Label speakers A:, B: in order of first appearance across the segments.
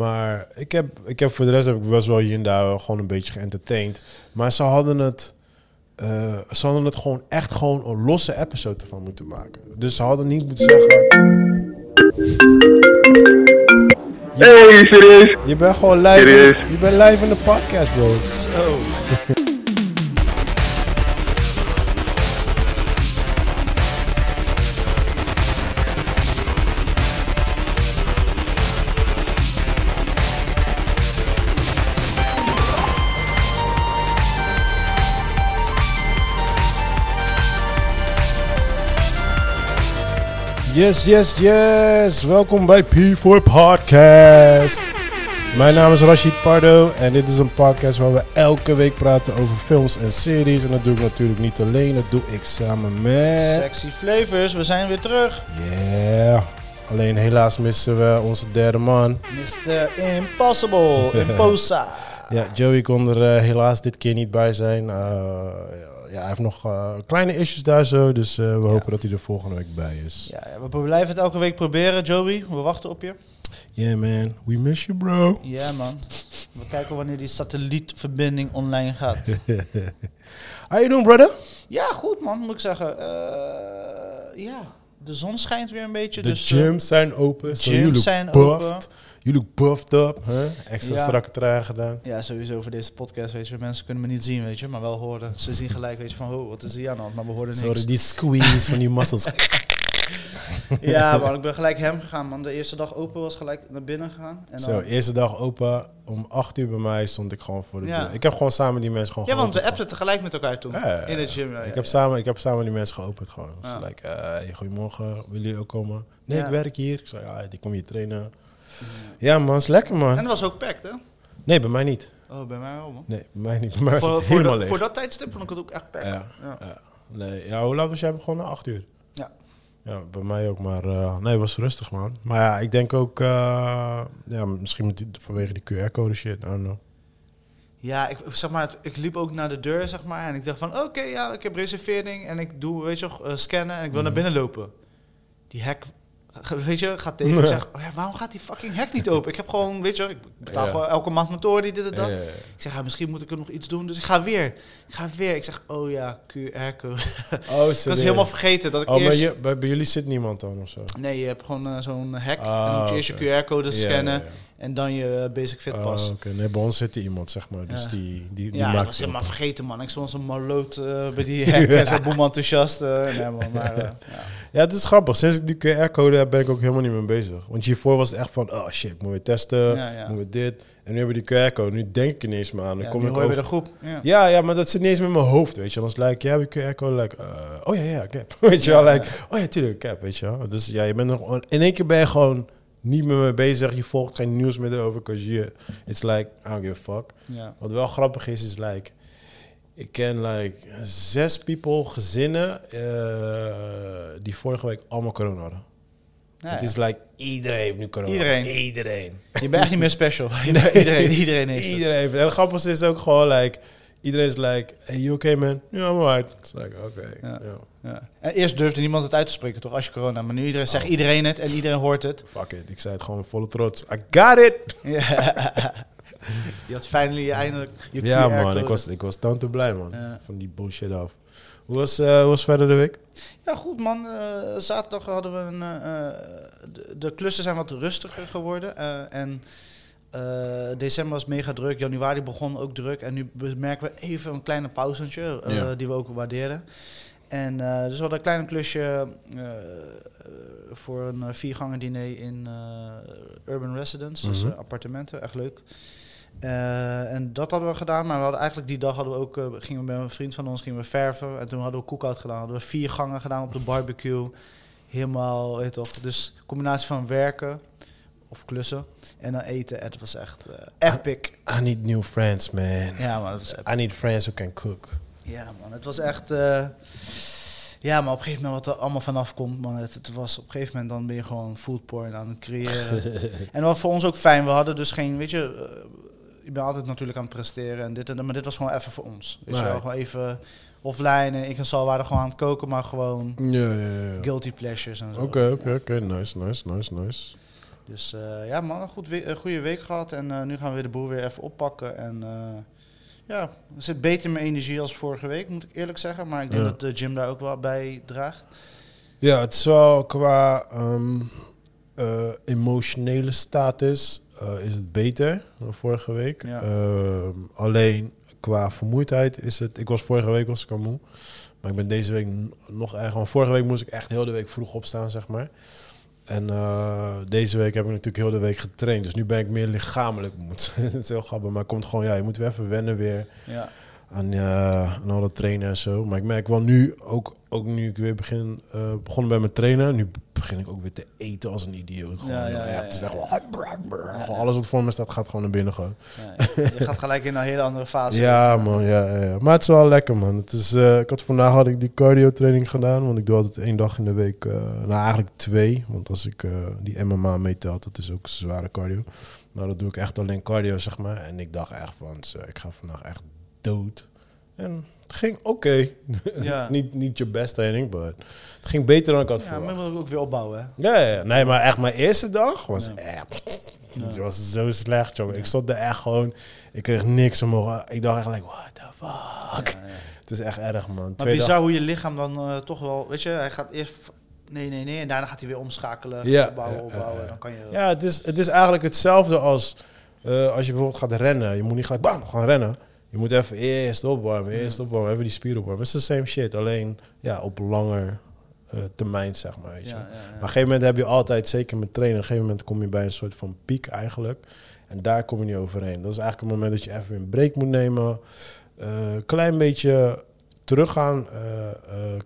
A: Maar ik heb, ik heb voor de rest heb ik best wel hier en daar gewoon een beetje geëntertained. Maar ze hadden het. eh, ze hadden het gewoon echt gewoon een losse episode ervan moeten maken. Dus ze hadden niet moeten zeggen.
B: Hey, serieus?
A: Je bent gewoon live.
B: Serieus?
A: Je bent live in de podcast, bro. Zo. Yes, yes, yes. Welkom bij P4 Podcast. Mijn naam is Rashid Pardo en dit is een podcast waar we elke week praten over films en series. En dat doe ik natuurlijk niet alleen, dat doe ik samen met...
C: Sexy Flavors, we zijn weer terug.
A: Yeah. Alleen helaas missen we onze derde man.
C: Mr. Impossible, Imposa.
A: Ja, Joey kon er eh, helaas dit keer niet bij zijn. Eh, ja, hij heeft nog eh, kleine issues daar zo, dus eh, we hopen dat hij er volgende week bij is.
C: Ja, ja, we blijven het elke week proberen, Joey. We wachten op je.
A: Yeah man, we miss you bro.
C: Ja, man. We kijken wanneer die satellietverbinding online gaat.
A: How you doing brother?
C: ja, goed, man, moet ik zeggen. Eh, ja, de zon schijnt weer een beetje.
A: De
C: dus, eh,
A: gyms zijn open. so
C: gyms
A: you look
C: zijn
A: buffed.
C: open.
A: You look buffed up. Hè? Extra
C: Ja.
A: strakke trui gedaan.
C: ja, sowieso voor deze podcast, weet je. Mensen kunnen me niet zien, weet je, maar wel horen. Ze zien gelijk, weet je, van, oh, wat is hier aan de hand? Maar we horen niks.
A: Sorry, die squeeze van die muscles.
C: Ja, man, ik ben gelijk hem gegaan, man. De eerste dag open was gelijk naar binnen gegaan. En dan,
A: Zo, eerste dag open. Om acht uur bij mij stond ik gewoon voor de
C: Ja.
A: deur. Ik heb gewoon samen die mensen gewoon
C: Ja, want we
A: geopend.
C: appten tegelijk met elkaar toen.
A: Ja, ja, ja.
C: In het gym. ja, ja,
A: ik, heb
C: ja.
A: Samen, ik heb samen die mensen geopend gewoon. Dus
C: Ja.
A: like, eh, goedemorgen, willen jullie ook komen? Nee,
C: Ja.
A: ik werk hier. Ik zei, ja, ik kom hier trainen. Ja man, is lekker
C: En
A: man.
C: dat was ook packed, hè?
A: Nee, bij mij niet.
C: Oh, bij mij wel, man.
A: Nee, bij mij niet. Bij mij was
C: Voor,
A: het
C: voor,
A: helemaal leeg.
C: dat, voor dat tijdstip vond ik het ook echt packed.
A: Ja.
C: Ja.
A: Ja. Nee, ja, hoe laat was jij begonnen? Acht uur?
C: Ja.
A: Ja, bij mij ook, maar eh, nee, het was rustig, man. Maar ja, ik denk ook, eh, ja, misschien met die- vanwege die QR-code shit, I don't know.
C: Ja, ik, zeg maar, ik liep ook naar de deur, zeg maar. En ik dacht van, oké, ja, ik heb reservering. En ik doe, weet je nog, eh, scannen. En ik wil
A: Mhm.
C: naar binnen lopen. Die hek, weet je, gaat tegen. Ik zeg, oh ja, waarom gaat die fucking hek niet open? Ik heb gewoon, weet je, ik betaal
A: Ja.
C: gewoon elke maand mijn toren, dit en dat.
A: Ja, ja, ja.
C: Ik zeg, ja, misschien moet ik er nog iets doen. Dus ik ga weer. Ik ga weer. Ik zeg, oh ja, QR-code.
A: Oh,
C: ik was helemaal vergeten dat ik
A: Oh, maar
C: eerst...
A: je, bij, bij jullie zit niemand dan of zo?
C: Nee, je hebt gewoon eh, zo'n hack.
A: Ah,
C: dan moet je eerst
A: oké.
C: je QR-code
A: Ja,
C: scannen
A: ja, ja.
C: en dan je eh, basic fit pas.
A: Oh, oké. Nee, bij ons zit er iemand, zeg maar, dus
C: Ja.
A: die, die, die
C: ja, ik
A: maakt
C: was
A: het
C: helemaal
A: op.
C: vergeten, man. Ik stond zo'n marloot eh, bij die hek en zo boem enthousiast. eh, nee, man, maar, eh, ja.
A: Ja, het is grappig. Sinds ik die QR-code heb, ben ik ook helemaal niet mee bezig. Want hiervoor was het echt van, oh shit, ik moet weer testen,
C: Ja, ja.
A: moet weer dit. En nu hebben we die QR-code, nu denk ik er niet eens meer aan. Dan
C: Ja,
A: kom
C: nu
A: ik
C: hoor je
A: over-
C: weer de groep. Ja.
A: Ja, ja, maar dat zit niet eens met mijn hoofd, weet je. Dan is het like, ja, we QR-code, like, eh, oh ja, ja, ik heb. Weet je wel,
C: Ja,
A: like, oh ja, tuurlijk, ik heb, weet je wel. Dus ja, je bent nog, in één keer ben je gewoon niet meer mee bezig. Je volgt geen nieuws meer erover, cause je, it's like, I don't give a fuck.
C: Ja.
A: Wat wel grappig is, is like, ik ken like zes people, gezinnen, eh, die vorige week allemaal corona hadden.
C: Ja,
A: het
C: ja.
A: is like, iedereen heeft nu corona.
C: Iedereen.
A: Iedereen.
C: Je bent echt niet meer special. Je bent- iedereen, iedereen heeft het.
A: Iedereen heeft het. En het grappige is ook gewoon, like, iedereen is like, hey, you okay man? Ja, I'm alright. It's like, oké.
C: Ja.
A: ja, Oh.
C: Ja. En eerst durfde niemand het uit te spreken, toch? Als je corona. Maar nu iedereen, zegt iedereen het en iedereen hoort het.
A: Fuck it. Ik zei het gewoon volle trots. I got it!
C: Ja. je had finally je eindelijk je
A: ja man,
C: QR-code.
A: ik was, ik was down to blij man.
C: Ja.
A: Van die bullshit af. Hoe was, eh, hoe was verder de week?
C: Ja, goed man. Eh, zaterdag hadden we een. eh, eh, de, de klussen zijn wat rustiger geworden. eh, en eh, december was mega druk. Januari begon ook druk. En nu merken we even een kleine pauzentje. eh,
A: Ja.
C: Die we ook waarderen. En eh, dus we hadden een klein klusje eh, eh, voor een eh, viergangen diner in eh, Urban Residence. Dus
A: Mhm.
C: eh, appartementen, echt leuk. Eh, en dat hadden we gedaan, maar we hadden eigenlijk die dag hadden we ook, eh, gingen we met een vriend van ons gingen we verven. En toen hadden we cookout gedaan, hadden we vier gangen gedaan op de barbecue. Helemaal, weet je toch. Dus combinatie van werken of klussen en dan eten. En het was echt eh, epic.
A: I need new friends man.
C: Ja man, het was epic.
A: I need friends who can cook.
C: Ja man, het was echt... eh, ja, maar op een gegeven moment wat er allemaal vanaf komt, man, het, het was op een gegeven moment dan ben je gewoon food porn aan het creëren. En dat was voor ons ook fijn. We hadden dus geen, weet je, eh, je bent altijd natuurlijk aan het presteren en dit en dat, maar dit was gewoon even voor ons. Weet je
A: Nee.
C: wel, gewoon even offline. En ik en Sal waren gewoon aan het koken, maar gewoon
A: Ja, ja, ja.
C: guilty pleasures en zo.
A: Oké, oké, oké. Nice, nice, nice, nice.
C: Dus eh, ja, man, een goed we- een goede week gehad. En eh, nu gaan we weer de boel weer even oppakken. En eh, ja, er zit beter in mijn energie als vorige week, moet ik eerlijk zeggen. Maar ik denk
A: Ja.
C: dat de gym daar ook wel bij draagt.
A: Ja, het is wel qua ehm, eh, emotionele status eh, is het beter dan vorige week.
C: Ja.
A: Ehm, alleen qua vermoeidheid is het... Ik was vorige week was ik al moe. Maar ik ben deze week n- nog erger. Want vorige week moest ik echt heel de week vroeg opstaan, zeg maar. En eh, deze week heb ik natuurlijk heel de week getraind. Dus nu ben ik meer lichamelijk moe. het is heel grappig. Maar het komt gewoon... Ja, je moet weer even wennen weer
C: Ja,
A: aan, eh, aan alle trainen en zo. Maar ik merk wel nu, ook, ook nu ik weer begin, eh, begonnen bij mijn trainen, nu begin ik ook weer te eten als een idioot. Gewoon,
C: Ja, ja, ja,
A: het is
C: ja.
A: echt wel- Gewoon alles wat voor me staat, gaat gewoon naar binnen. Gewoon.
C: ja, je gaat gelijk in een hele andere fase.
A: Ja, man, ja, ja, ja. Maar het is wel lekker, man. Het is, eh, ik had vandaag had ik die cardio training gedaan, want ik doe altijd één dag in de week, eh, nou eigenlijk twee, want als ik eh, die MMA meetelt, dat is ook zware cardio. Maar dat doe ik echt alleen cardio, zeg maar. En ik dacht echt van, zo, ik ga vandaag echt dood. En het ging oké. Het
C: Ja.
A: is niet, niet je best training, maar het ging beter dan ik had
C: Ja, maar
A: verwacht.
C: we moeten ook weer opbouwen, hè?
A: Ja, ja, ja. nee, maar echt mijn eerste dag was
C: Ja.
A: echt... Het was zo slecht, jongen. Ik stond er echt gewoon... Ik kreeg niks omhoog. Ik dacht echt, like, what the fuck?
C: Ja, ja.
A: Het is echt erg, man.
C: Maar
A: Twee
C: bizar hoe je lichaam dan eh, toch wel, weet je, hij gaat eerst v- nee, nee, nee, en daarna gaat hij weer omschakelen,
A: Ja,
C: opbouwen,
A: ja, ja,
C: opbouwen,
A: ja.
C: dan kan je...
A: dagen- Ja, het is, het is eigenlijk hetzelfde als eh, als je bijvoorbeeld gaat rennen. Je moet niet gelijk bam, gaan rennen. Je moet even eerst opwarmen, eerst opwarmen, even die spier opwarmen. Het is the same shit, alleen ja, op langer eh, termijn, zeg maar. Weet je.
C: Ja, ja, ja.
A: Maar op een gegeven moment heb je altijd, zeker met trainen, op een gegeven moment kom je bij een soort van piek eigenlijk. En daar kom je niet overheen. Dat is eigenlijk het moment dat je even een break moet nemen. Een klein beetje teruggaan eh, eh,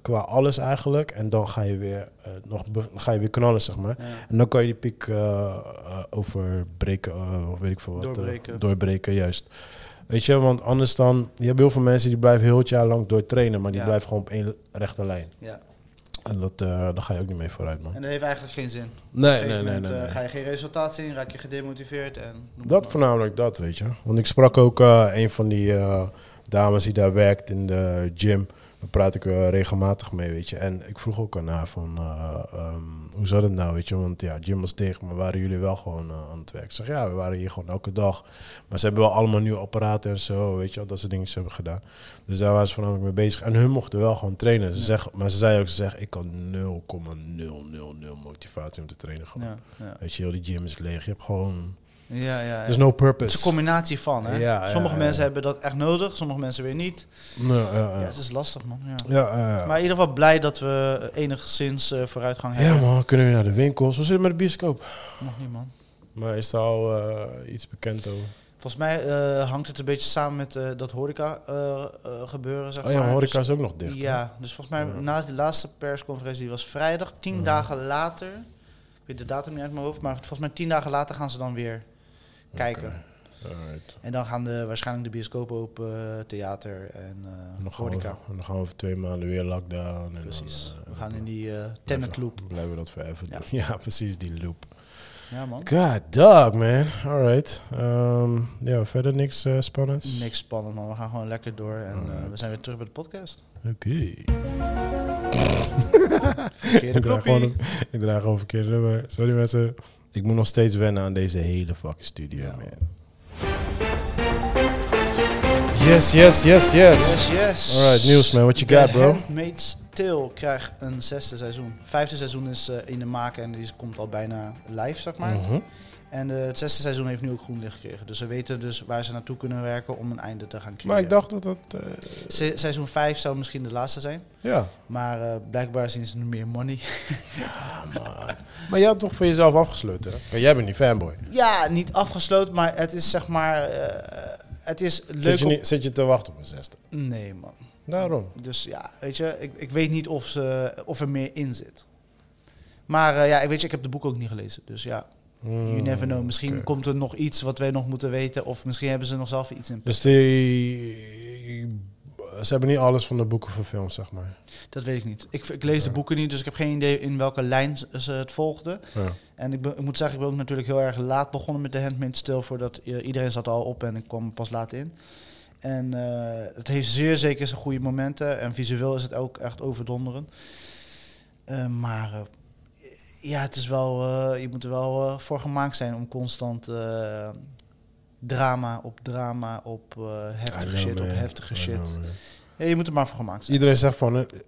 A: qua alles eigenlijk. En dan ga je weer, eh, nog be- ga je weer knallen, zeg maar.
C: Ja.
A: En dan kan je die piek eh, eh, overbreken, eh, of weet ik veel wat. eh,
C: Doorbreken.
A: doorbreken, juist. Weet je, want anders dan... Je hebt heel veel mensen die blijven heel het jaar lang doortrainen... maar die
C: Ja.
A: blijven gewoon op één rechte lijn.
C: Ja.
A: En dat, eh daar ga je ook niet mee vooruit, man.
C: En dat heeft eigenlijk geen zin. Op een
A: Nee,
C: gegeven
A: nee, nee,
C: moment,
A: nee.
C: eh,
A: nee.
C: ga je geen resultaat zien, raak je gedemotiveerd en... noem het
A: Dat
C: maar.
A: voornamelijk dat, weet je. Want ik sprak ook eh, een van die eh, dames die daar werkt in de gym. Daar praat ik eh, regelmatig mee, weet je. En ik vroeg ook aan haar van, eh, ehm, hoe zat het nou, weet je. Want ja, gym was dicht, maar waren jullie wel gewoon eh, aan het werk? Ik zeg, ja, we waren hier gewoon elke dag. Maar ze hebben wel allemaal nieuwe apparaten en zo, weet je. wel, Dat soort dingen ze hebben gedaan. Dus daar waren ze voornamelijk mee bezig. En hun mochten wel gewoon trainen. Ze zeggen, maar ze zei ook, ze zegt, ik kan 0,000 motivatie om te trainen gewoon.
C: Ja, ja.
A: Weet je, heel die gym is leeg. Je hebt gewoon...
C: Ja, ja, ja.
A: Er is no
C: Het is
A: purpose.
C: een combinatie van, hè?
A: Ja, ja,
C: sommige
A: ja,
C: mensen
A: ja.
C: hebben dat echt nodig, sommige mensen weer niet.
A: Ja, ja,
C: Ja,
A: ja.
C: het is lastig, man. Ja.
A: eh, Ja, eh. ja, ja.
C: Maar in ieder geval blij dat we enigszins eh, vooruitgang
A: ja
C: hebben.
A: man, kunnen we naar de winkels? Hoe zit het met de bioscoop?
C: Nog niet, man.
A: Maar is daar al eh, iets bekend over?
C: Volgens mij eh, hangt het een beetje samen met eh, dat horeca eh, eh, gebeuren, zeg
A: Oh ja,
C: maar. Dus-
A: horeca is ook nog dicht. hè?
C: Ja, dus volgens mij
A: Ja. Mhm.
C: naast die laatste persconferentie, die was vrijdag, tien dagen later, ik weet de datum niet uit mijn hoofd, maar volgens mij tien dagen later gaan ze dan weer kijken.
A: Alright.
C: En dan gaan de, waarschijnlijk de bioscoop open, theater en
A: En
C: eh
A: dan, gaan we,
C: horeca.
A: en dan gaan we over twee maanden weer lockdown. En dan,
C: Precies.
A: eh,
C: We gaan in die eh tenant
A: blijven-
C: loop.
A: Blijven we dat forever
C: Ja.
A: doen. Ja, precies, die loop.
C: Ja man.
A: God dog, man. Alright. Ehm, ja, verder niks eh, spannends?
C: Niks spannend man, we gaan gewoon lekker door en eh,
A: Alright.
C: we zijn weer terug bij de podcast.
A: Oké.
C: Verkeerde
A: Ik draai gewoon
C: knoppie.
A: een- ik draai gewoon verkeerd nummer. Sorry mensen. Ik moet nog steeds wennen aan deze hele fucking studio,
C: Ja.
A: man. Yes, yes, yes, yes.
C: Yes, yes.
A: Alright, nieuws, man. What you got,
C: The
A: bro?
C: Handmaid's Tale krijgt een zesde seizoen. Vijfde seizoen is eh, in de maak en die komt al bijna live, zeg maar.
A: Mhm.
C: En eh, het zesde seizoen heeft nu ook groen licht gekregen. Dus ze weten dus waar ze naartoe kunnen werken om een einde te gaan creëren.
A: Maar ik dacht dat dat... eh,
C: Se- seizoen 5 zou misschien de laatste zijn.
A: ja.
C: Maar eh, blijkbaar zien ze nu meer money.
A: Maar jij had toch voor jezelf afgesloten, hè? Maar jij bent niet fanboy.
C: ja, niet afgesloten, maar het is zeg maar... eh, het is leuk
A: Zit je,
C: om-
A: niet, zit je te wachten op een zesde?
C: Nee, man.
A: Daarom.
C: Dus ja, weet je, ik, ik weet niet of, ze, of er meer in zit. Maar eh, ja, ik weet je, ik heb de boek ook niet gelezen. Dus ja, you never know. Misschien
A: Hmm, oké.
C: komt er nog iets wat wij nog moeten weten. Of misschien hebben ze nog zelf iets in.
A: Dus die... Ze hebben niet alles van de boeken verfilmd, zeg maar.
C: Dat weet ik niet. Ik, ik lees de boeken niet, dus ik heb geen idee in welke lijn ze- ze het volgden.
A: Ja.
C: En ik, ben- ik moet zeggen, ik ben ook natuurlijk heel erg laat begonnen met de Handmaid's stil Voordat i- iedereen zat al op en ik kwam pas laat in. En eh, het heeft zeer zeker zijn goede momenten. En visueel is het ook echt overdonderend. Eh, maar eh, ja, het is wel, eh, je moet er wel eh, voor gemaakt zijn om constant eh, drama op drama op eh,
A: I
C: heftige
A: know,
C: shit
A: man.
C: op heftige
A: I
C: shit.
A: know, man.
C: Ja, je moet er maar voor gemaakt zijn.
A: Iedereen zegt van, eh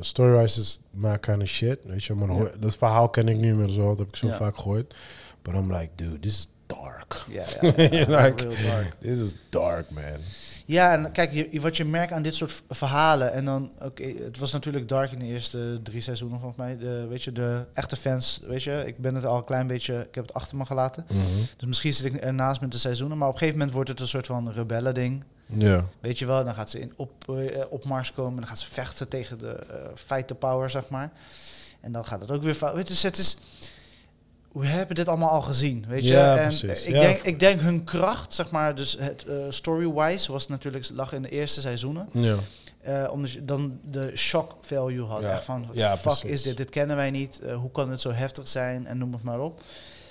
A: storyrise is my kind of shit. Weet je, maar dan hoor- dat verhaal ken ik niet meer zo, dat heb ik zo
C: Ja.
A: vaak gehoord. But I'm like, dude, this is dark.
C: Ja, ja, ja, ja,
A: Like-
C: real dark.
A: This is dark, man.
C: Ja, en kijk, je- wat je merkt aan dit soort v- verhalen. En dan, oké, het was natuurlijk dark in de eerste drie seizoenen volgens mij. De, weet je, de echte fans, weet je, ik ben het al een klein beetje, ik heb het achter me gelaten. Dus misschien zit ik ernaast met de seizoenen. Maar op een gegeven moment wordt het een soort van rebellen-ding.
A: Ja.
C: Weet je wel, dan gaat ze in op, eh, opmars komen. Dan gaat ze vechten tegen de eh, fight the power, zeg maar. En dan gaat het ook weer fout. Weet je, Dus het is... We hebben dit allemaal al gezien, weet je.
A: Ja,
C: en eh,
A: precies.
C: Ik,
A: Ja.
C: denk, ik denk hun kracht, zeg maar, dus het eh, story-wise was natuurlijk lag in de eerste seizoenen,
A: Ja.
C: Eh, omdat je dan de shock value had.
A: Ja.
C: Echt van,
A: Ja,
C: fuck
A: precies.
C: is dit? Dit kennen wij niet. Eh, hoe kan het zo heftig zijn? En noem het maar op.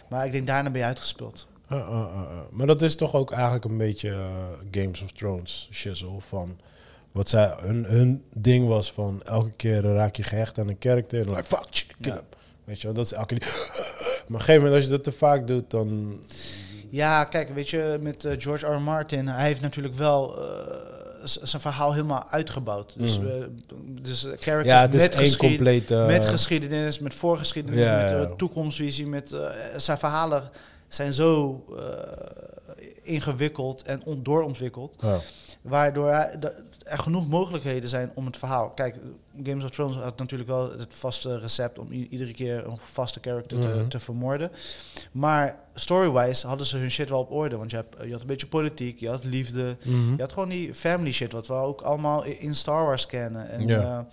C: Maar ik denk daarna ben je uitgespeeld.
A: Ah, ah, ah, ah. Maar dat is toch ook eigenlijk een beetje eh, Games of Thrones shizzle van wat zij hun, hun ding was van elke keer raak je gehecht aan een karakter en dan like fuck shit, kill
C: Ja.
A: him. Weet je, wel, dat is elke keer. die- Maar op een gegeven moment als je dat te vaak doet, dan
C: Ja, kijk, weet je, met eh, George R. R. Martin, hij heeft natuurlijk wel eh, z- zijn verhaal helemaal uitgebouwd. Dus,
A: Mhm.
C: eh, dus characters
A: ja, het is
C: met,
A: één
C: geschied-
A: complete eh,
C: met geschiedenis, met voorgeschiedenis,
A: Ja,
C: met eh,
A: ja.
C: toekomstvisie, met eh, zijn verhalen zijn zo eh, ingewikkeld en on- doorontwikkeld,
A: ja.
C: waardoor hij- da- er genoeg mogelijkheden zijn om het verhaal. Kijk, Games of Thrones had natuurlijk wel het vaste recept om i- iedere keer een vaste character
A: Mhm.
C: te, te vermoorden. Maar story-wise hadden ze hun shit wel op orde. Want je, hebt, je had een beetje politiek, je had liefde.
A: Mhm.
C: Je had gewoon die family shit, wat we ook allemaal i- in Star Wars kennen. En
A: Ja.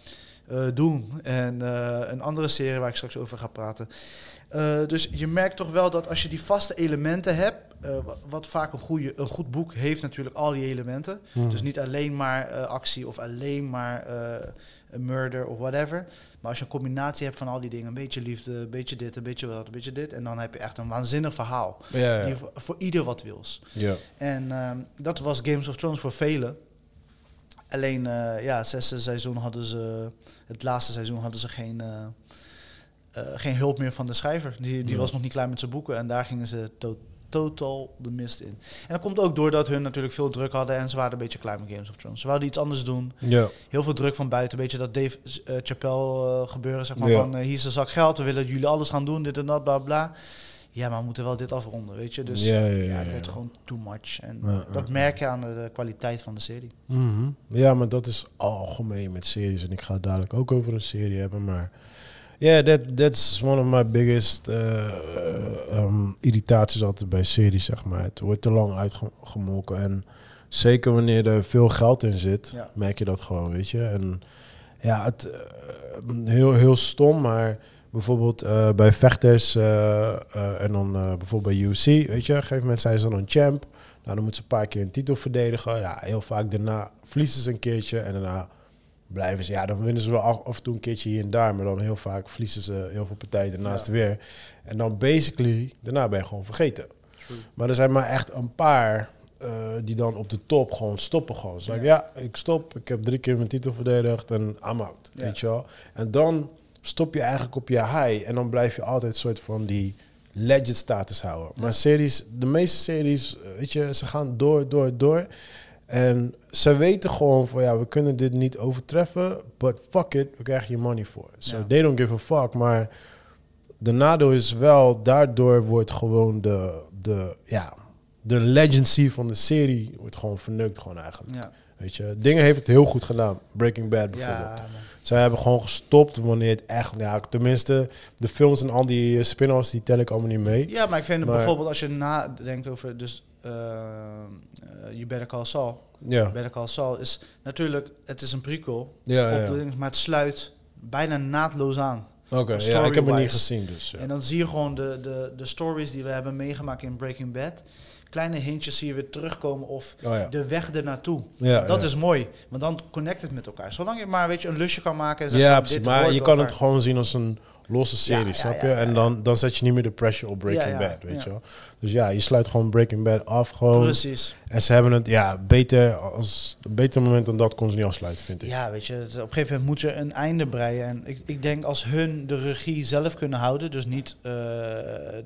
C: eh, eh, Doom. En eh, een andere serie waar ik straks over ga praten. Eh, dus je merkt toch wel dat als je die vaste elementen hebt... eh, wa- wat vaak een, goede, een goed boek heeft natuurlijk al die elementen.
A: Mhm.
C: Dus niet alleen maar eh, actie of alleen maar eh, een murder of whatever. Maar als je een combinatie hebt van al die dingen... een beetje liefde, een beetje dit, een beetje dat, een beetje dit... en dan heb je echt een waanzinnig verhaal.
A: ja, ja.
C: Die voor, voor ieder wat wils.
A: ja.
C: En ehm, dat was Games of Thrones voor velen. Alleen, eh, ja, het zesde seizoen hadden ze... Het laatste seizoen hadden ze geen, eh, eh, geen hulp meer van de schrijver. Die, die
A: Ja.
C: was nog niet klaar met zijn boeken. En daar gingen ze to- totaal de mist in. En dat komt ook doordat hun natuurlijk veel druk hadden... en ze waren een beetje klaar met Games of Thrones. Ze wilden iets anders doen.
A: Ja.
C: Heel veel druk van buiten. Een beetje dat Dave eh, Chappelle eh, gebeuren, zeg maar.
A: Ja.
C: Van, eh, hier is een zak geld, we willen dat jullie alles gaan doen, dit en dat, bla bla. Ja, maar we moeten wel dit afronden, weet je. Dus
A: ja, ja, ja,
C: ja, het
A: ja.
C: werd gewoon too much. En eh,
A: Ja, ja,
C: dat
A: ja.
C: merk je aan de, de kwaliteit van de serie.
A: Mhm. Ja, maar dat is algemeen met series. En ik ga het dadelijk ook over een serie hebben. Maar ja, that, that's one of my biggest eh, ehm, irritaties altijd bij series, zeg maar. Het wordt te lang uitgemolken. En zeker wanneer er veel geld in zit,
C: Ja.
A: merk je dat gewoon, weet je. En ja, het, eh, heel, heel stom, maar bijvoorbeeld eh, bij vechters eh, eh, en dan eh, bijvoorbeeld bij UFC, weet je. Op een gegeven moment zijn ze dan een champ. Nou, dan moeten ze een paar keer een titel verdedigen. Ja, heel vaak daarna verliezen ze een keertje en daarna blijven ze. Ja, dan winnen ze wel af, af en toe een keertje hier en daar, maar dan heel vaak verliezen ze heel veel partijen daarnaast
C: Ja.
A: weer. En dan basically, daarna ben je gewoon vergeten. Maar er zijn maar echt een paar eh, die dan op de top gewoon stoppen. Gewoon. Ze zeggen, ja. ik stop, ik heb drie keer mijn titel verdedigd en I'm out.
C: Ja.
A: Weet je wel? En dan stop je eigenlijk op je high en dan blijf je altijd soort van die legend status houden. Maar series, de meeste series, eh, weet je, ze gaan door, door, door. En ze weten gewoon van ja, we kunnen dit niet overtreffen, but fuck it, we krijgen je money voor. So
C: Ja.
A: they don't give a fuck, maar de nadeel is wel, daardoor wordt gewoon de, de, ja, de legacy van de serie wordt gewoon verneukt gewoon eigenlijk.
C: Ja,
A: Weet je, dingen heeft het heel goed gedaan. Breaking Bad bijvoorbeeld.
C: ja man.
A: Zij hebben gewoon gestopt wanneer het echt, ja, tenminste, de films en al die eh, spin-offs, die tel ik allemaal niet mee.
C: ja, maar ik vind het
A: Maar-
C: bijvoorbeeld als je nadenkt over dus, eh eh, You Better Call Saul.
A: Ja,
C: Better Call Saul is natuurlijk, het is een prequel,
A: ja,
C: op
A: ja.
C: de- maar het sluit bijna naadloos aan.
A: Oké, ja, ik heb hem
C: Story-wise.
A: niet gezien dus. Ja.
C: En dan zie je gewoon de, de, de stories die we hebben meegemaakt in Breaking Bad. Kleine hintjes zie je weer terugkomen of
A: Oh ja.
C: de weg ernaartoe.
A: Ja,
C: dat
A: ja.
C: is mooi, want dan connect het met elkaar. Zolang je maar weet je, een lusje kan maken. En
A: Ja,
C: van,
A: precies.
C: dit
A: Maar
C: hoort
A: je
C: bij
A: kan het
C: elkaar.
A: gewoon zien als een losse serie,
C: ja,
A: snap je?
C: ja, ja,
A: En dan, dan zet je niet meer de pressure op Breaking
C: Ja, ja,
A: Bad, weet
C: ja.
A: je wel? Dus ja, je sluit gewoon Breaking Bad af gewoon.
C: Precies.
A: En ze hebben het, ja, beter als, een beter moment dan dat kon ze niet afsluiten, vind ik.
C: Ja, weet je, het- op een gegeven moment moet je een einde breien. En ik, ik denk als hun de regie zelf kunnen houden, dus niet eh,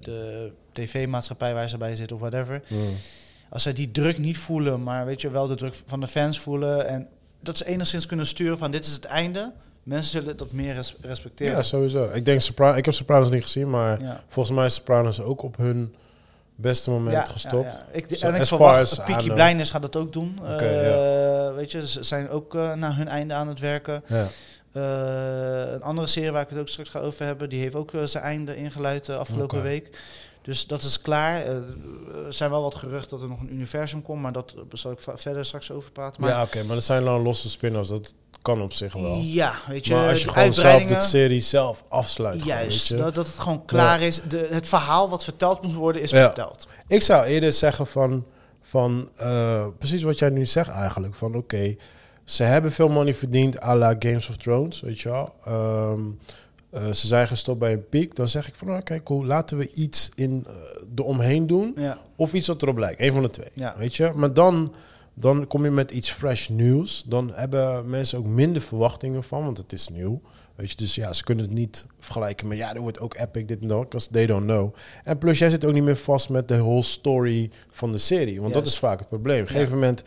C: de tv-maatschappij waar ze bij zitten of whatever.
A: Mm.
C: Als zij die druk niet voelen, maar weet je wel de druk van de fans voelen. En dat ze enigszins kunnen sturen van dit is het einde. Mensen zullen dat meer res- respecteren.
A: Ja, sowieso. Ik, denk Sopra ik heb Sopranos niet gezien, maar
C: Ja.
A: volgens mij is Sopranos ook op hun beste moment gestopt.
C: ja, ja. Ik,
A: Zo,
C: en ik
A: as far
C: verwacht,
A: as
C: dat
A: I
C: Peaky
A: know.
C: Blinders gaat dat ook doen.
A: Oké,
C: Eh, Weet je, ze zijn ook eh, naar hun einde aan het werken.
A: Ja.
C: Eh, een andere serie waar ik het ook straks ga over hebben, die heeft ook eh, zijn einde ingeluid de afgelopen
A: Oké.
C: week. Dus dat is klaar. Eh, er zijn wel wat geruchten dat er nog een universum komt, maar dat eh, zal ik va- verder straks over praten. Maar
A: Ja, oké, maar dat zijn dan losse spin-offs. Dat kan op zich wel.
C: ja, weet je,
A: maar als je
C: de
A: gewoon zelf de
C: uitbreidingen-
A: serie zelf afsluit. gewoon,
C: Juist,
A: weet je.
C: dat, dat het gewoon klaar is. De, het verhaal wat verteld moet worden is
A: Ja.
C: verteld.
A: Ik zou eerder zeggen van, van eh, precies wat jij nu zegt eigenlijk. Van oké, ze hebben veel money verdiend à la Games of Thrones, weet je wel. Ehm, eh, ze zijn gestopt bij een piek. Dan zeg ik van oké, cool, laten we iets in eh, eromheen doen.
C: Ja,
A: Of iets wat erop lijkt. Een van de twee.
C: Ja.
A: Weet je? Maar dan, dan kom je met iets fresh nieuws. Dan hebben mensen ook minder verwachtingen van, want het is nieuw. Weet je? Dus ja, ze kunnen het niet vergelijken met... ja, er wordt ook epic, dit en dat. Because they don't know. En plus, jij zit ook niet meer vast met de whole story van de serie. Want dat
C: Juist.
A: is vaak het probleem. Op een gegeven moment...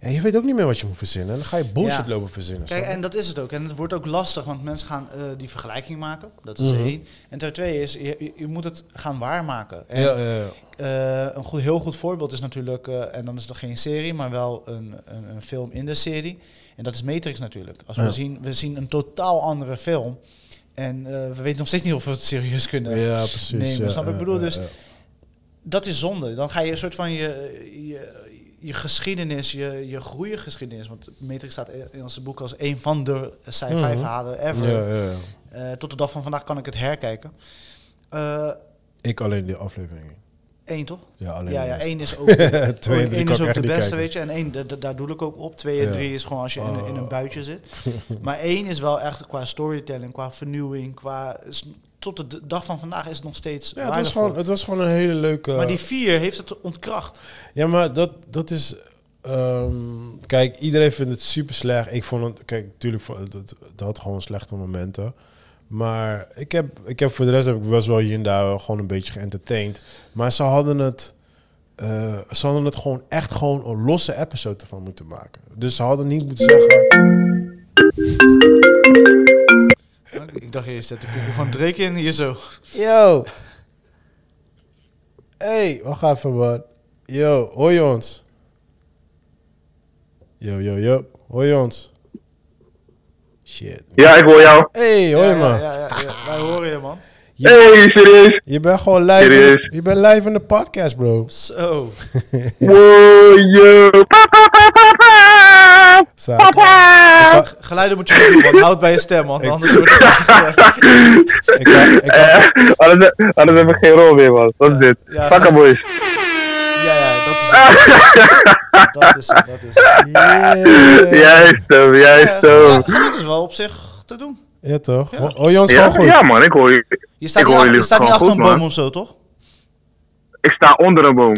A: Ja, je weet ook niet meer wat je moet verzinnen. En dan ga je bullshit
C: Ja.
A: lopen verzinnen.
C: Kijk,
A: snap je?
C: en dat is het ook. En het wordt ook lastig, want mensen gaan eh, die vergelijking maken. Dat is
A: Mhm.
C: één. En ter twee is, je, je- je moet het gaan waarmaken. En,
A: ja, ja, ja.
C: eh, een goed, heel goed voorbeeld is natuurlijk, eh, en dan is het geen serie, maar wel een, een, een film in de serie. En dat is Matrix natuurlijk. Als
A: Ja.
C: we, zien, we zien een totaal andere film. En eh, we weten nog steeds niet of we het serieus kunnen.
A: Ja, precies.
C: Nee, maar
A: ja,
C: snap ik
A: ja,
C: bedoel,
A: ja,
C: dus-
A: ja.
C: Dat is zonde. Dan ga je een soort van je, je, je geschiedenis, je, je groeigeschiedenis. Want Matrix staat in ons boek als een van de sci-fi
A: Mhm.
C: verhalen ever.
A: Ja, ja, ja.
C: Eh, tot de dag van vandaag kan ik het herkijken. Eh
A: Ik alleen die afleveringen.
C: één toch?
A: Ja, alleen
C: ja,
A: de
C: ja,
A: rest.
C: één is ook, één
A: Twee en drie kan
C: is
A: ik
C: ook
A: echt
C: de
A: niet
C: beste,
A: kijken.
C: weet je. En één, da- da- daar doe ik ook op. Twee
A: Ja. Oh.
C: en drie is gewoon als je in, een- in een buitje zit. Maar één is wel echt qua storytelling, qua vernieuwing, qua... is- tot de d- dag van vandaag is het nog steeds
A: Ja, het was,
C: waardevol.
A: gewoon, eh, het was gewoon een hele leuke...
C: maar die vier heeft het ontkracht.
A: Ja, maar dat, dat is... ehm, kijk, iedereen vindt het super slecht. Ik vond het... Kijk, natuurlijk, het, het, het had gewoon slechte momenten. Maar ik heb, ik heb voor de rest heb ik best wel hier en daar wel gewoon een beetje geëntertained. Maar ze hadden het... eh, ze hadden het gewoon echt gewoon een losse episode ervan moeten maken. Dus ze hadden niet moeten zeggen...
C: Ik dacht eerst, zet de koekoe van Drake in, hier zo.
A: Yo. Hey, wacht even, man. Yo, hoor je ons? Yo, yo, yo. Hoor je ons? Shit.
B: Ja, ik hoor jou.
A: Hey, hoor je me?
C: ja, ja, ja, ja, wij horen je, man.
B: Hey, serieus?
A: Je bent gewoon live. in-
B: Serieus?
A: je bent live in de podcast, bro.
C: Zo.
B: Wow, yo.
A: Sa-
B: Papa!
C: Ge- Geluiden moet je niet doen, man. Houd bij je stem, man. Anders wordt het...
A: Ik kan, ik kan,
B: Anders anders hebben Eh, we geen rol meer, man. Wat is dit?
C: Ja.
B: Fuck up, boys.
C: Ja, ja, dat is het. dat is het, dat is het.
A: Yeah.
B: Juist zo, juist eh. zo.
C: Ja, geluid is wel op zich te doen.
A: Ja, toch? Ho- Hoor je ons
B: Ja,
A: gewoon goed?
B: ja, man, ik hoor je.
C: Je staat
B: ik
C: niet,
B: hoor
C: ach-
B: jullie
C: je staat niet
B: gewoon
C: achter een
B: goed,
C: boom
B: man.
C: of zo, toch?
B: Ik sta onder een boom.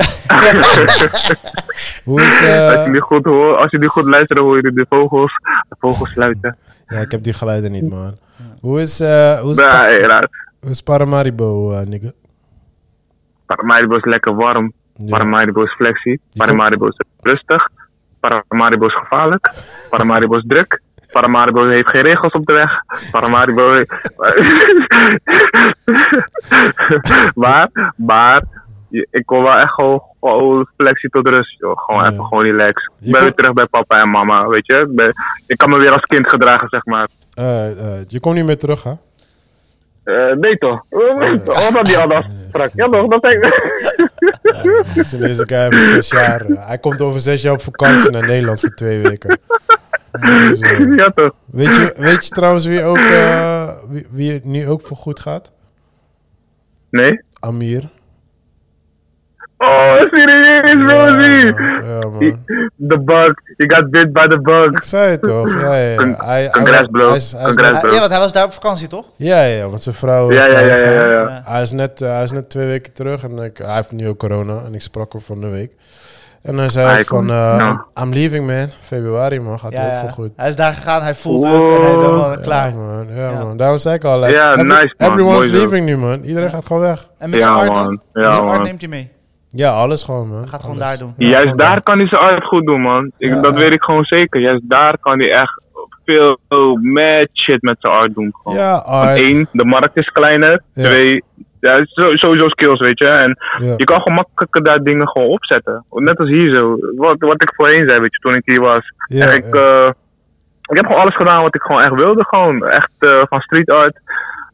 A: Hoe is... eh,
B: Als jullie goed horen, als jullie goed luisteren, hoor je de vogels, de vogels sluiten.
A: Ja, ik heb die geluiden niet, man. Hoe is... eh hoe is,
B: Nee,
A: Pa-
B: raar.
A: hoe is Paramaribo, eh, nigga?
B: Paramaribo is lekker warm. Paramaribo is flexie. Paramaribo is rustig. Paramaribo is gevaarlijk. Paramaribo is druk. Paramaribo heeft geen regels op de weg. Paramaribo. he- maar, maar. je- Ik kon wel echt gewoon, gewoon flexie tot rust, joh. Gewoon
A: Ja.
B: even gewoon relax.
A: Je
B: Ik ben
A: kon-
B: weer terug bij papa en mama, weet je. Ik, ben- ik kan me weer als kind gedragen, zeg maar.
A: Eh, eh, je komt niet meer terug, hè?
B: Eh, nee toch? Wat had die anders sprak? Ja toch, dat zei
A: Dus in deze guy heeft zes jaar. eh, Hij komt over zes jaar op vakantie naar Nederland voor twee weken. Dus, eh,
B: Ja toch.
A: weet, je, weet je trouwens wie, ook, eh, wie, wie het nu ook voor goed gaat?
B: Nee?
A: Amir.
B: Oh, serieus, Rosie!
A: Ja, man.
B: The bug. You got bit by the bug.
A: Ik zei het toch? Ja, ja, ja.
B: Con-
A: Hij- hij-
B: congrats,
A: hij-
B: bro.
A: hij is- hij is
B: Congrats.
A: net-
C: ja, want hij was daar op vakantie, toch?
A: Ja, ja, want zijn vrouw...
B: Ja,
A: is
B: ja, ja, ja, ja.
A: tegen-
B: ja.
C: Ja.
A: Hij is, net, eh, hij is net twee weken terug en ik, hij heeft nu ook corona en ik sprak hem van de week. En hij zei
B: Hij
A: ook van,
B: komt-
A: eh,
B: nou.
A: I'm leaving man, februari man, gaat
C: Ja,
A: heel
C: ja.
A: veel goed.
C: Hij is daar gegaan, hij voelde het en hij dacht
B: Wow.
C: van, klaar.
A: Ja, man. Ja,
C: Ja.
A: man. Daarom zei ik al. like,
B: Ja,
A: every-
B: nice, man.
A: Everyone's
B: Mooi zo.
A: leaving nu, man. Iedereen gaat gewoon weg.
C: En met zijn
B: Ja,
C: art,
B: man.
C: met zijn
B: Ja,
C: art
B: man.
C: neemt hij mee.
A: Ja, alles gewoon, man.
C: Hij gaat gewoon
A: Alles.
C: daar doen.
A: Ja, gewoon
B: Juist
A: doen.
B: daar kan hij zijn art goed doen, man. Ik,
A: Ja.
B: Dat weet ik gewoon zeker. Juist daar kan hij echt veel mad shit met zijn art doen. Gewoon.
A: Ja,
B: Want
A: art.
B: één, de markt is kleiner.
A: Ja.
B: Twee, ja, het is zo- sowieso skills, weet je. En
A: Ja.
B: je kan gewoon makkelijker daar dingen gewoon opzetten. Net als hier zo. Wat, wat ik voorheen zei, weet je, toen ik hier was.
A: Ja,
B: en ik,
A: ja.
B: eh, ik heb gewoon alles gedaan wat ik gewoon echt wilde. Gewoon echt eh, van street art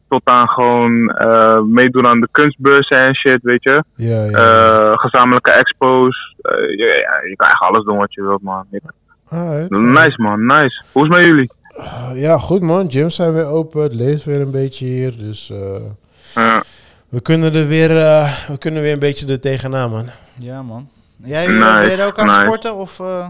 B: tot aan gewoon eh, meedoen aan de kunstbeurzen en shit, weet je.
A: Ja, ja.
B: Eh, gezamenlijke expos. Eh, ja, ja, je kan echt alles doen wat je wilt, man. Ik-
A: Alright.
B: Nice, man. Nice. Hoe is het met jullie?
A: Eh, Ja, goed, man. Gyms zijn weer open. Het leeft weer een beetje hier. Dus eh,
B: Ja.
A: we kunnen er weer, eh, we kunnen weer een beetje er tegenaan, man.
C: Ja, man. Jij eh,
B: Nice,
C: ben je er ook aan het
B: nice.
C: sporten? Of, eh,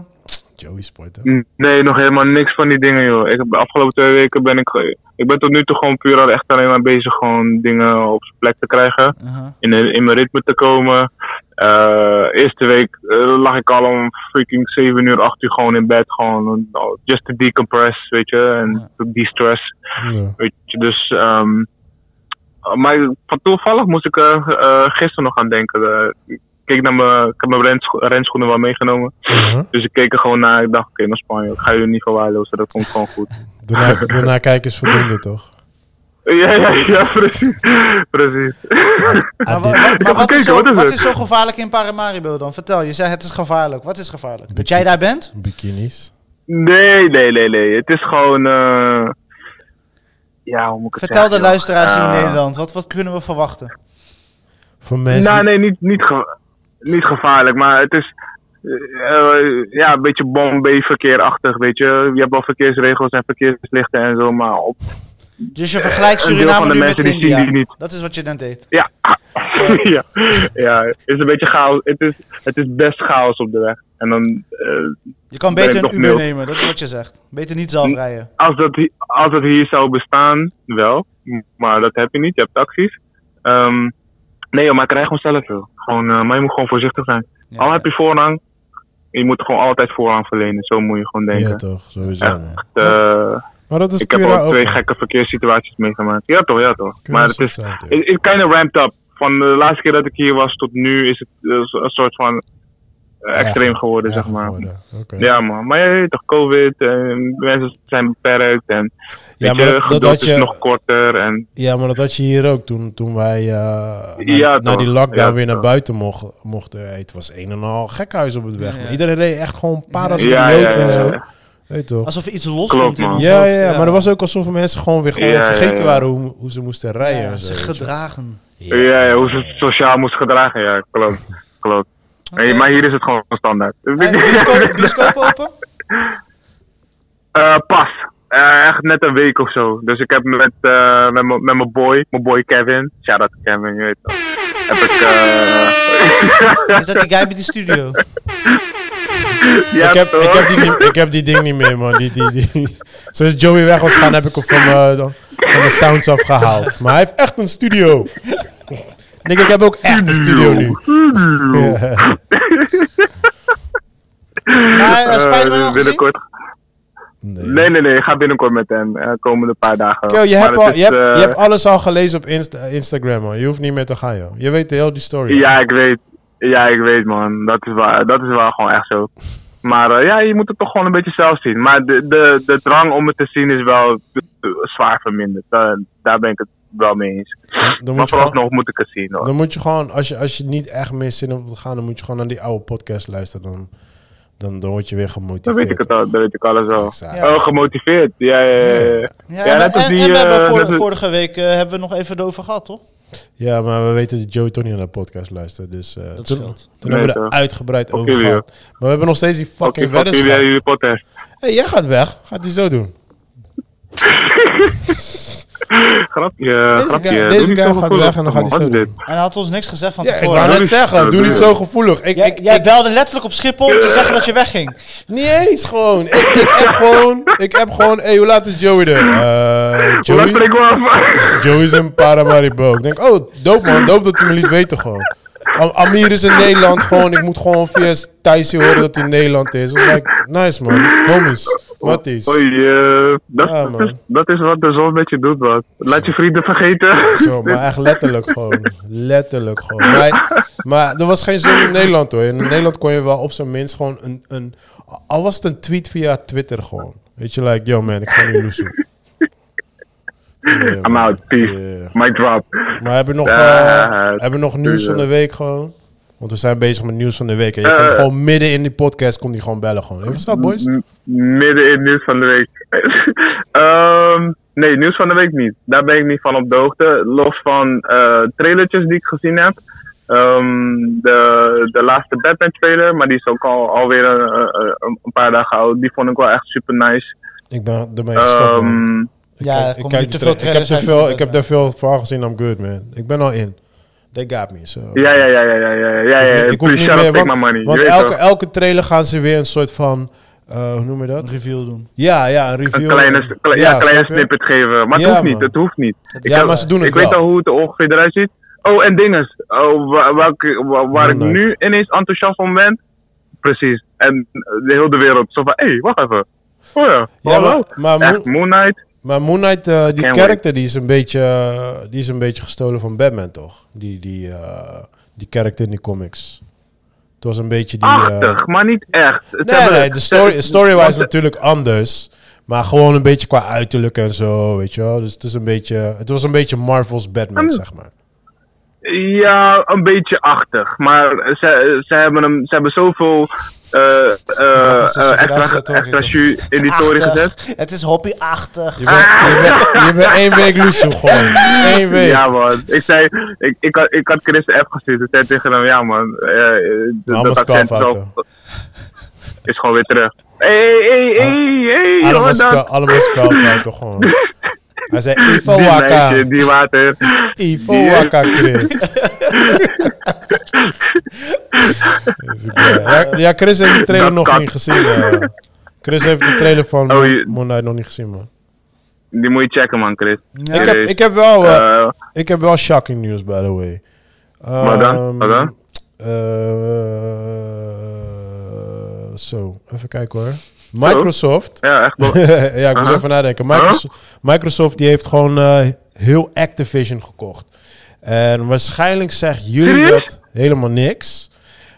A: Joey sporten.
B: Eh, Nee, nog helemaal niks van die dingen, joh. Ik heb de afgelopen twee weken ben ik... ge- Ik ben tot nu toe gewoon puur al echt alleen maar bezig gewoon dingen op zijn plek te krijgen.
C: aha.
B: In, in mijn ritme te komen. Eh, eerste week eh, lag ik al om freaking 7 uur, 8 uur gewoon in bed. Gewoon eh, just to decompress, weet je. En to de-stress.
A: Ja.
B: Weet je, dus. ehm, maar van toevallig moest ik er eh, gisteren nog aan denken. Eh, ik keek naar mijn, ik heb mijn renscho- renschoenen wel meegenomen.
A: Uh-huh.
B: Dus ik keek er gewoon naar. Ik dacht, oké, naar Spanje. Ik ga jullie niet verwaarlozen. Dat komt gewoon goed.
A: Daarna, daarna kijken is voldoende, toch?
B: ja, ja, ja, precies. precies.
C: Maar,
A: Ah, dit-
C: wa- wa- maar
B: heb
C: wat, is
B: gekeken,
C: zo,
B: hoor, dus
C: wat
B: het-
C: is zo gevaarlijk in Paramaribo dan? Vertel, je zei het is gevaarlijk. Wat is gevaarlijk? Dat jij daar bent?
A: Bikinis.
B: nee, nee, nee, nee. Het is gewoon. eh, ja, hoe moet ik het
C: Vertel de
B: zeggen,
C: luisteraars hier in
B: Eh,
C: Nederland, wat, wat kunnen we verwachten?
A: Voor mensen.
B: Nou, nee, niet, niet, ge- niet gevaarlijk, maar het is eh, eh, ja, een beetje Bombay-verkeerachtig, weet je. Je hebt wel verkeersregels en verkeerslichten en zo, maar op...
C: Dus je vergelijkt
B: Eh, een deel van
C: Suriname
B: de
C: nu met
B: mensen die zien die
C: India.
B: niet.
C: Dat is wat je net deed.
B: Ja, ja. ja, het is een beetje chaos. Het is, het is best chaos op de weg. En dan, eh,
C: Je kan
B: Ben
C: beter
B: ik nog
C: een Uber
B: mild.
C: nemen, dat is wat je zegt. Beter niet zelf
B: Hm.
C: rijden.
B: als, dat, hi- als dat hier zou bestaan, wel. Maar dat heb je niet, je hebt taxis. Ehm, nee joh, maar ik rij gewoon zelf, joh. Gewoon, eh, maar je moet gewoon voorzichtig zijn.
C: Ja,
B: Al
C: ja.
B: heb je voorrang, je moet gewoon altijd voorrang verlenen. Zo moet je gewoon denken.
A: Ja, toch? Sowieso,
B: Echt,
A: man.
B: eh,
A: Maar dat is
B: ik heb
A: Cura
B: al
A: ook,
B: twee
A: man.
B: gekke verkeerssituaties meegemaakt. Ja toch, ja toch.
A: Cura
B: maar het is,
A: hetzelfde.
B: it, it kind of ramped up. Van de laatste keer dat ik hier was tot nu is het eh, zo- een soort van eh, extreem
A: Erger-
B: geworden, zeg
A: erger
B: maar.
A: geworden. Oké.
B: Ja man, maar ja, toch covid, en mensen zijn beperkt en
A: Ja,
B: weet
A: maar
B: je,
A: dat- dat
B: geduld
A: had
B: eh, is
A: je-
B: nog korter en
A: Ja, maar dat had je hier ook toen, toen wij eh, na,
B: Ja,
A: na die
B: toch.
A: lockdown
B: Ja,
A: weer naar
B: toch.
A: buiten mochten. mochten. Hey, het was een en al gekhuis op het weg.
C: Ja,
A: maar
C: ja.
A: Iedereen reed echt gewoon paras
B: ja,
A: en
B: ja, ja,
A: en zo.
B: ja,
A: Weet toch?
C: Alsof er iets los
B: Klopt,
C: komt in
B: man.
C: ons
A: Ja,
C: hoofd.
A: ja, maar er was ook alsof mensen gewoon weer gewoon
B: Ja, ja,
A: vergeten
B: ja.
A: waren hoe, hoe ze moesten rijden.
C: Ja,
A: en zo, weet
C: zich
A: je.
C: gedragen.
B: ja, ja, hoe ze het sociaal moest gedragen, ja, klopt, klopt. Hey,
C: Oké.
B: maar hier is het gewoon standaard.
C: Hey, bioscoop, bioscoop open?
B: Eh, pas. Eh, echt net een week of zo. Dus ik heb met, eh, met, mijn- met mijn boy, mijn boy Kevin. Shout out to Kevin, je weet wel. Heb ik. eh,
C: Is dat die guy bij die studio?
B: ja,
A: ik, heb,
B: toch?
A: ik, heb die, niet- ik heb die ding niet meer, man. Die, die, die. Sinds Joey weg was gaan, heb ik hem van mijn, van mijn sounds afgehaald. Maar hij heeft echt een studio. Nick, ik heb ook echt een studio nu. Ja. Ah,
C: Maar
B: Eh,
C: uh, Spider-Man al gezien?
B: binnenkort. Nee, nee, nee. Ik ga binnenkort met hem. eh, komende paar dagen.
A: Yo, je,
B: Maar
A: hebt
B: het
A: al,
B: is,
A: je, hebt,
B: eh,
A: je hebt alles al gelezen op Insta- Instagram, man. Je hoeft niet meer te gaan, joh. Je weet heel die story.
B: Ja, ik weet. Ja, ik weet, man. Dat is waar. Dat is wel gewoon echt zo. Maar eh, ja, je moet het toch gewoon een beetje zelf zien. Maar de, de, de drang om het te zien is wel eh, zwaar verminderd. Daar, daar ben ik het wel mee eens.
A: Dan
B: Maar
A: moet, je gewoon,
B: vooralsnog moet ik het zien. Hoor.
A: dan moet je gewoon, als je, als je niet echt meer zin hebt om te gaan, dan moet je gewoon naar die oude podcast luisteren. Dan, dan, dan word je weer
B: Dan
A: gemotiveerd.
B: weet ik het al, dan weet ik alles al.
A: Exact.
B: Oh, gemotiveerd. Ja, ja, ja, ja. Ja,
C: Ja, en,
B: net als
C: en-
B: die,
C: en we hebben
B: eh,
C: vor-
B: net als-
C: vorige week eh, hebben we nog even erover gehad, toch?
A: Ja, maar we weten dat Joey toch niet naar de podcast luistert. Dus eh, toen, toen
C: scheelt.
A: hebben we er
B: Nee, toch.
A: uitgebreid
B: Fuck
A: over
B: jullie,
A: gehad. Maar we hebben nog steeds die
B: Oké, eh,
A: fucking
B: fuck jullie en
A: weddenschap.
B: jullie podcast.
A: Hé, hey, jij gaat weg. Gaat hij zo doen?
B: grapje,
A: Deze
B: grapje.
A: guy-
B: Doe
A: deze
B: niet
A: guy
B: zo
A: gaat
B: gevoelig,
A: weg en dan gaat hij
B: man.
A: zo
B: Wat is
A: doen.
C: En hij had ons niks gezegd van
A: Ja, ik
C: tevoren.
A: wou
B: doe
A: net
B: niet-
A: zeggen,
B: nou,
A: doe
B: doe
A: niet
B: je.
A: zo gevoelig. Ik,
C: Jij,
A: ik,
C: jij
A: ik-
C: belde letterlijk op Schiphol om te zeggen dat je wegging.
A: niet eens gewoon. Ik, ik heb gewoon, ik heb gewoon, hey, hoe laat is Joey er? Eh,
B: Hoe laat ben
A: Joey,
B: ik wel af?
A: Joey is in Paramaribo. Ik denk, oh, dope man, dope dat hij me liet weten gewoon. Am- Amir is in Nederland gewoon, ik moet gewoon via Thijsie horen dat hij in Nederland is. Dat was like, nice man, homies, matties.
B: Oei, eh, dat,
A: Ja,
B: dat, is,
A: man.
B: dat is wat de zon met je doet, wat. Laat je vrienden vergeten.
A: Zo, maar echt letterlijk gewoon. Letterlijk gewoon. Maar, maar er was geen zin in Nederland hoor. In Nederland kon je wel op zijn minst gewoon een, een... Al was het een tweet via Twitter gewoon. Weet je, like, yo man, ik ga nu loesen. Yeah,
B: I'm
A: man.
B: out, peace.
A: Yeah.
B: Mic drop.
A: Maar hebben we nog, eh
B: Ja,
A: hebben we nog nieuws van de week gewoon? Want we zijn bezig met nieuws van de week. En je komt
B: Eh. Mm,
A: gewoon midden in die podcast, komt die gewoon bellen gewoon. Hey, what's up boys?
B: M- midden in het nieuws van de week. Ehm, nee, nieuws van de week niet. Daar ben ik niet van op de hoogte. Los van eh trailertjes die ik gezien heb. Ehm, de, de laatste Batman trailer, maar die is ook al, alweer een, een- een paar dagen oud. Die vond ik wel echt super nice.
A: Ik ben ermee gestopt man.
B: Ehm
A: Ik
C: Ja,
A: kijk-
C: er
A: ik,
C: komen
A: kijk
C: nu
A: die
C: te veel
A: tra- ik heb
C: trailers
A: er
C: uit
A: veel,
C: voor
A: ik heb daar veel van gezien. I'm good, man. Ik ben al in. They got me. So.
B: ja, ja, ja, ja, ja, ja, ja, ja.
A: Ik hoef
B: Please
A: niet
B: shut
A: meer.
B: up, take
A: Want,
B: my money. Je
A: want
B: weet
A: elke,
B: toch.
A: elke trailer gaan ze weer een soort van. eh, hoe noem je
C: Een
A: dat?
C: review doen.
A: Ja, ja, een review.
B: een kleine, kle- ja, kleine
A: snap je?
B: snippet geven. Maar het
A: Ja,
B: hoeft niet,
A: man.
B: het hoeft niet. Ik
A: Ja,
B: heb-
A: maar ze doen het
B: Ik weet
A: wel.
B: al hoe het er ongeveer eruit ziet. Oh, en dinges. Oh, wa- welke, wa- waar ik
A: Moonlight.
B: nu ineens enthousiast van ben. Precies. En de hele wereld. Zo van, hé, hey, wacht even. Oh ja,
A: Ja,
B: hallo.
A: maar- maar
B: Echt, Moon Knight.
A: Maar Moon Knight, eh, die
B: Can't
A: karakter, die is, een beetje, eh, die is een beetje gestolen van Batman, toch? Die, die, eh, die karakter in die comics. Het was een beetje die... eh,
B: Achtig, maar niet echt. Ze
A: Nee,
B: hebben-
A: nee, de story,
B: ze-
A: story-wise
B: want-
A: natuurlijk anders. Maar gewoon een beetje qua uiterlijk en zo, weet je wel. Dus het, is een beetje, het was een beetje Marvel's Batman,
B: Mm.
A: zeg maar.
B: Ja, een beetje achtig. Maar ze, ze, hebben, hem, ze hebben zoveel eh eh,
C: dat is
B: eh,
C: een
B: extra,
C: verrassing,
B: extra
C: toch?
B: jus in die tory
C: Achtig.
B: gezet.
C: Het is hobby-achtig.
A: Je bent, je bent, je bent één week Lucio gewoon. Eén week.
B: Ah. Ja, man. Ik zei, ik, ik, had, ik had Chris de app gestuurd. Ik zei tegen hem, ja, man. eh, eh,
A: Allemaal
B: dat accent is,
A: spelfouten.
B: al- is gewoon weer terug. Hé, hé, hé, hé, hé,
A: allemaal
B: jongen,
A: spel,
B: dat.
A: allemaal spelfouten gewoon. Hij zei Ivo
B: Die
A: Waka.
B: meisje, die water.
A: Ivo
B: die-
A: Waka Chris. Dat is oké. ja, ja, Chris heeft de trailer
B: Dat
A: nog
B: kan.
A: niet gezien. eh. Chris heeft de trailer van
B: Oh, je-
A: Moon Knight nog niet gezien, man.
B: Die moet je checken, man, Chris.
A: Ik heb,
B: Serieus.
A: ik heb wel... eh,
B: Eh,
A: Ik heb wel shocking news, by the way.
B: Wat dan?
A: Ehm,
B: Wat dan?
A: eh, zo, even kijken hoor. Microsoft.
B: ja, echt wel.
A: ja, ik moest
B: Aha.
A: even nadenken. Microsoft, Microsoft die heeft gewoon eh, heel Activision gekocht. En waarschijnlijk zeggen jullie
B: Serieus?
A: dat helemaal niks.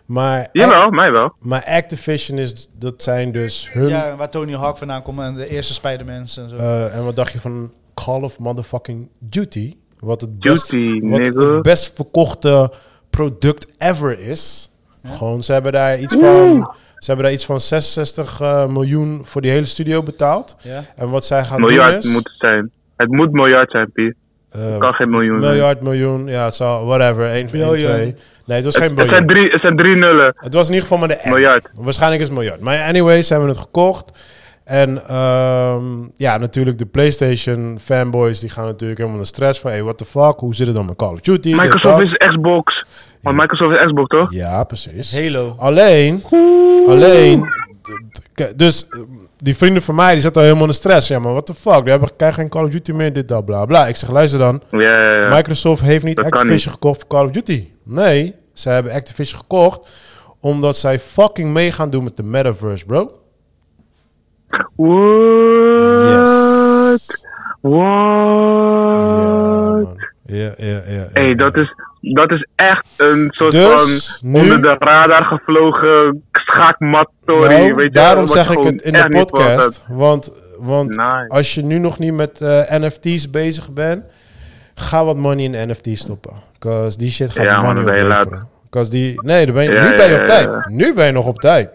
A: Maar,
B: Jawel, mij wel.
A: maar Activision is, dat zijn dus hun...
C: Ja, waar Tony Hawk vandaan komt en de eerste Spider-Mans en zo.
A: Eh, en wat dacht je van Call of Motherfucking Duty? Wat het, best,
B: Duty,
A: wat
B: nigga.
A: het best verkochte product ever is. Gewoon, ze hebben daar iets van. Ze hebben daar iets van 66 eh, miljoen voor die hele studio betaald.
C: Ja.
A: En wat zij gaan doen
B: Miljard
A: is...
B: moet het zijn. Het moet miljard zijn, Piet.
A: eh,
B: kan geen miljoen zijn.
A: Miljard, miljoen, ja, het zal, whatever. 1,
C: Biljoen.
A: 2. Nee, het was geen
B: Het
A: miljard.
B: zijn drie, het zijn drie nullen.
A: Het was in ieder geval maar de M.
B: Miljard.
A: Waarschijnlijk is het miljard. Maar anyways, hebben we het gekocht. En ehm, ja, natuurlijk de PlayStation fanboys die gaan natuurlijk helemaal in de stress van... Hey, what the fuck? Hoe zit het dan met Call of Duty? Dit,
B: Microsoft
A: dat.
B: is Xbox. Want Microsoft is Xbox, toch?
A: Ja, precies.
C: Halo.
A: Alleen, alleen... d- d- k- Dus eh, die vrienden van mij die zaten al helemaal in de stress. Ja, maar what the fuck? We hebben krijgen geen Call of Duty meer, dit, dat, bla, bla. Ik zeg, luister dan.
B: Ja, ja, ja.
A: Microsoft heeft niet
B: Dat kan
A: Activision gekocht voor Call of Duty. Nee, zij hebben Activision gekocht omdat zij fucking mee gaan doen met de metaverse, bro.
B: What?
A: Yes. Ja,
B: What?
A: man. Ja, ja, ja. ja,
B: Hey,
A: ja.
B: dat is, dat is echt een soort
A: Dus,
B: van
A: nu-
B: onder de radar gevlogen schaakmat-story.
A: Nou,
B: weet je,
A: daarom
B: wat
A: zeg ik
B: gewoon
A: het in de
B: echt niet
A: podcast.
B: verwacht
A: Want, want
B: Nice.
A: als je nu nog niet met eh, NFT's bezig bent, ga wat money in NFT's stoppen. Cause die shit gaat de
B: Ja, maar
A: money
B: dan ben je
A: opleveren. Cause die, nee, dan ben je,
B: Ja,
A: nu ben je
B: ja,
A: op
B: ja,
A: tijd.
B: ja.
A: Nu ben je nog op tijd.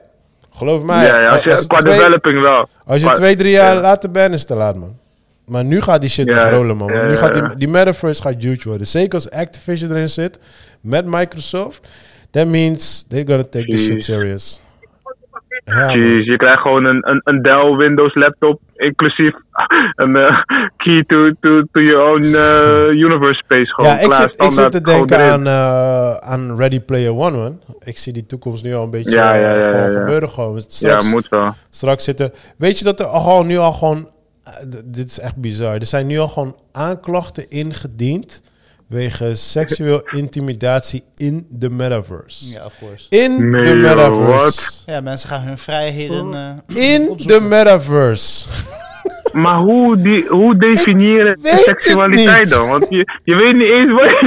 A: Geloof mij. eh,
B: had. Ja, ja, als je,
A: als het
B: qua
A: twee-
B: developing wel.
A: Als je
B: Qua-
A: twee, drie jaar
B: ja.
A: later bent, is het te laat, man. Maar nu gaat die shit
B: Ja,
A: nog rollen, man.
B: ja,
A: Want nu
B: ja,
A: gaat
B: ja.
A: die, die metaverse gaat huge worden. Zeker als Activision erin zit met Microsoft. That means they're gonna take this shit
B: Jeez.
A: serious. Ja,
B: Jeez, je krijgt gewoon een, een, een Dell Windows laptop, inclusief een eh, key to, to, to your own eh, universe space. Gewoon
A: ja ik,
B: klaar,
A: zit, ik zit
B: standaard,
A: te
B: gewoon
A: denken aan,
B: erin.
A: eh, aan Ready Player One, man. Ik zie die toekomst nu al een beetje
B: Ja, ja,
A: eh,
B: ja,
A: gewoon
B: ja, ja.
A: gebeuren. Gewoon.
B: Ja,
A: Straks,
B: moet wel.
A: straks zitten... Weet je dat er al gewoon, nu al gewoon... eh, d- dit is echt bizar. Er zijn nu al gewoon aanklachten ingediend... wegens seksueel intimidatie in de metaverse.
C: Ja, of course.
A: In
B: Nee,
A: de
B: joh,
A: metaverse.
C: Ja, mensen gaan hun vrijheden... eh,
A: In de
C: opzoeken.
A: metaverse.
B: Maar hoe, die, hoe definiëren
A: weet het
B: seksualiteit
A: niet.
B: dan? Want je, je weet niet eens wat je,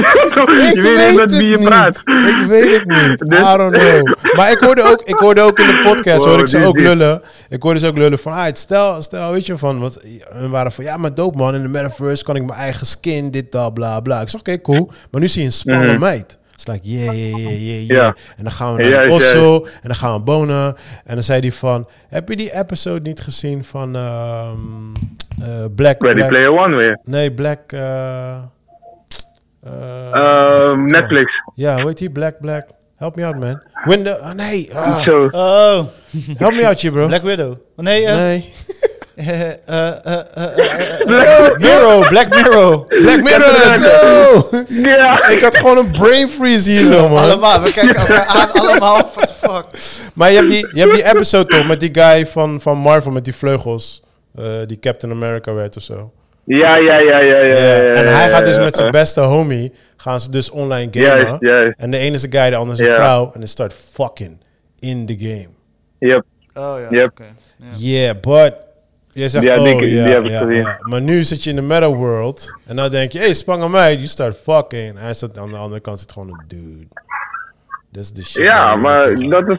A: Ik
B: je weet niet met
A: het
B: wie je
A: niet.
B: praat.
A: Ik weet het niet.
B: Dus-
A: I don't know. Maar ik hoorde ook, ik hoorde ook in de podcast,
B: Wow,
A: hoorde ik ze
B: die-
A: ook
B: die-
A: lullen. Ik hoorde ze ook lullen van, ah, het stel, stel, weet je, van, want we waren van, ja, maar dope man, in de metaverse kan ik mijn eigen skin, dit, dat, bla, bla. Ik zeg, oké, cool. Maar nu zie je een spannende
B: Mhm.
A: meid. Het is like, yeah, yeah, yeah, yeah,
B: Ja.
A: yeah. En dan gaan we naar
B: Juist,
A: Osso, en dan gaan we bonen. En dan zei hij van, heb je die episode niet gezien van ehm, eh, Black...
B: Ready
A: Black-
B: Player One weer.
A: Nee, Black... eh, eh,
B: Ehm, Netflix.
A: ja, hoe heet die? Black, Black. Help me out, man. Window. ah, nee. ah.
B: Zo.
C: Oh,
A: Help me out, je bro.
C: Black Widow. Nee, eh,
A: Nee.
C: eh, eh, eh, eh, eh, eh,
A: Zo, Mirror, Black Mirror. Black Mirror, zo.
B: Ja.
A: Ik had gewoon een brain freeze hier zo, man.
C: Allemaal, we kijken elkaar aan, allemaal, what the fuck.
A: Maar je hebt die, je hebt die episode toch met die guy van, van Marvel met die vleugels. eh, die Captain America werd of zo.
B: Ja, ja, ja, ja, ja. ja, ja,
A: en hij
B: ja,
A: gaat dus
B: ja,
A: met zijn
B: ja.
A: beste homie, gaan ze dus online gamen.
B: Juist, juist.
A: En de ene is een guy, de ander is een
B: Ja.
A: vrouw. En they start fucking in the game.
B: Yep.
C: Oh ja,
B: Yep.
C: oké.
A: Yeah, but... Jij zegt,
B: Die heb
A: oh,
B: ik- die
A: ja,
B: heb ik
A: ja,
B: gezien.
A: ja. Maar nu zit je in de meta world. En dan denk je, hey, spang aan mij. You start fucking. En hij staat aan de andere kant zit gewoon een dude. Dat is de shit. waar
B: Ja,
A: je
B: maar
A: naartoe gaat.
B: dat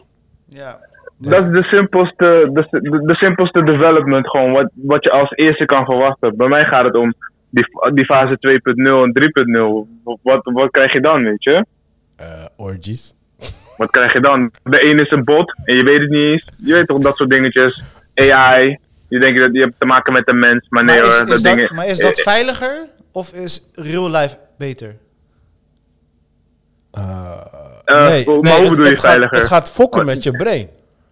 B: is,
C: Ja.
B: dat is de, simpelste, de, de, de simpelste development gewoon, wat, wat je als eerste kan verwachten. Bij mij gaat het om die, die fase 2.0 en 3.0. Wat, wat krijg je dan, weet je?
A: Eh, orgies.
B: Wat krijg je dan? De een is een bot en je weet het niet eens. Je weet toch dat soort dingetjes. AI. Je denkt dat je hebt te maken met een mens, maar nee
C: Maar is,
B: hoor.
C: is
B: dat
C: dat,
B: dingen,
C: maar is dat veiliger of is real life beter?
B: Eh, hoe- maar hoe
A: het- Uh,
B: bedoel je
A: het gaat-
B: veiliger?
A: Het gaat fokken met je brein.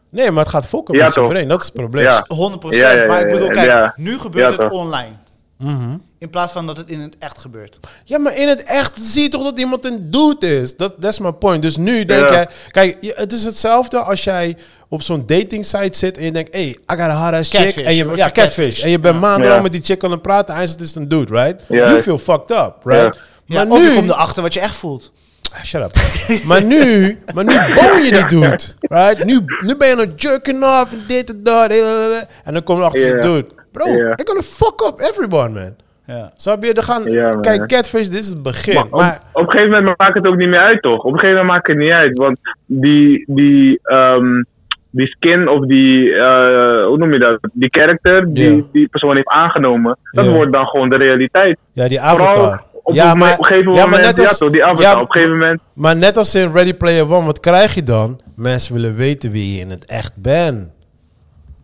A: Nee, maar het gaat fokken
B: Ja,
A: met je
B: toch?
A: brein. Dat is het probleem.
B: Ja.
C: 100
B: Ja, ja, ja,
C: maar ik bedoel,
B: ja,
C: kijk,
B: ja.
C: nu
B: Ja,
C: gebeurt het
B: toch.
C: online.
A: Mhm.
C: In plaats van dat het in het echt gebeurt.
A: Ja, maar in het echt zie je toch dat iemand een dude is. Dat dat is mijn point. Dus nu denk
B: Ja.
A: jij... Kijk, je- het is hetzelfde als jij op zo'n dating site zit en je denkt... Hey, I got a hot ass chick.
C: Catfish.
A: En je,
C: Wordt
A: ja,
C: je
A: catfish.
C: catfish.
A: En je bent maandenlang
B: Ja.
A: met die chick aan het praten. Hij zegt, het is een dude, right?
B: Ja.
A: You feel fucked up, right?
C: Ja,
A: Maar
C: of je
A: nu...
C: komt erachter wat je echt voelt.
A: Ah, Shut up. maar nu... Maar nu boon je die dude, right? Nu, nu ben je aan het jerking off en dit en dat. eh, eh, eh. En dan kom je achter
B: Ja.
A: die dude. Bro,
B: Ja.
A: I'm gonna fuck up everyone, man.
C: Ja.
A: Snap je? Er gaan...
B: Ja, man.
A: kijk, catfish, dit is het begin.
B: Maar op,
A: maar
B: op een gegeven moment maakt het ook niet meer uit, toch? Op een gegeven moment maakt het niet uit, want die, die, ehm, die skin of die, eh, hoe noem je dat? Die character die
A: Ja.
B: die persoon heeft aangenomen, dat
A: Ja.
B: wordt dan gewoon de realiteit.
A: Ja, die
B: Vooral
A: avatar.
B: Op,
A: ja,
B: een, op een gegeven moment, ja, toch, die avatar.
A: ja,
B: op een gegeven moment,
A: maar net als in Ready Player One, wat krijg je dan? Mensen willen weten wie je in het echt bent.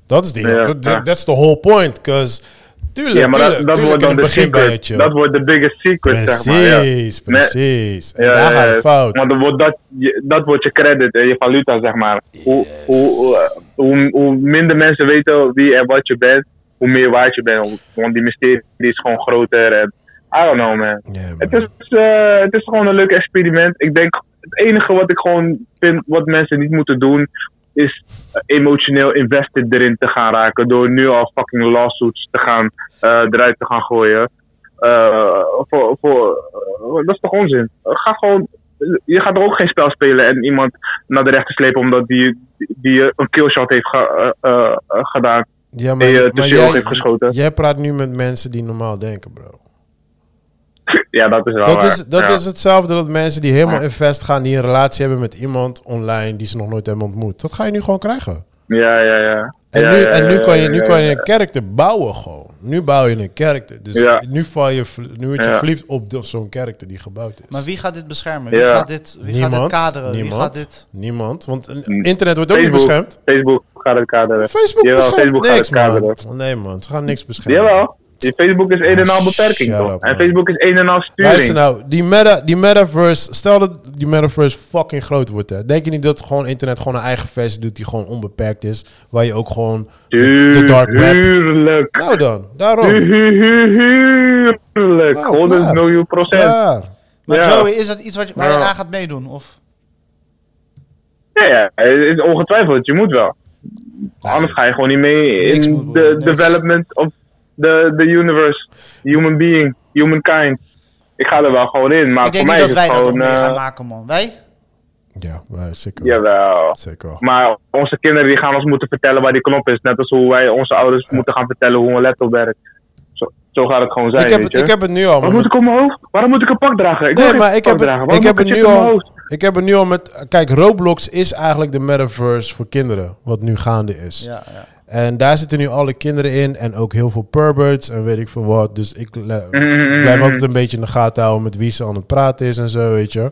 A: Dat is die.
B: Ja,
A: dat,
B: ja.
A: dat- that's the whole point. Cause, tuurlijk,
B: ja, maar dat,
A: tuurlijk,
B: dat
A: tuurlijk,
B: wordt dan
A: in
B: de
A: het begin ben je
B: secret.
A: chill.
B: Dat wordt de biggest secret,
A: precies,
B: zeg maar. Ja. Nee,
A: precies. En daar gaat het fout.
B: Want dan wordt dat, je- dat wordt je credit en je valuta, zeg maar. Hoe, hoe, hoe, hoe, hoe minder mensen weten wie en wat je bent, hoe meer waard je bent. Want die mysterie is gewoon groter. En, I don't know, man.
A: Ja, man.
B: Het is, eh, het is gewoon een leuk experiment. Ik denk, het enige wat ik gewoon vind, wat mensen niet moeten doen, is eh, emotioneel invested erin te gaan raken. Door nu al fucking lawsuits te gaan, eh, eruit te gaan gooien. Eh, voor, voor, eh, dat is toch onzin? Ga gewoon, je gaat er ook geen spel spelen en iemand naar de rechter slepen omdat die, die een killshot heeft ge- eh, eh, eh, gedaan.
A: ja,
B: die, eh, tussen je ogen heeft geschoten.
A: jij praat nu met mensen die normaal denken, bro.
B: Ja, dat is wel
A: Dat,
B: waar.
A: is, dat
B: Ja.
A: is hetzelfde dat mensen die helemaal invest gaan, die een relatie hebben met iemand online die ze nog nooit hebben ontmoet. Dat ga je nu gewoon krijgen.
B: Ja, ja, ja.
A: En,
B: Ja,
A: nu,
B: ja,
A: en nu
B: ja,
A: kan je,
B: ja,
A: nu
B: ja,
A: kan
B: ja.
A: je een karakter bouwen gewoon. Nu bouw je een karakter. Dus
B: Ja.
A: nu, val je, vl- nu word je
B: Ja.
A: verliefd op de- zo'n karakter die gebouwd is.
C: Maar wie gaat dit beschermen? Wie,
B: Ja.
C: gaat, dit, wie gaat dit kaderen? Wie gaat dit...
A: niemand. Want eh, internet wordt ook niet
B: Facebook.
A: beschermd.
B: Facebook gaat het kaderen.
A: Facebook
B: Jawel,
A: beschermt
B: Facebook gaat
A: niks,
B: het kaderen.
A: man. Nee, man. Ze gaan niks beschermen.
B: Jawel. Je Facebook is een en al beperking,
A: shut
B: toch?
A: up,
B: en
A: man.
B: Facebook is een en al
A: Luister
B: sturing.
A: nou, die, meta, die metaverse, stel dat die metaverse fucking groot wordt, hè. Denk je niet dat gewoon internet gewoon een eigen versie doet die gewoon onbeperkt is? Waar je ook gewoon de, de dark web...
B: Tuurlijk.
A: Nou dan, daarom.
B: Tuurlijk.
A: Nou,
B: 100
A: klaar.
B: miljoen procent.
A: Klaar.
C: Maar
B: Ja.
C: Joey, is dat iets wat je, waar je
B: Ja. Nou,
C: aan gaat meedoen? Of?
B: Ja, ja, het is ongetwijfeld. Je moet wel. Anders ga je gewoon niet mee
C: Niks
B: in
C: moet,
B: de
C: niks.
B: development of the, the universe. Human being, humankind. Ik ga er wel gewoon in, maar
C: ik
B: voor
C: denk
B: mij
C: niet
B: is
C: dat
B: het
C: wij dat nog
B: gewoon...
C: mee gaan
B: eh,
C: maken, man. Wij?
A: Ja, maar zeker. wel.
B: jawel.
A: Zeker. wel.
B: Maar onze kinderen die gaan ons moeten vertellen waar die knop is. Net als hoe wij onze ouders moeten gaan vertellen hoe een laptop werkt. Zo, zo gaat het gewoon zijn,
A: Ik heb,
B: weet
A: het,
B: je.
A: ik heb het nu al.
B: Waarom
A: man.
B: moet ik op mijn hoofd? Waarom moet ik een pak dragen? Ik wil
A: Nee,
B: geen
A: maar ik
B: pak
A: heb,
B: dragen.
A: het, ik
B: Waarom
A: heb
B: moet
A: het
B: ik
A: nu
B: shit op mijn
A: al.
B: hoofd?
A: Ik heb het nu al met. Kijk, Roblox is eigenlijk de metaverse voor kinderen. Wat nu gaande is.
C: Ja, ja.
A: En daar zitten nu alle kinderen in. En ook heel veel perverts en weet ik veel wat. Dus ik le-
B: Mm.
A: blijf altijd een beetje in de gaten houden met wie ze aan het praten is en zo, weet je.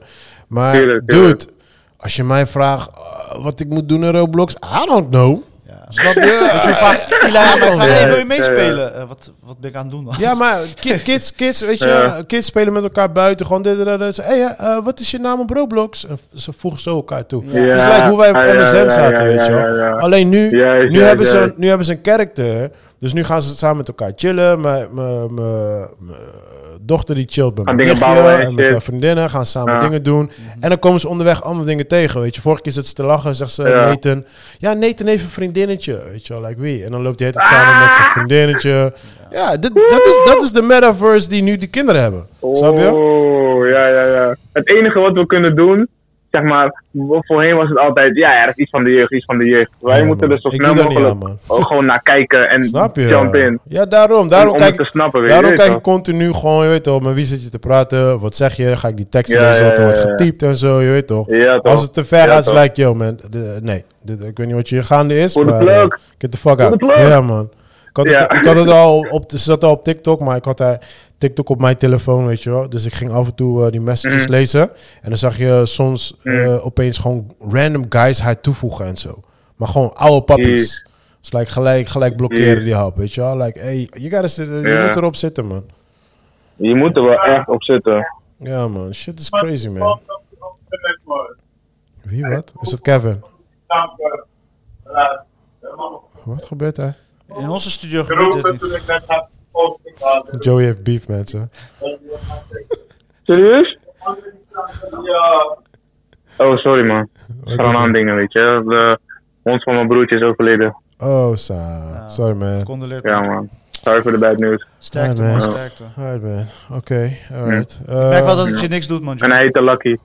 A: Maar,
B: Tuurlijk, tuurlijk.
A: dude, als je mij vraagt eh, wat ik moet doen in Roblox, I don't know.
C: Ja.
A: Snap je?
C: Want je vraagt, Ila, mij vraagt,
A: Ja,
C: hey, wil
B: ja.
C: je meespelen? Eh, wat, wat ben ik aan het doen dan?
A: Ja, maar ki- kids, kids, weet je,
B: Ja.
A: kids spelen met elkaar buiten. Gewoon dit, dat, dat. Ze, hey, eh, wat is je naam op Roblox? En ze voegen zo elkaar toe.
C: Ja.
A: Het is gelijk hoe wij op
B: Ja, ja,
A: MSN
B: ja,
A: zaten,
B: ja,
A: weet je
B: ja,
A: wel.
B: ja, ja.
A: Alleen nu,
B: Juist,
A: nu,
B: juist,
A: hebben ze,
B: juist.
A: nu hebben ze een karakter. Dus nu gaan ze samen met elkaar chillen. Mijn- Mijn mijn- mijn dochter die chillt bij
B: Gaan
A: mijn
B: dingen
A: nichtje
B: bouwen en
A: en met
B: shit.
A: haar vriendinnen. Gaan ze samen
B: Ja.
A: dingen doen. En dan komen ze onderweg andere dingen tegen, weet je. Vorige keer zit ze te lachen en zegt ze,
B: Ja.
A: Nathan... Ja, Nathan heeft een vriendinnetje, weet je wel, like wie. En dan loopt hij
B: Ah,
A: het samen met zijn vriendinnetje. Ja, dit, dat, is, dat is de metaverse die nu de kinderen hebben. Snap je?
B: Oh, ja, ja, ja. Het enige wat we kunnen doen, zeg maar, voorheen was het altijd, ja, ja, dat is iets van de jeugd, iets van de jeugd. Wij
A: Ja,
B: moeten
A: man.
B: er zo
A: Ik
B: snel
A: doe daar niet
B: mogelijk
A: aan,
B: ook gewoon naar kijken en
A: Snap je?
B: jump in.
A: Ja, daarom. Daarom
B: om
A: kijk,
B: het te snappen, weet je,
A: daarom
B: weet
A: kijk
B: je
A: ik continu gewoon, je weet toch, met wie zit je te praten? Wat zeg je? Ga ik die teksten
B: Ja,
A: lezen
B: ja,
A: wat er
B: ja,
A: wordt
B: ja.
A: getypt en zo, je weet toch?
B: Ja, toch.
A: Als het te ver
B: Ja,
A: gaat, is
B: toch.
A: like, yo man, de- nee. Dit, ik weet niet wat je hier gaande is,
B: Voor de
A: maar... eh,
B: plug.
A: Get the fuck
B: Voor
A: out.
B: de plug.
A: Ja, man. Ik had, het,
B: Ja.
A: ik had het al op, ze zat al op TikTok, maar ik had daar TikTok op mijn telefoon, weet je wel. Dus ik ging af en toe eh, die messages
B: Mm.
A: lezen. En dan zag je soms eh, opeens gewoon random guys haar toevoegen en zo. Maar gewoon oude pappies.
B: Jeez.
A: Dus like, gelijk, gelijk blokkeren
B: Jeez.
A: die hap, weet je wel. Like, hey, you gotta sit- je
B: Ja.
A: moet erop zitten, man.
B: Je moet er wel echt op zitten.
A: Ja, man. Shit is crazy, man. Wie, wat? Is dat Kevin? Wat gebeurt er?
C: In onze studio gebeurt dit niet.
A: Joey heeft beef, mensen.
B: Serieus? Oh, sorry man.
A: Wat is
B: Gewoon aan
A: het?
B: dingen, weet je. De hond van mijn broertje is overleden.
A: Oh, sa. Sorry, man.
C: Condoleer.
B: Ja man. Sorry voor de bad news.
C: Sterkte,
A: Ja,
C: man,
A: man.
C: sterkte. Ik
A: Alright, man. Oké, alright. Eh,
C: merk wel dat het je niks doet, man.
B: En hij heette Lucky.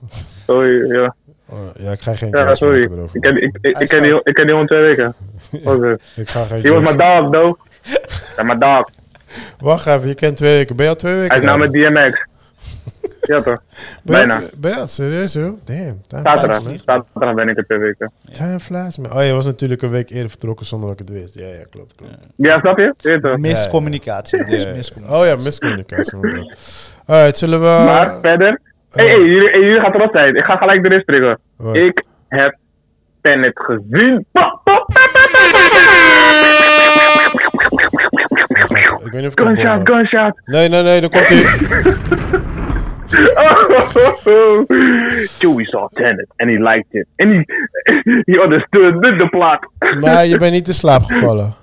B: Sorry, ja.
A: oh, ja, ik ga geen
B: Ja,
A: jokes
B: sorry.
A: maken erover.
B: Ik ken, ik, ik, ik ken die, ik ken die hond twee weken. Oké.
A: Ik ga geen
B: He was
A: jokes
B: my dog, though. Ja, my dog.
A: Wacht even, je kent twee weken. Ben je al twee weken?
B: Hij is nou
A: daar?
B: met DMX. Ja toch?
A: ben je al
B: bijna.
A: twee- Ben je al serieus, joh? Damn. Time flies, man.
B: Zaterdag. Zaterdag ben ik er twee weken.
A: Time flies, man. Oh, je was natuurlijk een week eerder vertrokken zonder dat ik het wist. Ja, ja, klopt, klopt.
B: Ja, snap je? Weet je toch?
C: Miscommunicatie. dit is
A: Ja, ja.
C: miscommunicatie.
A: Oh ja, miscommunicatie. inderdaad. Alright, zullen we...
B: Maar verder. Hé, hey, hey, jullie, hey, jullie gaan erop zijn. Ik ga gelijk erin springen.
A: Wat?
B: Ik heb Tenet gezien. Pop, pop, pop, pop, pop, pop.
A: Ik weet niet of ik... kan bommen.
B: Gunshot, gunshot.
A: Nee, nee, nee, daar komt hij.
B: Oh. Chewie saw Tenet and he liked it. And he, he understood the, the plot.
A: Maar je bent niet in slaap gevallen.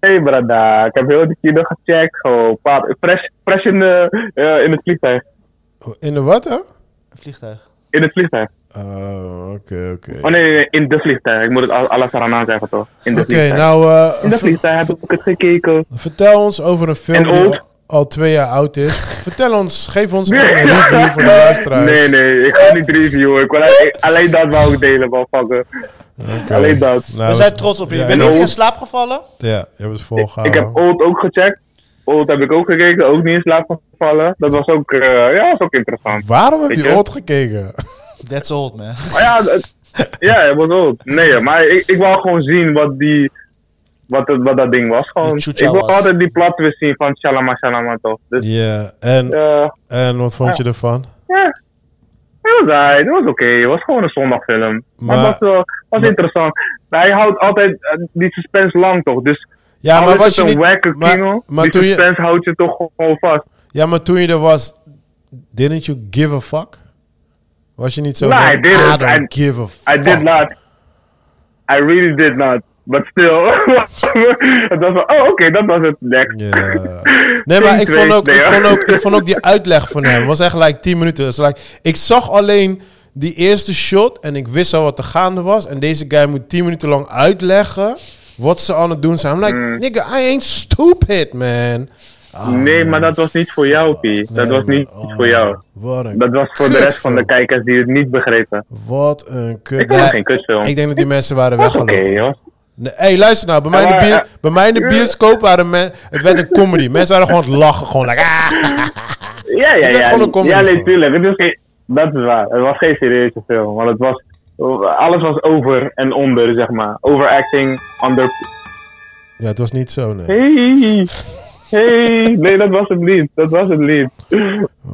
B: Nee, brada. Ik heb heel die kino gecheckt. Gewoon, pap, fresh, fresh in, de, eh, in het vliegtuig.
A: In de wat, hè?
C: Vliegtuig.
B: In het vliegtuig.
A: Oh, oké, oké.
B: Oh nee, nee, nee, in de vliegtuig. Ik moet het al- alles eraan aan zeggen toch? In de
A: Oké,
B: vliegtuig.
A: nou... eh,
B: In de
A: v-
B: vliegtuig heb ik het gekeken.
A: Vertel ons over een film
B: En
A: die
B: oud.
A: al, al twee jaar oud is. Vertel ons, geef ons een review voor de luisteraars.
B: Nee, nee, ik ga niet reviewen. Ik wil alleen- alleen dat wou ik delen, motherfucker.
A: Oké.
B: alleen dat.
A: Nou,
C: We zijn trots op je.
A: ja,
C: Je bent
A: ja.
C: niet in slaap gevallen.
A: Ja, je hebt het
B: Ik heb
A: volgehouden.
B: Old ook gecheckt. Old heb ik ook gekeken, ook niet in slaap gevallen. Dat was ook, eh, ja, was ook interessant.
A: Waarom heb
B: Weet
A: je
B: je?
A: Old gekeken?
C: That's old, man.
B: Maar ja, het- ja, het was Old. Nee, maar ik, ik wou gewoon zien wat die... Wat, het, wat dat ding was gewoon.
C: Die
B: Ik
C: chucha
B: wil
C: was.
B: altijd die plat weer zien van Shalama Shalama toch. Dus,
A: Ja, en,
B: eh,
A: en wat vond je ervan?
B: Ja. Het was aardig, het was oké. Het was gewoon een zondagfilm. Maar,
A: Maar-
B: het was, wel- het was
A: maar-
B: interessant. Maar hij houdt altijd eh, die suspense lang toch. Dus
A: Ja, maar
B: Al
A: was
B: is
A: je
B: het een
A: niet...
B: wacke
A: maar-
B: kingel,
A: maar
B: die
A: toen je-
B: suspense houdt je toch gewoon vast.
A: Ja, maar toen je er was, didn't you give a fuck? Was je niet zo
B: Nee,
A: van,
B: I didn't.
A: don't
B: I-
A: give a fuck.
B: I did not. I really did not. But still. het was van, oh oké, dat was het. Next.
A: Ja. Nee, maar ik
B: Geen
A: vond, ook,
B: tweede,
A: ik,
B: ja.
A: vond ook, ik vond ook die uitleg van hem. was echt like 10 minuten. Dus like, ik zag alleen die eerste shot en ik wist al wat er gaande was. En deze guy moet 10 minuten lang uitleggen wat ze aan het doen zijn. I'm like,
B: Mm.
A: nigga, I ain't stupid, man. Ah,
B: Nee, maar
A: man.
B: dat was niet voor jou, P. Mm.
A: Nee,
B: dat was niet
A: man. Oh,
B: voor jou.
A: Wat een
B: Dat was voor de rest van de
A: kutfilm.
B: kijkers die het niet begrepen.
A: Wat een kut.
B: Ik vond het
A: Nee,
B: geen kutfilm.
A: Ik denk dat die mensen waren
B: Dat is
A: weggelopen.
B: oké, joh.
A: Nee, hey, luister nou. Bij mij, in de,
B: maar,
A: bier-
B: eh,
A: bij mij in de bioscoop waren men, het werd een comedy. Mensen waren gewoon aan het lachen. Gewoon like, ah.
B: Ja, ja,
A: Het werd
B: ja.
A: gewoon een comedy
B: Ja, nee,
A: gewoon.
B: tuurlijk. Het is geen, dat is waar. Het was geen serieuze film. Want het was, alles was over en onder, zeg maar. Overacting, under...
A: Ja, het was niet zo, nee.
B: Hey! Hey! Nee, dat was het niet. Dat was het niet. Eh,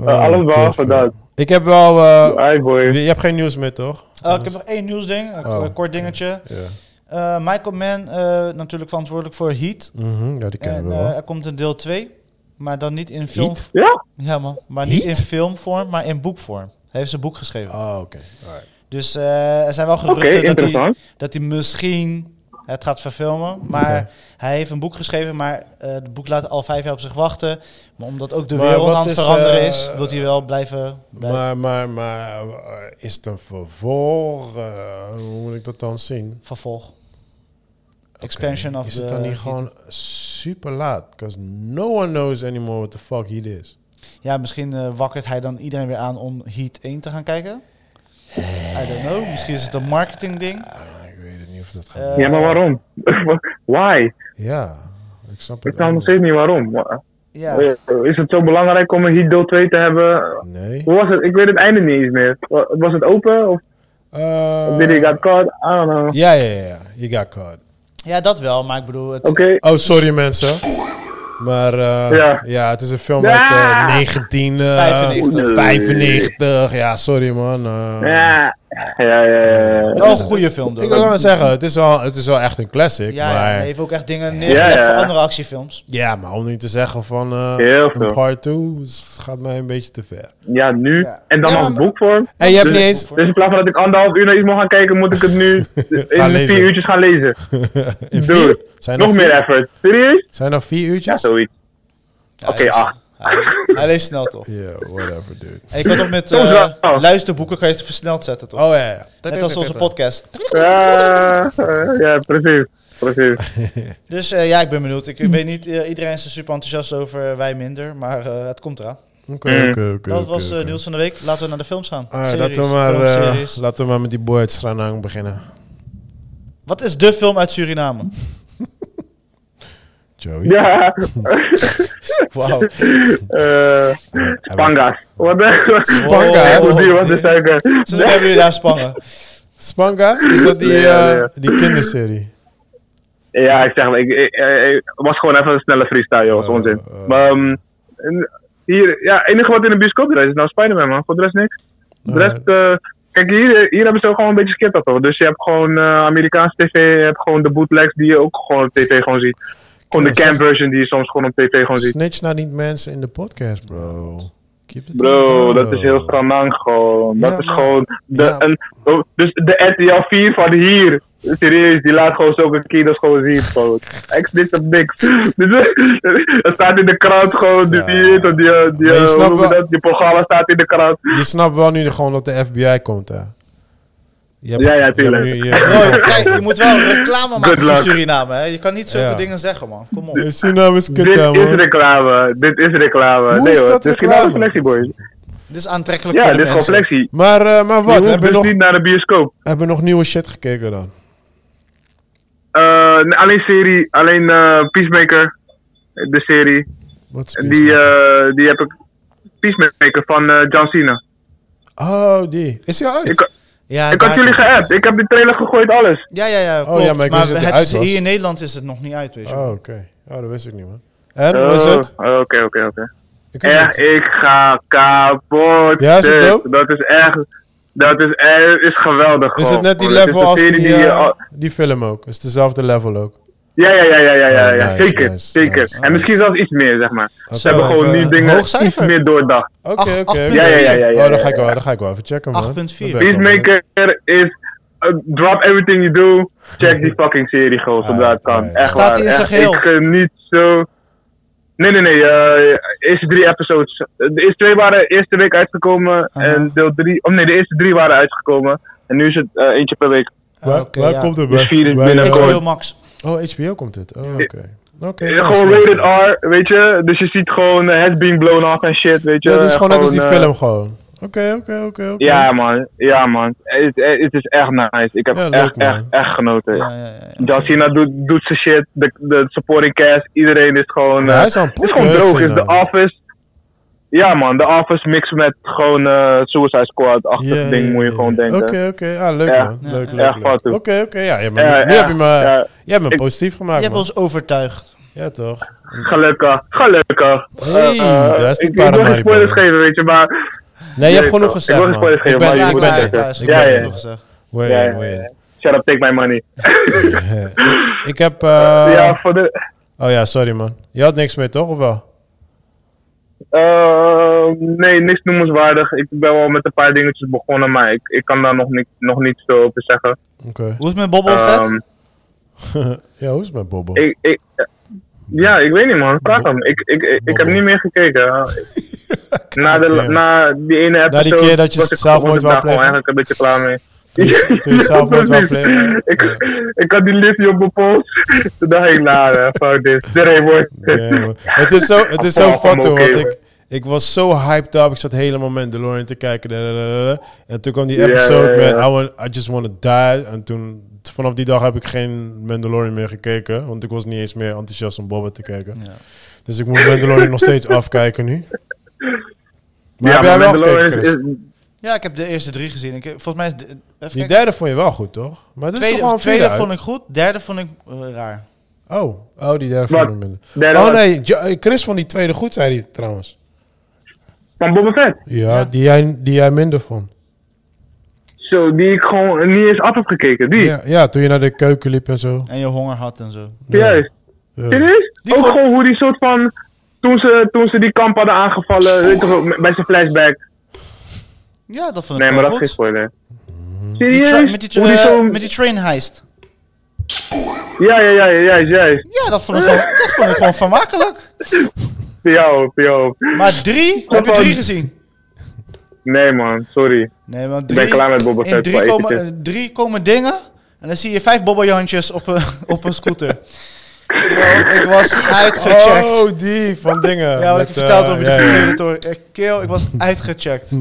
A: Oh,
B: alles
A: kut,
B: behalve
A: man.
B: dat.
A: Ik heb wel... eh,
B: Hi, boy.
A: je hebt geen nieuws meer, toch?
C: Eh, ik heb nog één nieuwsding, een
A: Oh.
C: een kort dingetje.
A: Ja.
C: Eh, Michael Mann, eh, natuurlijk verantwoordelijk voor Heat.
A: Mhm, ja, die kennen
C: En
A: we
C: eh,
A: wel.
C: er komt een deel 2, maar dan niet in film.
A: Heat?
B: Ja?
C: Ja, man. Maar niet
A: Heat?
C: in filmvorm, maar in boekvorm. Hij heeft zijn boek geschreven.
A: Oh, oké. Alright.
C: Dus eh, er zijn wel
B: Oké,
C: geruchten dat, hij,
B: interessant.
C: dat hij misschien het gaat verfilmen. Maar
A: Oké.
C: hij heeft een boek geschreven, maar eh, het boek laat al vijf jaar op zich wachten. Maar omdat ook de
A: Maar
C: wereld
A: wat
C: aan het
A: is,
C: veranderen
A: eh,
C: is, wil hij wel blijven... blijven.
A: Maar, maar, maar eh, is het een vervolg? Eh, hoe moet ik dat dan zien?
C: vervolg. Expansion of
A: Is
C: the...
A: het dan niet gewoon super laat? Because no one knows anymore what the fuck he is.
C: Ja, misschien eh, wakkert hij dan iedereen weer aan om Heat 1 te gaan kijken. I don't know. Misschien is het een marketing ding.
A: Ah, ik weet het niet of dat gaat.
C: Eh,
A: werken.
B: Ja, maar waarom? Why?
A: ja, ik snap het.
B: Ik snap
A: ook
B: nog steeds niet waarom. Oh Eh,
C: Ja.
B: Is het zo belangrijk om een Heat deel 2 te hebben?
A: niet. Nee.
B: Hoe was het? Ik weet het einde niet eens meer. Wa- Was het open? Of
A: Eh,
B: did he got caught? I don't know.
A: Ja, ja, ja, ja. You got caught.
C: ja, dat wel. Maar ik bedoel... Het,
B: Oké.
A: Oh, sorry mensen. Maar eh,
B: Ja.
A: ja. het is een film
B: Ja.
A: uit eh, 1995.
C: 95.
A: 95. Ja, sorry man. eh. Oh,
B: Ja. Ja, ja, ja.
C: wel een goede film,
A: Ik wil
C: door.
A: maar zeggen, het is, wel, het is wel echt een classic.
C: Ja, ja,
A: maar,
C: hij heeft ook echt dingen neergelegd
B: Ja, ja.
C: voor andere actiefilms.
A: ja, maar om niet te zeggen van eh,
B: Heel
A: een
B: veel.
A: part 2 gaat mij een beetje te ver.
B: Ja, nu.
C: Ja.
B: En dan
C: Ja,
B: nog
C: maar-
B: boekvorm.
A: En je hebt
B: dus,
A: niet eens...
B: Dus in plaats van dat ik anderhalf uur naar iets mag gaan kijken, moet ik het nu
A: Gaan
B: in
A: lezen.
B: vier uurtjes gaan lezen.
A: in
B: Dude,
A: vier, zijn er
B: Nog meer
A: vier-
B: effort. Serieus?
A: Zijn er vier
B: Ja,
A: uurtjes?
B: zoiets.
C: Ja, dus-
B: Oké, ah.
C: hij leest-
B: acht.
C: Hij, leest- hij leest snel, toch?
A: Yeah, whatever dude.
C: En je kan ook met
B: Soms
C: eh,
B: wel.
C: luisterboeken kan je het versneld zetten, toch?
A: Oh ja, ja.
C: Net als onze podcast.
B: Ja, eh, ja, precies. Precies.
C: Dus eh, ja, ik ben benieuwd. Ik, ik weet niet, eh, iedereen is er super enthousiast over, wij minder. Maar eh, het komt eraan.
B: Mm.
A: Oké, oké, oké.
C: dat
A: oké,
C: was eh,
A: oké.
C: nieuws van de week. Laten we naar de films gaan.
A: Ah,
C: Series,
A: laten, we maar, eh,
C: filmseries.
A: laten we maar met die boy uit Stranang beginnen.
C: Wat is de film uit Suriname?
A: Joey.
B: Ja.
C: Wauw.
B: eh Spanga's. Wat de...
A: Spanga's?
B: Hoe duur was de suiker?
C: Ze hebben jullie daar spangen.
A: Spanga's? Is dat die,
B: Ja, ja, ja.
A: eh, die kinderserie?
B: Ja, ik zeg maar, ik, ik, ik- ik was gewoon even een snelle freestyle, joh. was
A: Eh,
B: onzin.
A: eh.
B: Maar ehm, en hier, ja, het enige wat in de bioscoop draait is nou Spider-Man, man. Voor de rest niks. De
A: Alright.
B: rest, eh, kijk, hier, hier hebben ze ook gewoon een beetje skit over. Dus je hebt gewoon eh, Amerikaanse tv, je hebt gewoon de bootlegs die je ook gewoon op tv gewoon ziet. Gewoon de
A: Klopt,
B: cam version Oh, die je soms gewoon op tv gewoon ziet.
A: Snitch nou niet mensen in de podcast, bro. Keep it
B: Bro,
A: down,
B: dat is heel stranang gewoon. Dat
A: Ja,
B: is
A: maar-
B: gewoon. De,
A: ja.
B: een, oh, dus de RTL 4 van hier. Serieus, die laat gewoon zulke kiddo's gewoon zien. Gewoon. Ex dit op niks. Dus, dat staat in de krant gewoon. Die,
A: Ja.
B: die, die, die, die,
A: Maar je
B: hoe
A: snapt
B: noem je
A: wel-
B: dat? die programma staat in de krant.
A: Je snapt wel nu gewoon dat de FBI komt, hè? Je hebt-
B: Ja, ja,
A: je hebt
B: tuurlijk.
A: nu- je hebt-
C: Mooi, Oh, kijk, je moet wel reclame maken voor
B: luck.
C: Suriname. Hè? Je kan niet zulke
A: Ja.
C: dingen zeggen, man. Kom op.
A: Eh, Suriname is kut,
B: dit
A: hè,
B: is
A: man.
B: reclame. Dit is reclame.
A: Hoe
B: nee
A: is
B: hoor,
A: dat
B: dit is finale
A: reclame?
B: flexie, boys.
C: Dit is aantrekkelijk
B: Ja,
C: voor de
B: dit is gewoon
C: mensen.
B: flexie.
A: Maar, eh, maar
B: Je
A: wat?
B: hoeft
A: Hebben
B: dus
A: we nog,
B: niet naar de bioscoop.
A: hebben we nog nieuwe shit gekeken dan?
B: Eh, nee, alleen serie, alleen eh, Peacemaker. De serie.
A: Wat is
B: Die, eh, die heb ik. Peacemaker van eh, John Cena.
A: Oh, die. Is hij uit?
B: eh, Ik,
C: Ja,
B: ik had
C: daar-
B: jullie geappt. Ik heb die trailer gegooid, alles.
C: Ja, ja, ja, klopt.
A: Oh, ja, maar
C: maar
A: ik wist dat die
C: het,
A: uit was.
C: hier in Nederland is het nog niet uit, weet je.
A: Oh,
C: wel.
A: oké. Oh, dat wist ik niet, man. En, hoe
B: Oh,
A: is het?
B: oh, Oké, oké, oké.
A: Ik kan
B: Echt,
A: niet-
B: ik ga kapot.
A: Ja, is het
B: dit.
A: dope?
B: Dat is echt. Dat is, eh, is geweldig.
A: Is
B: gewoon.
A: het net die
B: Gewoon, dit
A: level
B: is de
A: als die,
B: serie die je
A: eh,
B: al-
A: die film ook? Is het dezelfde level ook?
B: Ja, ja, ja, ja, ja, ja, ja.
A: Oh, Nice,
B: zeker,
A: nice,
B: zeker.
A: nice,
B: En misschien zelfs iets meer, zeg maar.
A: Oké.
B: Ze hebben gewoon
C: even
B: nu
C: een
B: dingen
C: hoog
B: iets
C: cijfer.
B: meer doordacht.
A: Oké,
C: Acht-
A: oké.
C: acht
A: oké.
B: Ja, ja, ja, ja, ja,
A: Oh, dan
B: ja,
A: ga ik
B: ja.
A: wel, dan ga ik wel even checken, man.
C: 8.4.
A: Dan ben ik wel, man.
B: Peacemaker is uh, drop everything you do. Check die fucking serie gewoon zodra het kan.
A: Ah, ja.
B: Echt
C: Staat
B: waar.
C: die in
B: echt.
C: zijn geheel?
B: Ik geniet zo. Nee, nee, nee. eh eerste drie episodes. De eerste twee waren eerste week uitgekomen.
C: Aha.
B: En deel drie. Oh nee, de eerste drie waren uitgekomen. En nu is het eh, eentje per week.
A: Waar,
C: Oké,
A: waar
C: ja.
A: komt het
B: Die
A: bij?
B: vier is
A: bij-
B: binnenkort.
C: HBO Max.
A: Oh, HBO komt het. Oh, oké. Oké.
B: Eh,
A: nice,
B: gewoon
A: nice.
B: rated R, weet je. Dus je ziet gewoon eh, heads being blown off en shit, weet je.
A: Ja, dat is gewoon net als die
B: eh,
A: film gewoon. Oké, oké, oké. oké.
B: Ja man, ja man. Het het is echt nice. Ik heb
A: Ja, leuk,
B: echt, echt,
A: man.
B: echt genoten.
C: Ja, ja, ja.
B: John Cena doet, doet zijn shit, de, de supporting cast, iedereen is gewoon...
A: Ja,
B: eh,
A: hij is aan het
B: is
A: poeten,
B: gewoon droog,
A: Cena.
B: is The Office... Ja man, The Office mixed met gewoon eh Suicide Squad-achtig
A: Ja,
B: ding,
A: ja,
B: moet je
A: ja,
B: gewoon
A: ja.
B: denken.
A: Oké, oké. Ah, leuk
B: Ja.
A: man.
C: Ja,
A: Leuk,
C: ja.
A: leuk,
B: Echt
A: leuk.
B: wat,
A: Oké,
B: hoor.
A: oké. Ja, ja, maar
B: Ja,
A: nu, nu
B: ja,
A: heb je me,
B: ja.
A: jij hebt me
B: Ik-
A: positief
C: Je
A: gemaakt
C: hebt
A: man.
C: ons
B: Oh,
C: overtuigd.
A: Ja, toch?
B: Gelukkig, gelukkig.
A: Hey,
B: Eh, eh,
A: daar is die
B: ik, ik wil geen
A: Paramaribo.
B: spoilers geven, weet je, maar...
A: Nee, je hebt
B: ik-
A: genoeg
B: ik
A: gezegd
B: wil geen
A: man.
B: spoilers
A: Ik
B: geven,
A: ben ik
B: maar je moet
A: ben
B: het
A: er.
B: checken.
A: Ik
B: Ja,
A: ben
B: ja.
A: er.
B: Ja, ja,
A: Win,
B: ja, ja.
A: win.
B: Shut up, take my money.
A: Ik heb...
B: ja,
A: eh
B: voor de...
A: Oh ja, sorry man. Je had niks mee toch, of wel?
B: eh, nee, niks noemenswaardig. Ik ben wel met een paar dingetjes begonnen, maar ik, ik kan daar nog niet, nog niet zo over zeggen.
A: Oké.
C: Hoe is het met
A: Oh,
C: Bobbel
B: Ehm,
C: Vet?
A: Ja, hoe is het met Bobo?
B: ik, ik, ja, ik weet niet man. Vraag hem. Ik, ik, ik, ik heb niet meer gekeken. Na, de,
A: damn.
B: na die ene episode...
A: keer dat je
B: was ik-
A: zelfmoord
B: was
A: wou
B: ik daar gewoon
A: plegen?
B: eigenlijk een beetje klaar mee.
A: Toen je- toen je zelfmoord wou plegen?
B: Ik, ik had die liftje op mijn pols. Toen dacht ik, nou, eh, fuck dit. Dit ain't worth it.
A: Ja, man. het is zo, het is zo
B: Apollo
A: fat,
B: van
A: hoor,
B: Mokee,
A: want
B: hoor.
A: ik, ik was zo hyped up. Ik zat helemaal Mandalorian te kijken. da, da, da, da, da. En toen kwam die
B: Ja,
A: episode
B: ja, ja.
A: met I, want, I Just Wanna Die. En toen, vanaf die dag heb ik geen Mandalorian meer gekeken. Want ik was niet eens meer enthousiast om Boba te kijken.
C: Ja.
A: Dus ik moet Mandalorian nog steeds afkijken nu. Maar
B: Ja,
A: heb jij
B: maar
A: wel
B: Mandalorian
A: gekeken,
B: is-
A: Chris?
B: is-
C: Ja, ik heb de eerste drie gezien. Ik, volgens mij is... de- even
A: Die
C: kijken.
A: derde vond je wel goed, toch? Maar dat is toch
C: tweede
A: gewoon een
C: tweede
A: tweede
C: vond ik goed, derde vond ik eh, raar.
A: Oh, oh, die derde vond
B: Wat?
A: ik minder.
B: Derde
A: Oh
B: was-
A: nee, Jo- Chris vond die tweede goed, zei hij trouwens.
B: Van Boba Fett.
A: Ja, Die, jij, die jij minder vond.
B: Zo, die ik gewoon niet eens af heb gekeken. Die,
A: Ja, ja, toen je naar de keuken liep en zo.
C: En je honger had en zo.
B: juist.
A: Ja.
B: Serieus?
C: Die
B: Ook
C: vond-
B: gewoon hoe die soort van... Toen ze, toen ze die kamp hadden aangevallen, weet je toch, bij zijn flashback.
C: Ja, dat vond ik
B: Nee, maar
C: wel
B: dat is geen spoiler.
C: goed. Die
B: Serieus?
C: tra- met, die tra-
B: Hoe die
C: eh,
B: zo-
C: met die train heist.
B: Ja, ja, ja, ja, juist, juist.
C: Ja, dat vond ik gewoon, dat vond ik gewoon vermakelijk.
B: Voor jou, voor jou.
C: Maar drie? Heb je
B: Gewoon-
C: drie gezien?
B: Nee man, sorry.
C: Nee, want
B: ben
C: drie,
B: klaar met Boba
C: in
B: Fett,
C: drie
B: maar
C: komen,
B: eventjes.
C: eh, drie komen dingen en dan zie je vijf bobbejantjes op een, op een scooter. Yo, ik was uitgecheckt.
A: Oh, die van dingen.
C: ja, wat
A: Met,
C: ik je verteld
A: eh,
C: over
A: ja,
C: de
A: ja.
C: verleden toren. Eh, Keel, ik was uitgecheckt.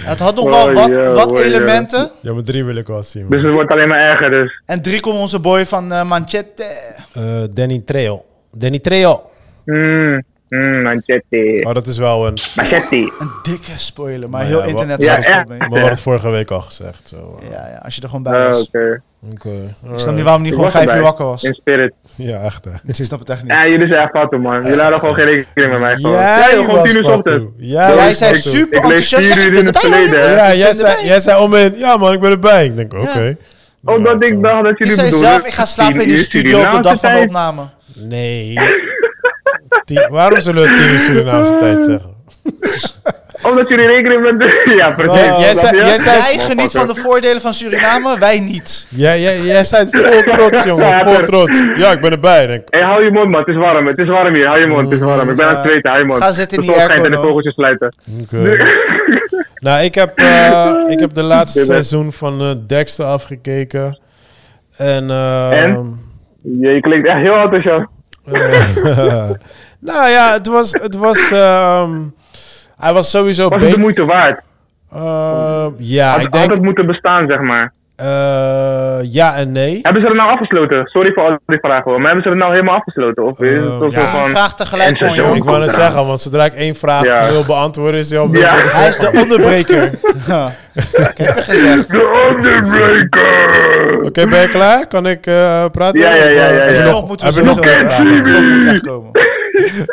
C: Het had nog
B: Oh,
C: wel wat,
B: ja,
C: wat
B: oh, ja.
C: elementen.
A: Ja, maar drie wil ik wel zien. man.
B: Dus het wordt alleen maar erger dus.
C: En drie komt onze boy van eh, Manchette.
A: Eh, Danny Trejo. Danny Trejo.
B: Mmm, mmm, machete.
A: Oh, dat is wel een...
B: Machete.
C: Een dikke spoiler, maar
A: Maar
C: heel
A: ja, wat-
C: internet
A: Ja,
C: staat
B: ja.
C: vol mee.
A: Maar we hadden het vorige week al gezegd. Zo. eh.
C: Ja, ja, als je er gewoon bij
B: Ah,
C: was.
B: Oké.
A: Oké.
C: Ik snap niet Oh, waarom die gewoon vijf uur wakker was.
B: In spirit.
A: eh, Ja, echt hè.
C: Ik snap het echt niet.
B: Ja, jullie zijn echt fouten man. Jullie hadden gewoon geen rekening met mij. Gewoon.
A: Jij
B: Ja, joh, gewoon
A: was
B: 10 uur 's
A: fout,
B: ochtends.
A: joh. Ja,
C: Jij
A: was
C: zei
A: fout, joh.
C: super
B: Ik leef
C: enthousiast.
B: vier
C: Ja, ik
B: uur
C: ben
B: in het
C: erbij,
B: verleden,
C: jongens.
B: hè?
A: Ja, jij
C: ben
A: zei,
C: erbij.
A: jij zei om in... Ja man, ik ben erbij. Ik denk, oké.
B: Oh, dat
A: Ja,
B: ik
A: zo.
B: dacht dat
C: Je
B: jullie
C: zei
B: bedoelden
C: zelf, ik ga slapen in
B: 10
C: de
B: uur
C: studio op de dag van de
B: Surinaamse tijd.
C: opname.
A: Nee. Tien- waarom zullen we tien uur Surinaamse tijd zeggen?
B: Omdat jullie rekening met de... Ja, precies.
A: Jij- jij
B: Snap je?
A: zei- jij zei-
C: Jij geniet van de voordelen van Suriname, wij niet.
A: Jij, jij, jij zei het vol trots, jongen.
B: Ja,
A: Vol
B: ter-
A: trots. Ja, ik ben erbij. Ik Denk,
B: Hé, hou je mond man, het is warm, het is warm hier, hou je mond, het is warm. Ik ben aan het zweten, hou je mond.
C: Ga zitten in
B: De
C: die
B: zon schijnt
C: airco,
B: en de
C: man.
B: vogeltjes sluiten.
A: Oké. nou, ik heb, eh, ik heb de laatste
B: Dit is-
A: seizoen van eh, Dexter afgekeken. En, eh,
B: En? Je klinkt echt heel enthousiast.
A: eh, nou ja, het was. Het was ehm, hij was sowieso
B: Was het de
A: beter.
B: moeite waard?
A: Eh, ja,
B: Had,
A: ik
B: had
A: denk.
B: het moeten bestaan, zeg maar.
A: eh, ja en nee.
B: Hebben ze het nou afgesloten? Sorry voor al die vragen hoor, maar hebben ze het nou helemaal afgesloten? Of is
A: Eh,
B: het toch
A: ja.
B: zo
C: Een
B: van...
C: Oh, vraag tegelijk
B: en
C: kon,
B: seizoen.
C: joh.
A: Ik wou het zeggen, want zodra ik één vraag
B: Ja.
A: wil beantwoorden, is hij al
B: Ja.
A: bezig. met de
C: Hij is de
A: volgende.
C: onderbreker. Ja. Ik heb je gezegd.
B: De Underbreaker!
A: Oké, ben je klaar? Kan ik eh, praten?
B: Ja, ja, ja,
A: Of, eh,
B: ja,
A: heb
B: ja.
A: je
C: De
A: nog-
C: klok moeten we
A: heb je nog
C: sowieso
A: meer
C: hebben.
A: vragen?
C: De klok moet echt komen.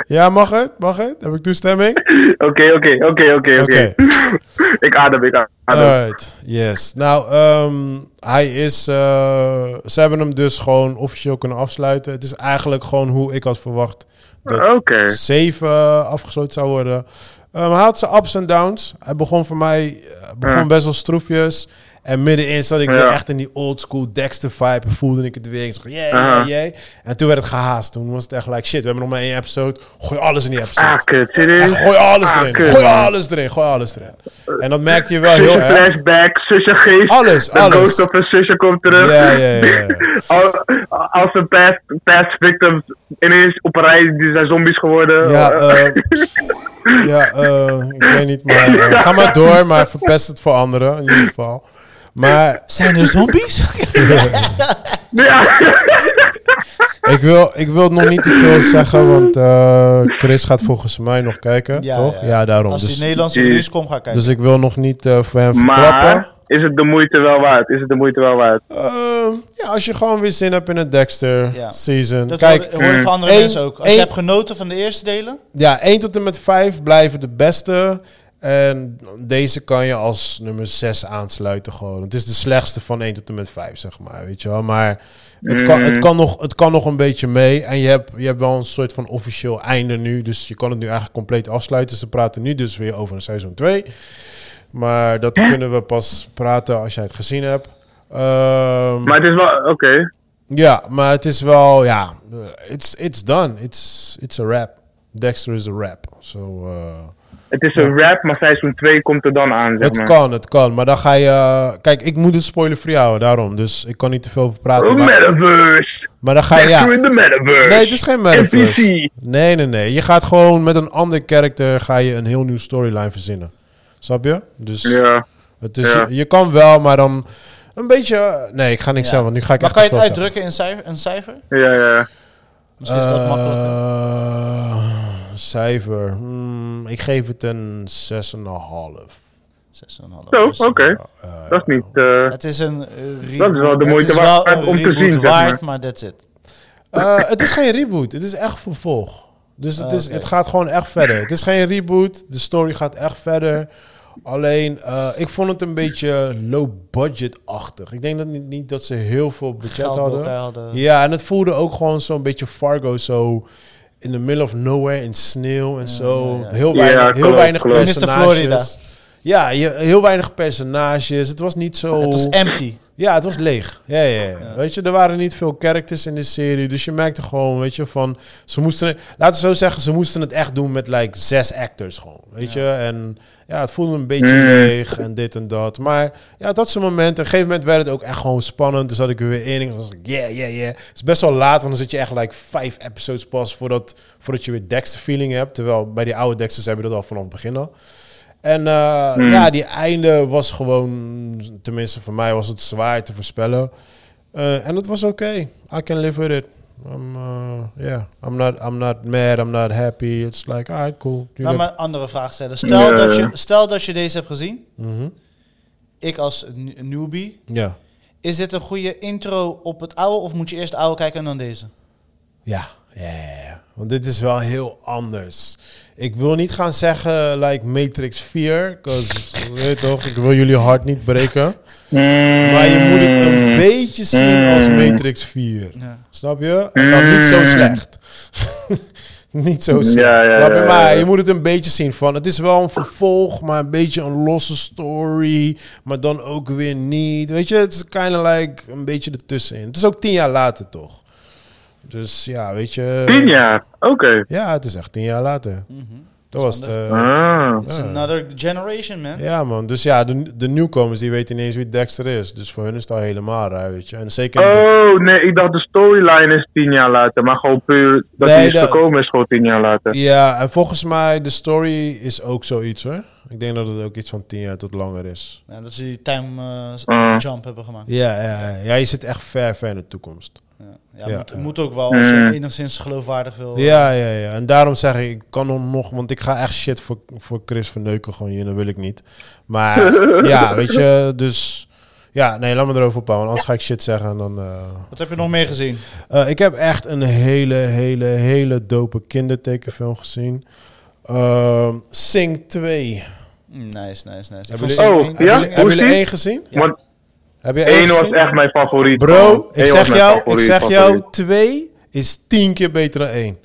A: Ja, mag het? Mag het? Heb ik toestemming?
B: Oké, oké, oké, oké,
A: Oké.
B: oké. Ik adem, ik adem.
A: Alright, yes. Nou, ehm, hij is... eh, ze hebben hem dus gewoon officieel kunnen afsluiten. Het is eigenlijk gewoon hoe ik had verwacht dat
B: Oh, Oké.
A: 7 afgesloten zou worden. Ehm, hij had zijn ups en downs. Hij begon voor mij eh, begon
B: Ja.
A: best wel stroefjes. En middenin zat ik
B: Ja.
A: weer echt in die old school Dexter vibe. En voelde ik het weer. Ik zeg, yeah,
B: Aha.
A: yeah, yeah. En toen werd het gehaast. Toen was het echt like, shit, we hebben nog maar één episode. Gooi alles in die episode.
B: Ah, kut.
A: Echt, gooi alles
B: Ah,
A: erin.
B: kut,
A: gooi
B: man.
A: alles erin. Gooi alles erin. En dat merkte je wel heel
B: Zusje
A: erg.
B: flashback, zusje geest.
A: ah, Alles,
B: de
A: alles.
B: ghost of een zusje komt terug.
A: Ja, ja, ja, ja.
B: Al- Als een past, past victims ineens op een rij, die zijn zombies geworden.
A: Ja,
B: Eh,
A: eh, ja eh, ik weet niet. Maar, eh, ga maar door, maar verpest het voor anderen in ieder geval. Maar
C: Zijn er zombies?
B: ja.
A: ik wil, ik wil nog niet te veel zeggen, want eh, Chris gaat volgens mij nog kijken,
C: Ja,
A: toch? Ja,
C: ja.
A: daarom.
C: Als die
A: Dus,
C: Nederlandse
B: Die-
C: nieuws komt, ga ik kijken.
A: dus ik wil nog niet eh, voor hem verklappen.
B: Maar is het de moeite wel waard? Is het de moeite wel waard?
A: Ehm, ja, als je gewoon weer zin hebt in een Dexter
C: Ja.
A: season.
C: dat
A: Kijk, eh,
C: hoor, hoor ik van andere
A: één-
C: mensen ook. Als
A: één-
C: je hebt genoten van de eerste delen,
A: Ja, 1 tot en met 5 blijven de beste. En deze kan je als nummer 6 aansluiten gewoon. Het is de slechtste van 1 tot en met 5, zeg maar. Weet je wel? Maar het kan, het, kan nog, het kan nog een beetje mee. En je hebt, je hebt wel een soort van officieel einde nu. Dus je kan het nu eigenlijk compleet afsluiten. Ze praten nu dus weer over een seizoen 2. Maar dat kunnen we pas praten als jij het gezien hebt. Ehm,
B: Maar het is wel, oké.
A: ja, maar het is wel, ja, eh, it's, it's done. It's, it's a rap. Dexter is a rap. So, eh,
B: Het is een rap, maar seizoen 2 komt er dan aan, zeg
A: het
B: maar.
A: kan, het kan. Maar dan ga je... eh, kijk, ik moet het spoiler-free houden, daarom. Dus ik kan niet te veel over praten.
B: Oh,
A: Maar,
B: metaverse!
A: maar dan ga je...
B: Doe
A: Ja.
B: in de metaverse!
A: Nee, het is geen metaverse.
B: NPC!
A: Nee, nee, nee. Je gaat gewoon met een ander karakter ga je een heel nieuw storyline verzinnen. Snap je? Dus
B: Ja.
A: het is,
B: ja.
A: je, je kan wel, maar dan een beetje... eh, Nee, ik ga niks
C: Ja.
A: zeggen, want nu ga ik
C: maar
A: echt
C: kan je
A: te
C: het
A: veel zeggen.
C: uitdrukken in cijfer? Een cijfer?
B: Ja, ja.
C: Misschien is dat makkelijker.
A: Eh, cijfer. Hmm, ik geef het een 6,5.
C: 6,5.
B: Zo,
C: Dus,
B: oké. Dat is niet... eh,
C: Het is een eh,
B: Dat is wel de
C: reboot.
B: moeite
C: Het is wel
B: waard
C: een
B: om te
C: reboot
B: zien, zeg
C: waard,
B: maar.
C: maar that's it.
A: Eh, het is geen reboot. Het is echt vervolg. Dus het,
C: Ah,
A: is,
C: oké.
A: het gaat gewoon echt verder. Het is geen reboot. De story gaat echt verder. Alleen, eh, ik vond het een beetje low-budget-achtig. Ik denk dat niet, niet dat ze heel veel budget
C: Geld bij
A: hadden.
C: elkaar hadden.
A: Ja, en het voelde ook gewoon zo'n beetje Fargo zo... In the middle of nowhere, in sneeuw en zo.
C: ja, ja.
A: Heel
B: Ja,
A: weinig, heel
B: klopt,
A: weinig
B: klopt.
C: Mr.
A: personages.
C: Florida.
A: Ja, je- heel weinig personages. Het was niet zo...
C: Het was empty.
A: Ja, het was leeg. Ja, ja, ja. Weet je, er waren niet veel characters in de serie. Dus je merkte gewoon, weet je, van... Ze moesten... Laten we zo zeggen, ze moesten het echt doen met, like, zes actors gewoon. Weet je? En ja, het voelde een beetje
B: Mm.
A: leeg en dit en dat. Maar ja, het had zijn momenten. Op een gegeven moment werd het ook echt gewoon spannend. Dus had ik er weer in. Ik was like, yeah, yeah, yeah. Het is best wel laat, want dan zit je echt, like, vijf episodes pas... voordat, voordat je weer Dexter-feeling hebt. Terwijl bij die oude Dexters hebben we dat al vanaf het begin al. En eh, ja, die einde was gewoon, tenminste voor mij was het zwaar te voorspellen. Eh, en het was oké. I can live with it. I'm, eh, yeah, I'm not, I'm not mad, I'm not happy. It's like, alright, cool.
C: Laat
A: Jullie-
C: me een andere vraag stellen. Stel,
B: Ja.
C: dat, je, stel dat je deze hebt gezien.
A: Mhm.
C: Ik als n- newbie.
A: Ja.
C: Is dit een goede intro op het oude? Of moet je eerst het oude kijken en dan deze?
A: Ja, ja, ja, ja. Want dit is wel heel anders. Ik wil niet gaan zeggen, like Matrix 4. 'cause, weet je toch, ik wil jullie hart niet breken. Maar je moet het
B: Mm.
A: een beetje zien als Matrix 4.
C: Ja.
A: Snap je? En dan niet zo slecht. niet zo slecht.
B: Mm. Ja, ja,
A: snap je?
B: ja, ja,
A: Maar
B: ja.
A: je moet het een beetje zien van... Het is wel een vervolg, maar een beetje een losse story. Maar dan ook weer niet. Weet je, het is kind of like een beetje ertussenin. Het is ook tien jaar later, toch? Dus ja, weet je...
B: Tien jaar? Oké.
A: Ja, het is echt tien jaar later. Dat was het... eh,
B: Ah.
C: It's
A: Ja.
C: another generation, man.
A: ja, man. Dus ja, de, de nieuwkomers die weten ineens wie Dexter is. Dus voor hun is dat helemaal raar, weet je. En zeker... in het begin-
B: Oh, nee, ik dacht de storyline is tien jaar later. Maar gewoon puur dat
A: Nee,
B: hij is
A: dat-
B: gekomen is gewoon tien jaar later.
A: Ja, en volgens mij de story is ook zoiets hoor. Ik denk dat het ook iets van 10 jaar tot langer is.
C: Ja, dat ze die time eh, s-
B: Mm.
C: jump hebben gemaakt. Ja,
A: Ja, ja, ja. ja, je zit echt ver, ver in de toekomst. Ja,
C: moet,
A: ja.
C: moet ook wel als je
B: Mm.
C: enigszins geloofwaardig wil.
A: Ja, ja, ja. En daarom zeg ik, ik kan hem nog, want ik ga echt shit voor, voor Chris verneuken gewoon hier, dat wil ik niet. Maar ja, weet je, dus Ja, nee, laat me erover ophouden. Anders ga ik shit zeggen en dan... eh,
C: Wat heb je nog meer gezien?
A: eh, ik heb echt een hele, hele, hele dope kindertekenfilm gezien. Ehm, Sing 2.
C: Nice, nice, nice. Ik
A: Hebben jullie-
C: vond Sing
B: Oh,
C: één-
B: ja?
A: Hebben jullie- Hebben jullie
B: Hoe is die?
A: één gezien?
C: Ja.
B: Want
A: Heb je één
B: één was
A: gezien?
B: echt mijn favoriet.
A: Bro, ik
B: Eén
A: zeg
B: was mijn
A: jou, ik
B: favoriet,
A: zeg jou,
B: favoriet.
A: twee is tien keer beter dan één.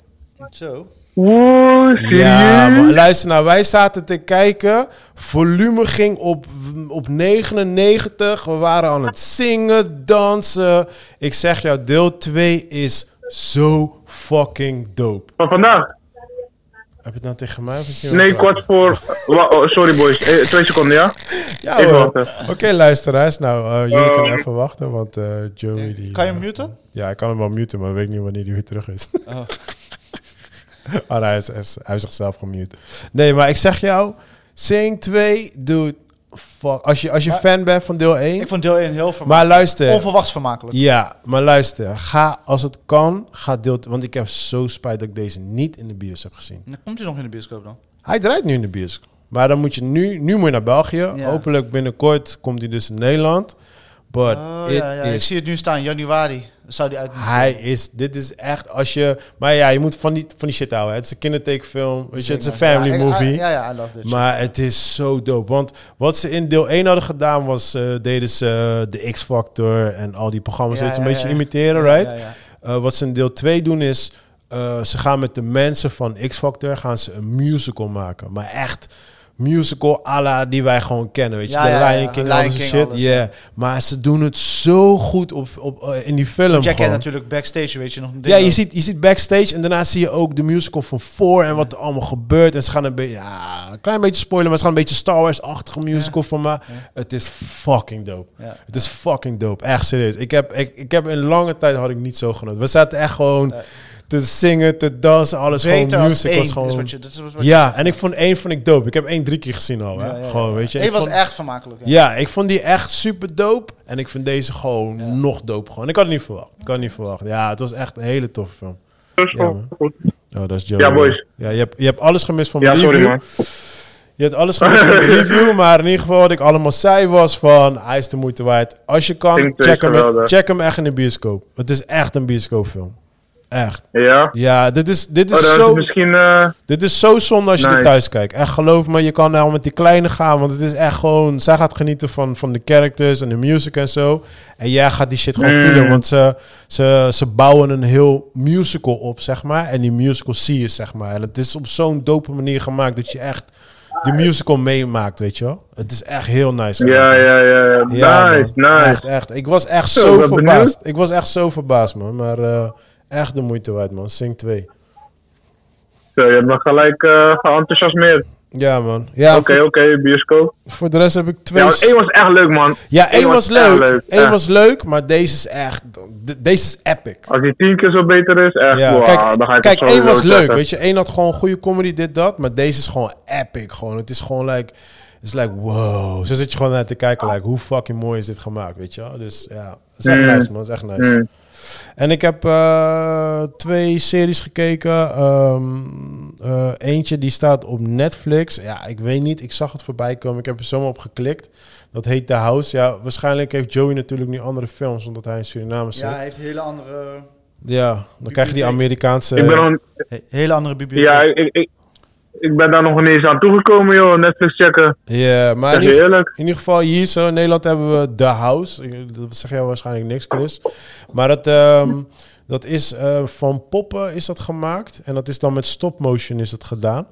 C: Zo.
B: Wow, serieus?
A: Ja, maar luister nou, wij zaten te kijken. Volume ging op, op 99. We waren aan het zingen, dansen. Ik zeg jou, deel 2 is zo fucking dope.
B: Van vandaag?
A: Heb je het nou tegen mij of is het
B: Nee, kwart voor... wa- oh, sorry boys, Eh, twee seconden, ja?
A: Ja,
B: ik
A: hoor.
B: wacht even.
A: Oké, luisteraars. Nou, eh, jullie kunnen
B: Ehm.
A: even wachten, want eh, Joey... Die,
C: Oh. Kan je
A: eh,
C: hem muten?
A: Ja, ik kan hem wel muten, maar ik weet niet wanneer hij weer terug is.
C: Oh.
A: Ah, nee, hij, is, hij is- hij heeft zichzelf gemute. Nee, maar ik zeg jou, Sing 2, dude, fuck. Als je, als je fan bent van deel 1,
C: Ik vond deel 1 heel vermakelijk.
A: maar luister.
C: Onverwachts vermakelijk.
A: Ja, maar luister. Ga, als het kan, ga deel... Want ik heb zo spijt dat ik deze niet in de bios heb gezien.
C: Dan komt hij nog in de bioscoop dan.
A: Hij draait nu in de bioscoop. Maar dan moet je nu, nu moet je naar België.
C: Ja.
A: Hopelijk binnenkort komt hij dus in Nederland. But
C: Oh,
A: it
C: ja, ja. Ik
A: is
C: zie het nu staan, januari zou die uit moeten
A: Hij is, dit is echt als je. Maar ja, je moet van die, van die shit houden. hè. Het is een kindertekenfilm. Weet je, het is een
C: komen.
A: family
C: Ja, ik-
A: movie.
C: Ja, ja, I love this.
A: Maar het is zo dope. Want wat ze in deel 1 hadden gedaan was, eh, deden ze eh, de X-Factor en al die programma's
C: Ja,
A: deden ze
C: ja,
A: een beetje
C: ja.
A: imiteren,
C: Ja,
A: right?
C: ja, ja.
A: Eh, wat ze in deel 2 doen is, eh, ze gaan met de mensen van X-Factor gaan ze een musical maken. Maar echt musical à la die wij gewoon kennen, weet je?
C: Ja,
A: de
C: ja, ja.
A: Lion King,
C: Lion
A: al die
C: King,
A: shit.
C: alles,
A: Ja. Maar ze doen het zo goed op, op, eh, in die film
C: Jack
A: gewoon.
C: had natuurlijk backstage, weet je nog.
A: Ja, je ziet, je ziet backstage en daarna zie je ook de musical van voor en wat er allemaal gebeurt. En ze gaan een beetje, ja, een klein beetje spoilen, maar ze gaan een beetje Star Wars-achtige musical van me. Het is fucking dope.
C: Ja.
A: Het is fucking dope. Echt serieus. Ik heb, ik, ik heb in lange tijd had ik niet zo genoten. We zaten echt gewoon te zingen, te dansen, alles.
C: Beter
A: gewoon
C: als
A: music
C: één.
A: was gewoon...
C: is wat je, dat is wat je-
A: ja, en ik vond één vond ik dope. Ik heb één drie keer gezien al. Hè?
C: Ja, ja, ja.
A: Gewoon, weet je.
C: Eén
A: ik
C: was
A: vond-
C: echt vermakelijk. Ja.
A: ja, ik vond die echt super dope. En ik vind deze gewoon nog dope. Gewoon. Ik had het niet verwacht. Ik had het niet verwacht. Ja, het was echt een hele toffe film.
B: Dus,
A: Ja,
B: oh,
A: man.
B: goed.
A: Oh, dat is Joey.
B: Ja, boys.
A: Ja, je, hebt, je hebt alles gemist van
B: Ja,
A: mijn
B: sorry
A: review.
B: man.
A: Je hebt alles gemist van mijn review. Maar in ieder geval wat ik allemaal zei was van... Hij is de moeite waard. Als je kan,
B: Vind ik
A: check hem,
B: geweldig.
A: check hem echt in de bioscoop. Het is echt een bioscoopfilm. Echt.
B: Ja?
A: Ja, dit is, dit
B: Oh,
A: is,
B: dan is het
A: zo,
B: misschien... eh,
A: dit is zo zonde als je
B: Nice.
A: er thuis kijkt. Echt geloof me, je kan nou met die kleine gaan. Want het is echt gewoon... Zij gaat genieten van, van de characters en de music en zo. En jij gaat die shit gewoon
B: Mm.
A: voelen. Want ze, ze, ze bouwen een heel musical op, zeg maar. En die musical zie je, zeg maar. En het is op zo'n dope manier gemaakt... dat je echt die musical meemaakt, weet je wel. Het is echt heel nice.
B: ja,
A: gedaan.
B: ja, ja. ja.
A: Ja,
B: Nice,
A: man.
B: nice.
A: Echt, echt. Ik was echt
B: Zo,
A: zo,
B: ik ben
A: verbaasd. Ik was echt zo verbaasd, man. Maar eh, echt de moeite waard, man. Sing 2.
B: Zo, je hebt me gelijk eh geenthousiasmeerd.
A: Ja, man. Ja,
B: Oké,
A: voor,
B: oké, bioscoop.
A: voor de rest heb ik twee...
B: Ja,
A: s-
B: want één was echt leuk, man.
A: Ja, één was
B: echt
A: leuk. Eén
B: echt.
A: was leuk, maar deze is echt... de- deze is epic.
B: Als die tien keer zo beter is, echt,
A: Ja,
B: wow, dan ga
A: kijk,
B: ik
A: kijk
B: het zo
A: één was
B: zetten.
A: leuk, weet je. Eén had gewoon goede comedy, dit, dat. Maar deze is gewoon epic, gewoon. Het is gewoon like... Het is like, wow. Zo zit je gewoon naar te kijken, like, hoe fucking mooi is dit gemaakt, weet je wel? Dus ja, het is echt
B: Mm.
A: nice, man. Het is echt nice.
B: Mm.
A: En ik heb eh, twee series gekeken. Ehm, eh, eentje die staat op Netflix. Ja, ik weet niet. Ik zag het voorbij komen. Ik heb er zomaar op geklikt. Dat heet The House. Ja, waarschijnlijk heeft Joey natuurlijk nu andere films, omdat hij in Suriname zit.
C: Ja,
A: Ja,
C: hij heeft hele andere,
A: dan krijg je die
C: Bibliotheek.
A: Amerikaanse...
B: Ik ben nog,
C: hele andere bibliotheek.
B: ja, ik, ik, ik ben daar nog niet eens aan toegekomen, joh. Netflix checken.
A: Ja, maar in
B: Zeg je
A: ieder,
B: eerlijk?
A: in ieder geval hier zo in Nederland hebben we The House. Ik- Dat zeg jij waarschijnlijk niks, Chris. Maar dat, ehm, dat is eh, van poppen is dat gemaakt. En dat is dan met stop motion is dat gedaan.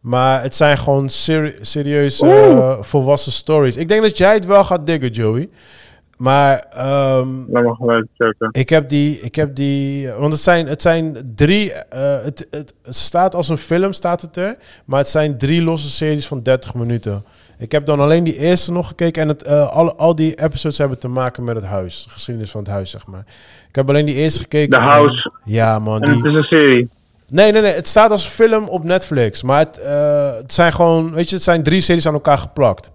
A: Maar het zijn gewoon seri- serieuze eh, volwassen stories. Ik denk dat jij het wel gaat diggen, Joey. Maar ehm,
B: Dan mag ik gelijk checken.
A: ik heb die, ik heb die, want het zijn, het zijn drie, eh, het, het, het staat als een film, staat het er, maar het zijn drie losse series van 30 minuten. Ik heb dan alleen die eerste nog gekeken en het, eh, alle, al die episodes hebben te maken met het huis, de geschiedenis van het huis, zeg maar. Ik heb alleen die eerste gekeken.
B: The
A: en-
B: House.
A: Ja, man.
B: En
A: Die,
B: het is een serie.
A: Nee, nee, nee. Het staat als film op Netflix. Maar het, eh, het zijn gewoon, weet je, het zijn drie series aan elkaar geplakt.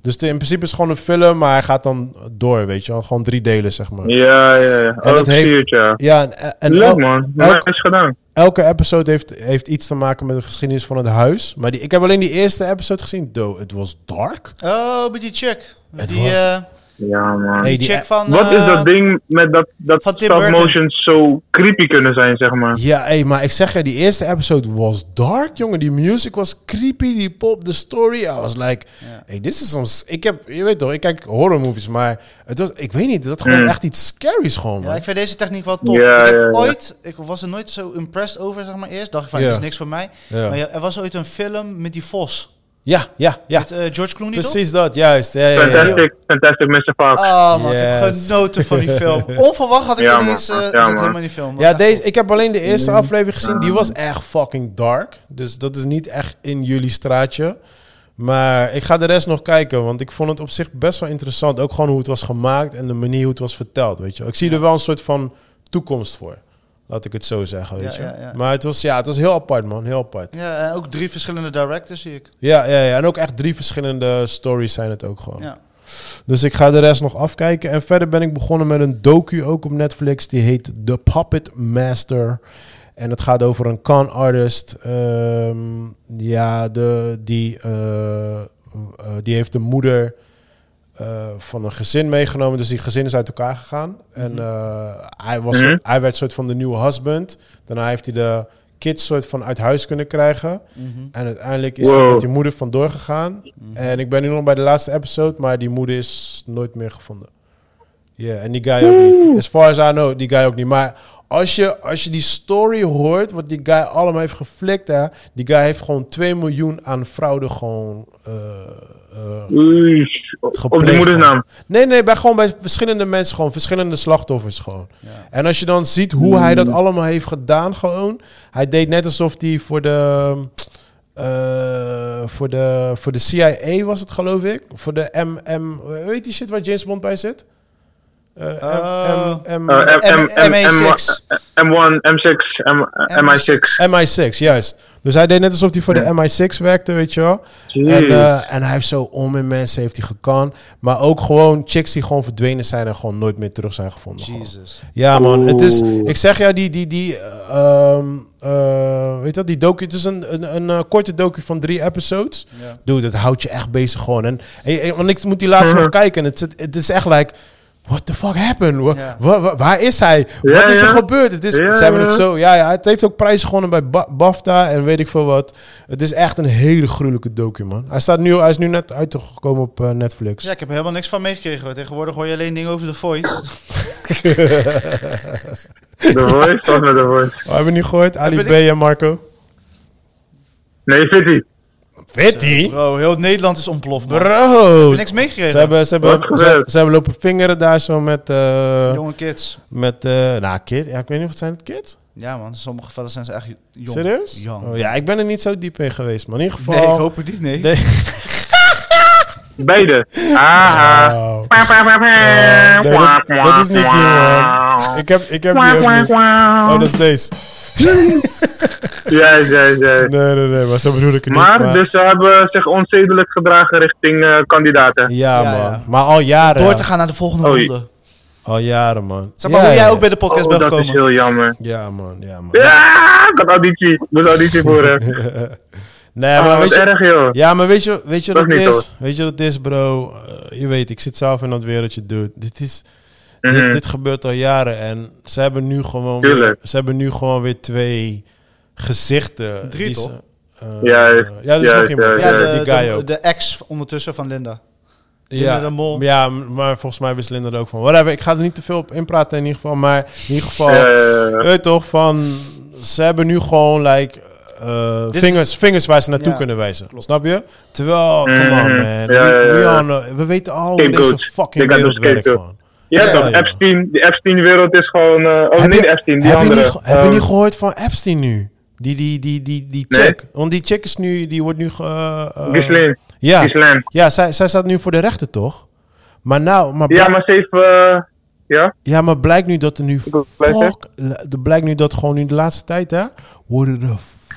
A: Dus het- in principe is het gewoon een film, maar hij gaat dan door, weet je wel. Gewoon drie delen, zeg maar.
B: Ja, ja, ja. Oh,
A: dat
B: dat
A: heeft-
B: zie het, ja.
A: Ja, en, en
B: Leuk,
A: el-
B: man.
A: elk-
B: Nice gedaan.
A: elke episode heeft, heeft iets te maken met de geschiedenis van het huis. Maar die, ik heb alleen die eerste episode gezien. Though, het was dark.
C: Oh, bij die chick.
A: Het
C: die,
A: was-
C: eh,
B: Ja, man.
A: Hey,
C: Die
A: die
C: chick van...
B: Wat is
C: eh,
B: dat ding met dat, dat
C: van Tim
B: stop
C: Burton.
B: motions zo creepy kunnen zijn, zeg maar?
A: Ja, hey, maar ik zeg je, die eerste episode was dark, jongen. Die music was creepy, die pop, de story. I was like, hey, this is soms... Ik heb, je weet toch, ik kijk horror movies, maar het was, ik weet niet, dat gewoon
B: Mm.
A: echt iets scary's gewoon, man.
C: Ja, ik vind deze techniek wel tof.
B: Ja,
C: ik, heb
B: ja, ja.
C: Ooit, ik was er nooit zo impressed over, zeg maar eerst. Dacht ik van,
A: Ja.
C: dit is niks voor mij.
A: Ja.
C: Maar ja, er was ooit een film met die vos.
A: Ja, ja, ja.
C: Met, eh, George Clooney toch?
A: Precies dat, juist. Ja, ja, ja, ja.
B: Fantastic, fantastic Mr. Fox.
C: Ah man, ik heb
A: Yes.
C: genoten van die film. Onverwacht had ik
B: Ja,
C: ja,
B: man.
C: ineens eh,
B: Ja,
C: zit
B: man.
C: helemaal in die film. Was
A: Ja,
C: echt
A: deze, ik heb alleen de eerste
C: Mm.
A: aflevering gezien. Die was echt fucking dark. Dus dat is niet echt in jullie straatje. Maar ik ga de rest nog kijken, want ik vond het op zich best wel interessant. Ook gewoon hoe het was gemaakt en de manier hoe het was verteld, weet je wel. Ik zie er wel een soort van toekomst voor. Laat ik het zo zeggen, weet
C: Ja,
A: je.
C: ja, ja.
A: Maar het was, ja, het was heel apart, man. Heel apart.
C: Ja, en ook drie verschillende directors zie ik.
A: Ja, ja, ja. En ook echt drie verschillende stories zijn het ook gewoon.
C: Ja.
A: Dus ik ga de rest nog afkijken. En verder ben ik begonnen met een docu ook op Netflix. Die heet The Puppet Master. En het gaat over een con artist. ehm, ja, de, die, eh, eh, die heeft de moeder eh, van een gezin meegenomen. Dus die gezin is uit elkaar gegaan. En eh, hij, was,
B: Mhm.
A: hij werd soort van de nieuwe husband. Daarna heeft hij de kids soort van uit huis kunnen krijgen. En uiteindelijk is hij
B: Mhm. Wow. Mhm.
A: met die moeder vandoor gegaan. En ik ben nu nog bij de laatste episode, maar die moeder is nooit meer gevonden. Ja, en die guy ook niet. As far as I know, die guy ook niet. Maar als je, als je die story hoort, wat die guy allemaal heeft geflikt, hè, die guy heeft gewoon 2 miljoen aan fraude gewoon eh, eh,
B: Oei, op
A: Gepleegd,
B: de moedersnaam.
A: Nee, nee, bij, gewoon bij verschillende mensen, gewoon verschillende slachtoffers gewoon. En als je dan ziet hoe hij dat allemaal heeft gedaan, gewoon. Hij deed net alsof hij voor de, eh, voor de, voor de CIA was het, geloof ik. Voor de MM, weet die shit waar James Bond bij zit? Eh, M-
C: Oh.
A: M- M-
B: Eh, M- M- M-
C: M- MA6.
B: M- M1, M6, M- MI6.
A: MI6, juist. Dus hij deed net alsof hij voor de MI6 werkte, weet je wel. En,
B: Jeez.
A: eh, en hij heeft zo om in mensen heeft hij gekan. Maar ook gewoon chicks die gewoon verdwenen zijn en gewoon nooit meer terug zijn gevonden. gewoon.
C: Jesus.
A: Ja, man. Het is,
B: Oeh.
A: ik zeg jou, die, die, die, eh, ehm, eh, weet dat, die docu, het is een, een, een eh, korte docu van drie episodes.
C: Ja.
A: Dude, dat houdt je echt bezig gewoon. En, en- en- want ik moet die laatste nog kijken. en Het, zit- het is echt like, what the fuck happened? Wa-
C: Ja.
A: wa- wa- waar is hij?
B: Ja,
A: wat is er
B: ja.
A: gebeurd? Het is,
B: Ja,
A: ze hebben
B: ja.
A: het zo, ja, ja. Het heeft ook prijzen gewonnen bij Ba- BAFTA en weet ik veel wat. Het is echt een hele gruwelijke docu, man. Hij, staat nu, hij is nu net uitgekomen op eh, Netflix.
C: ja, ik heb er helemaal niks van meegekregen. Tegenwoordig hoor je alleen dingen over de voice.
B: De Voice, wat met de Voice?
A: Oh, hebben we niet gehoord? Ali B
C: Hebben
A: en Marco.
B: Nee, Fitty.
A: Weet die?
C: Bro, heel Nederland is ontploft. man. Ik
A: Bro,
C: heb niks meegekregen.
A: Ze hebben, ze, hebben,
B: Wat
A: ze,
B: gebeurt?
A: ze hebben lopen vingeren daar zo met... eh,
C: Jonge kids.
A: met eh nou, kid. Ja, ik weet niet of het zijn het kids.
C: Ja man, in sommige gevallen zijn ze echt jong.
A: Serieus?
C: Jong.
A: Oh, ja, ik ben er niet zo diep in geweest. Maar in ieder geval...
C: Nee, ik hoop het niet, nee.
A: Nee.
B: Beide. Haha.
A: Wauw.
B: Wah, wah, wah,
A: Oh.
B: wah.
A: Eh, nee, dat,
B: Wah,
A: dat is niet
B: wah,
A: die,
B: wah.
A: man. Ik heb, ik heb die
B: Wah,
A: ook
B: wah,
A: niet.
B: wah.
A: Oh, dat is deze.
B: Juist, juist, juist.
A: Nee, nee, nee. Maar zo bedoel ik het niet.
B: Maar, dus ze hebben zich onzedelijk gedragen richting eh, kandidaten.
A: Ja,
C: Ja,
A: man.
C: ja.
A: Maar al jaren.
C: Door te gaan naar de volgende
B: Oei.
C: ronde.
A: Al jaren, man.
C: Zeg maar
A: Ja,
C: hoe jij
A: ja.
C: ook bij de podcast
B: Oh,
C: bent
B: dat is
C: gekomen.
B: heel jammer.
A: Ja, man. Ja, man.
B: Ja, ik had auditie. Ik moest auditie voeren.
A: Nee, maar
B: Ah,
A: weet
B: wat
A: je...
B: erg, joh.
A: Ja, maar weet je, weet je
B: Dat
A: wat het
B: niet,
A: is? Weet je wat het is, bro? Eh, je weet, ik zit zelf in dat wereldje, dude. Dit is...
B: Mhm.
A: Dit, dit gebeurt al jaren en ze hebben nu gewoon, weer,
B: Tuurlijk.
A: ze hebben nu gewoon weer twee gezichten.
C: Drie,
A: die
C: toch?
A: ze- eh,
B: Juist,
A: ja, er is nog
B: juist,
A: iemand.
B: juist,
A: Ja,
C: Ja,
B: juist.
C: de,
A: die guy
C: de,
A: ook.
C: de ex ondertussen van Linda.
A: ja,
C: Linda de Mol.
A: ja, m- maar volgens mij wist Linda er ook van. Whatever, ik ga er niet te veel op inpraten in ieder geval. Maar in ieder geval,
B: Ja, ja, ja.
A: eh, toch, van... Ze hebben nu gewoon, like... eh,
C: Dit-
A: vingers, vingers waar ze naartoe
C: Ja,
A: kunnen wijzen. Snap je? Terwijl, come on man.
B: Mhm. Ja,
A: We,
B: ja, ja,
A: we
B: ja.
A: all know- we weten al hoe
B: Scapegoat.
A: deze fucking
B: Ik had
A: wereld
B: een
A: werkt
B: scapegoat.
A: gewoon.
B: Ja,
A: Ja,
B: toch?
A: ja.
B: Epstein, die Epstein-wereld is gewoon... eh, oh,
A: Heb
B: nee,
A: je-
B: Epstein, die
A: heb
B: andere.
A: Je niet, ge- heb je
B: Ehm,
A: niet gehoord van Epstein nu? Die, die, die, die, die
B: Nee.
A: check. Want die check is nu, die wordt nu... ge- eh,
B: Ghislaine.
A: ja,
B: Ghislaine.
A: ja zij, zij staat nu voor de rechter, toch? Maar nou, maar,
B: Ja,
A: blijk-
B: maar ze heeft... eh, ja?
A: ja, maar blijkt nu dat er nu...
B: wil blijven.
A: Fuck, er blijkt nu dat gewoon nu de laatste tijd, hè... Worden er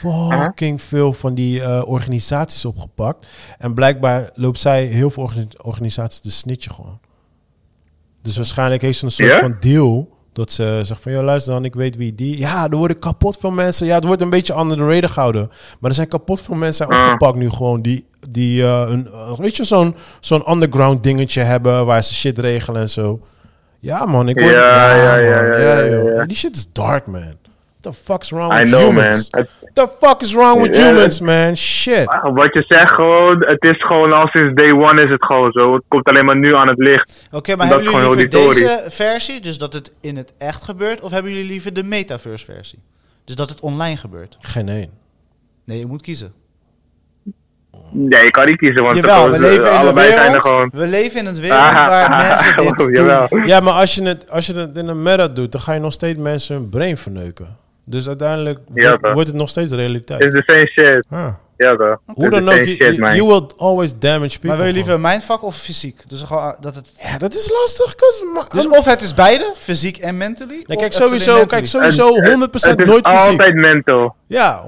A: fucking veel van die eh, organisaties opgepakt. En blijkbaar loopt zij heel veel organi- organisaties te snitchen gewoon. Dus waarschijnlijk heeft ze een soort
B: Ja?
A: van deal Dat ze zegt van, ja luister dan, ik weet wie die... Ja, er worden kapot veel mensen... Ja, het wordt een beetje under the radar gehouden. Maar er zijn kapot veel mensen
B: Ah.
A: opgepakt nu gewoon... die, die eh, een, eh, weet je, zo'n zo'n underground dingetje hebben... waar ze shit regelen en zo. Ja man, ik word...
B: Ja, ja,
A: man.
B: ja, ja, ja,
A: joh.
B: ja.
A: Ja, Die shit is dark man. What the fuck's wrong
B: I
A: with
B: know, man.
A: humans?
B: Het,
A: The fuck is wrong with
B: Ja.
A: humans, man? Shit.
B: Ah, wat je zegt, gewoon, het is gewoon al sinds day one is het gewoon zo. Het komt alleen maar nu aan het licht.
C: Oké, maar
B: Dat
C: hebben jullie
B: gewoon
C: liever
B: heel die
C: deze versie, dus dat het in het echt gebeurt, of hebben jullie liever de metaverse versie? Dus dat het online gebeurt.
A: Geen één.
C: Nee, je moet kiezen.
B: Nee, je kan niet kiezen, want
C: Jawel,
B: gewoon-
C: we leven in een
B: eh, allebei zijn er
C: wereld,
B: gewoon. Ah,
C: we leven in een wereld waar mensen dit
B: Jawel.
C: doen.
A: Ja, maar als je, het, als je het in een meta doet, dan ga je nog steeds mensen hun brain verneuken. Dus uiteindelijk
B: Ja,
A: wordt-
B: toch.
A: wordt het nog steeds
B: It's
A: realiteit.
B: the same shit.
A: Ah.
B: Ja, toch.
A: Hoe dan ook, you, you- you will always damage people.
C: Maar wil je liever
A: gewoon.
C: mindfuck of fysiek? Dus gewoon ah, dat het...
A: Ja, dat is lastig. 'cause ma-
C: Dus of het is beide, fysiek en mentally.
A: Ja,
C: of
A: kijk,
C: het is alleen
A: sowieso, kijk,
C: mentally.
A: sowieso 100% nooit
B: Het is
A: fysiek.
B: altijd mental.
A: ja, 100%.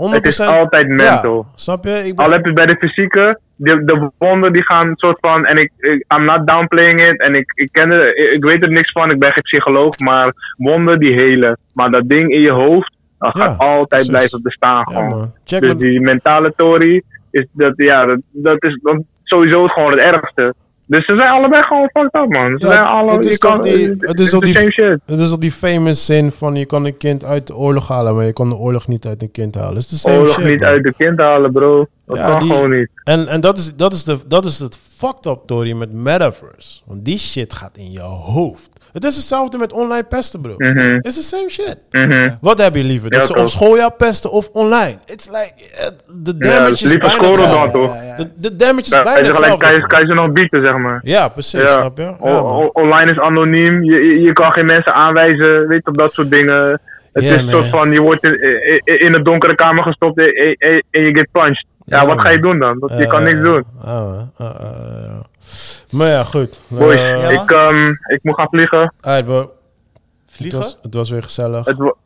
B: altijd mental.
A: Ja, snap je? Ik ben-
B: Al heb je bij de fysieke, de, de wonden die gaan soort van, en ik, ik I'm not downplaying it, en ik, ik ken er, ik, ik weet er niks van, ik ben geen psycholoog, maar wonden die helen. Maar dat ding in je hoofd, dat
A: Ja,
B: gaat altijd
A: precies.
B: blijven bestaan
A: ja,
B: gewoon.
A: man. Check
B: dus
A: maar-
B: die mentale theorie, is dat, ja, dat, dat is dan sowieso gewoon het ergste. Dus ze zijn allebei gewoon fucked up, man. Ze
A: Ja,
B: zijn
A: het-
B: alle,
A: het is
B: je kan,
A: toch die- het is
B: het is
A: toch
B: the
A: die-
B: same shit.
A: Het is al die famous zin van je kan een kind uit de oorlog halen, maar je kan de oorlog niet uit een kind halen. Het is de same
B: Oorlog
A: shit,
B: niet
A: man.
B: uit de kind halen, bro. Dat
A: Ja,
B: kan
A: die-
B: gewoon niet.
A: En, en dat, is, dat, is de, dat is het fucked up story met metaverse. Want die shit gaat in je hoofd. Het is hetzelfde met online pesten, bro.
B: Mhm.
A: It's the same shit.
B: Mhm.
A: Wat heb je liever? Dat
B: Ja,
A: ze op
B: klopt.
A: school jou pesten of online? It's like, het- de
B: Ja,
A: damage is
B: liever
A: bijna
B: scoren dan,
A: hetzelfde.
B: toch?
A: De, de damage is
B: Ja,
A: bijna
B: en tegelijk kan je,
A: hetzelfde.
B: kan je ze nog bieden, zeg maar.
A: Ja, precies, snap je? Ja,
B: O-
A: man.
B: o- online is anoniem, je, je, je kan geen mensen aanwijzen, weet je, op dat soort dingen. Het
A: Ja,
B: is
A: man.
B: een soort van, je wordt in, in, in een donkere kamer gestopt en, en- en- en je get punched. Ja,
A: Ja,
B: wat ga je
A: man.
B: doen dan? Dat, je
A: Eh,
B: kan niks doen.
A: ah, man. Ah, ah, ah, ja. Maar ja, goed.
B: Boys,
A: Eh,
C: ja.
B: ik, ehm, ik moet gaan vliegen.
A: alright, bro. Het
C: Vliegen?
A: was, het was weer gezellig.
B: Het, wo-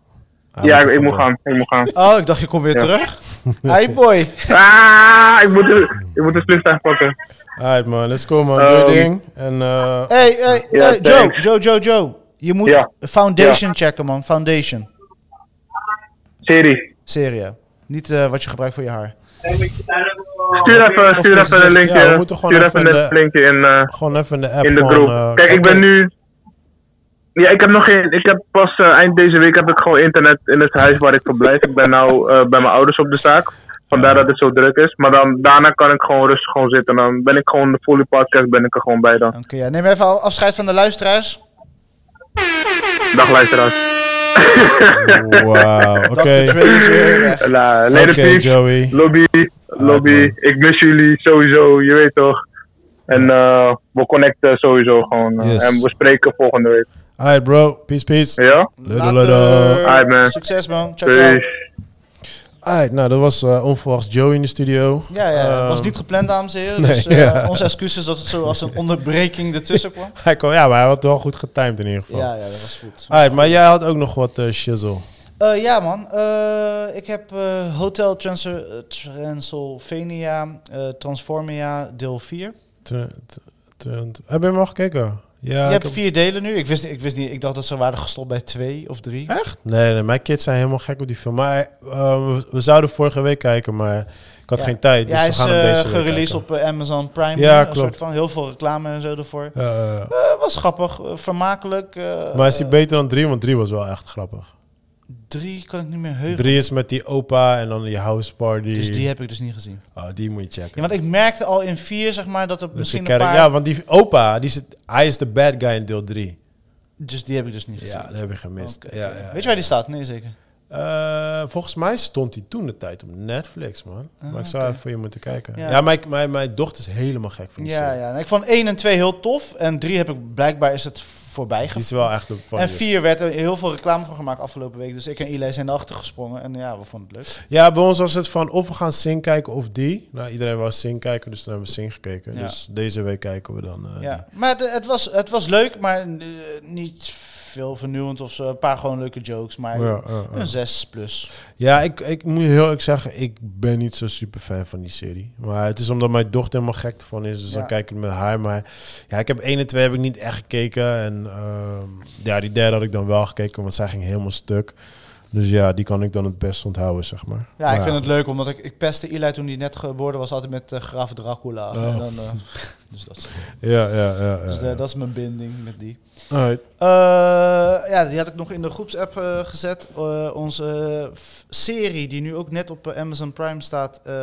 A: Hij
B: ja,
A: Ah, moet
B: ik,
A: ervan
B: ik moet
A: doen.
B: gaan. Ik moet gaan.
C: Oh, ik dacht, je komt weer terug. Hey boy.
B: Ah, ik moet, ik moet het vliegtuig pakken.
A: Alright man, let's go man. Doe je
B: Ehm,
A: ding. En eh,
C: Hey, hey,
B: Ja,
C: hey, Joe,
B: thanks.
C: Joe, Joe, Joe. Je moet
B: Ja.
C: Foundation checken, man. Foundation.
B: Serie.
C: Serie. Niet eh, wat je gebruikt voor je haar.
B: Stuur even, stuur
A: gezegd,
B: even een
A: ja, we
B: linkje.
A: moeten gewoon
B: stuur
A: even
B: even een
A: de-
B: linkje in. eh,
A: gewoon even in de app.
B: in de
A: gewoon,
B: groep.
A: eh,
B: Kijk, ik
A: oké.
B: ben nu. Ja, ik heb nog geen. Ik heb pas eh, eind deze week heb ik gewoon internet in het huis waar ik verblijf. ik ben nou eh, bij mijn ouders op de zaak. Vandaar dat het zo druk is. Maar dan, daarna kan ik gewoon rustig gewoon zitten. Dan ben ik gewoon de volle podcast ben ik er gewoon bij dan.
C: Oké, ja. neem even al- afscheid van de luisteraars.
B: Dag luisteraars.
A: Wauw, oké.
C: Dr. Dre is weer weg.
B: La,
A: Oké,
B: later peeps.
A: Joey.
B: Lobby, lobby.
A: man.
B: ik mis jullie sowieso, je weet toch. En eh, we connecten sowieso gewoon. eh,
A: Yes.
B: En we spreken volgende week.
A: Alright bro, peace peace.
B: Ja?
A: Later,
C: Later.
A: later.
B: Alright, man.
C: Succes, man. Ciao, ciao.
B: Peace.
A: Alright, nou dat was eh, onverwachts Joey in de studio.
C: Ja, ja. Het was
A: Ehm,
C: niet gepland, dames en heren.
A: nee,
C: dus, eh,
A: ja.
C: Onze excuses dat het zo als een onderbreking ertussen kwam.
A: Hij kon, ja, maar hij had wel goed getimed in ieder geval.
C: Ja, ja, dat was goed.
A: Alright, maar jij had ook nog wat eh, shizzle.
C: Eh, ja, man. Eh, ik heb eh, Hotel Transa- eh, Transylvania, eh, Transformia, deel 4.
A: Tr- tr- tr- Heb je hem al gekeken? Ja,
C: Je
A: ik
C: hebt
A: heb-
C: vier delen nu. Ik wist, niet- ik wist niet, ik dacht dat ze waren gestopt bij twee of drie.
A: Echt? Nee, nee, mijn kids zijn helemaal gek op die film. Maar eh, we, we zouden vorige week kijken, maar ik had
C: Ja.
A: geen tijd. Dus
C: ja, hij
A: we
C: is
A: gaan hem
C: eh,
A: deze week
C: gereleased
A: kijken.
C: op eh, Amazon Prime.
A: Ja,
C: eh, Een
A: klopt.
C: soort van heel veel reclame en zo ervoor.
A: Eh,
C: Eh, was grappig, eh, vermakelijk. eh,
A: maar is die
C: eh,
A: beter dan 3? Want 3 was wel echt grappig.
C: Drie kan ik niet meer heugen.
A: 3 is met die opa en dan die house party.
C: Dus die heb ik dus niet gezien.
A: Oh, die moet je
C: Ja,
A: checken.
C: want ik merkte al in vier, zeg maar, dat er
A: Dus de
C: misschien een
A: kerk-
C: paar...
A: Ja, want die opa, die zit, hij is de bad guy in deel 3.
C: Dus die heb ik dus niet gezien.
A: Ja, dat heb ik gemist.
C: Oké.
A: Ja, ja.
C: Weet je waar die staat? Nee, zeker.
A: Eh, volgens mij stond hij toen de tijd op Netflix, man. maar ik zou even voor je moeten kijken. Ja,
C: Ah, Ja.
A: mijn, mijn, mijn dochter is helemaal gek van die
C: Ja,
A: serie.
C: ja. En ik vond 1 en 2 heel tof. En 3 heb ik blijkbaar is het voorbij
A: Die is
C: gegaan.
A: wel echt een
C: En
A: funniest.
C: 4 werd er heel veel reclame voor gemaakt afgelopen week. Dus ik en Eli zijn erachter gesprongen. En ja, we vonden het leuk.
A: Ja, bij ons was het van of we gaan Sing kijken of die. Nou, iedereen wou Sing kijken, dus toen hebben we Sing gekeken.
C: Ja.
A: Dus deze week kijken we dan. eh,
C: Ja. Maar het, het was, het was leuk, maar eh, niet veel vernieuwend of zo. Een paar gewoon leuke jokes, maar
A: Ja, ja, ja.
C: een 6 plus.
A: Ja, ik, ik moet je heel eerlijk zeggen, ik ben niet zo super fan van die serie. Maar het is omdat mijn dochter helemaal gek ervan is, dus
C: Ja.
A: dan kijk ik met haar. Maar ja, ik heb 1 en 2 heb ik niet echt gekeken. En ehm, ja, die derde had ik dan wel gekeken, want zij ging helemaal stuk. Dus ja, die kan ik dan het best onthouden, zeg maar.
C: Ja, ik
A: Maar
C: vind het leuk, omdat ik, ik pestte Eli toen hij net geboren was altijd met eh, Graaf Dracula.
A: Oh.
C: En dan, eh, dus dat, is-
A: Ja, ja, ja. ja,
C: dus de-
A: ja.
C: dat is mijn binding met die.
A: Alright.
C: Eh, ja, die had ik nog in de groepsapp eh, gezet. Eh, onze f- serie, die nu ook net op eh, Amazon Prime staat, eh,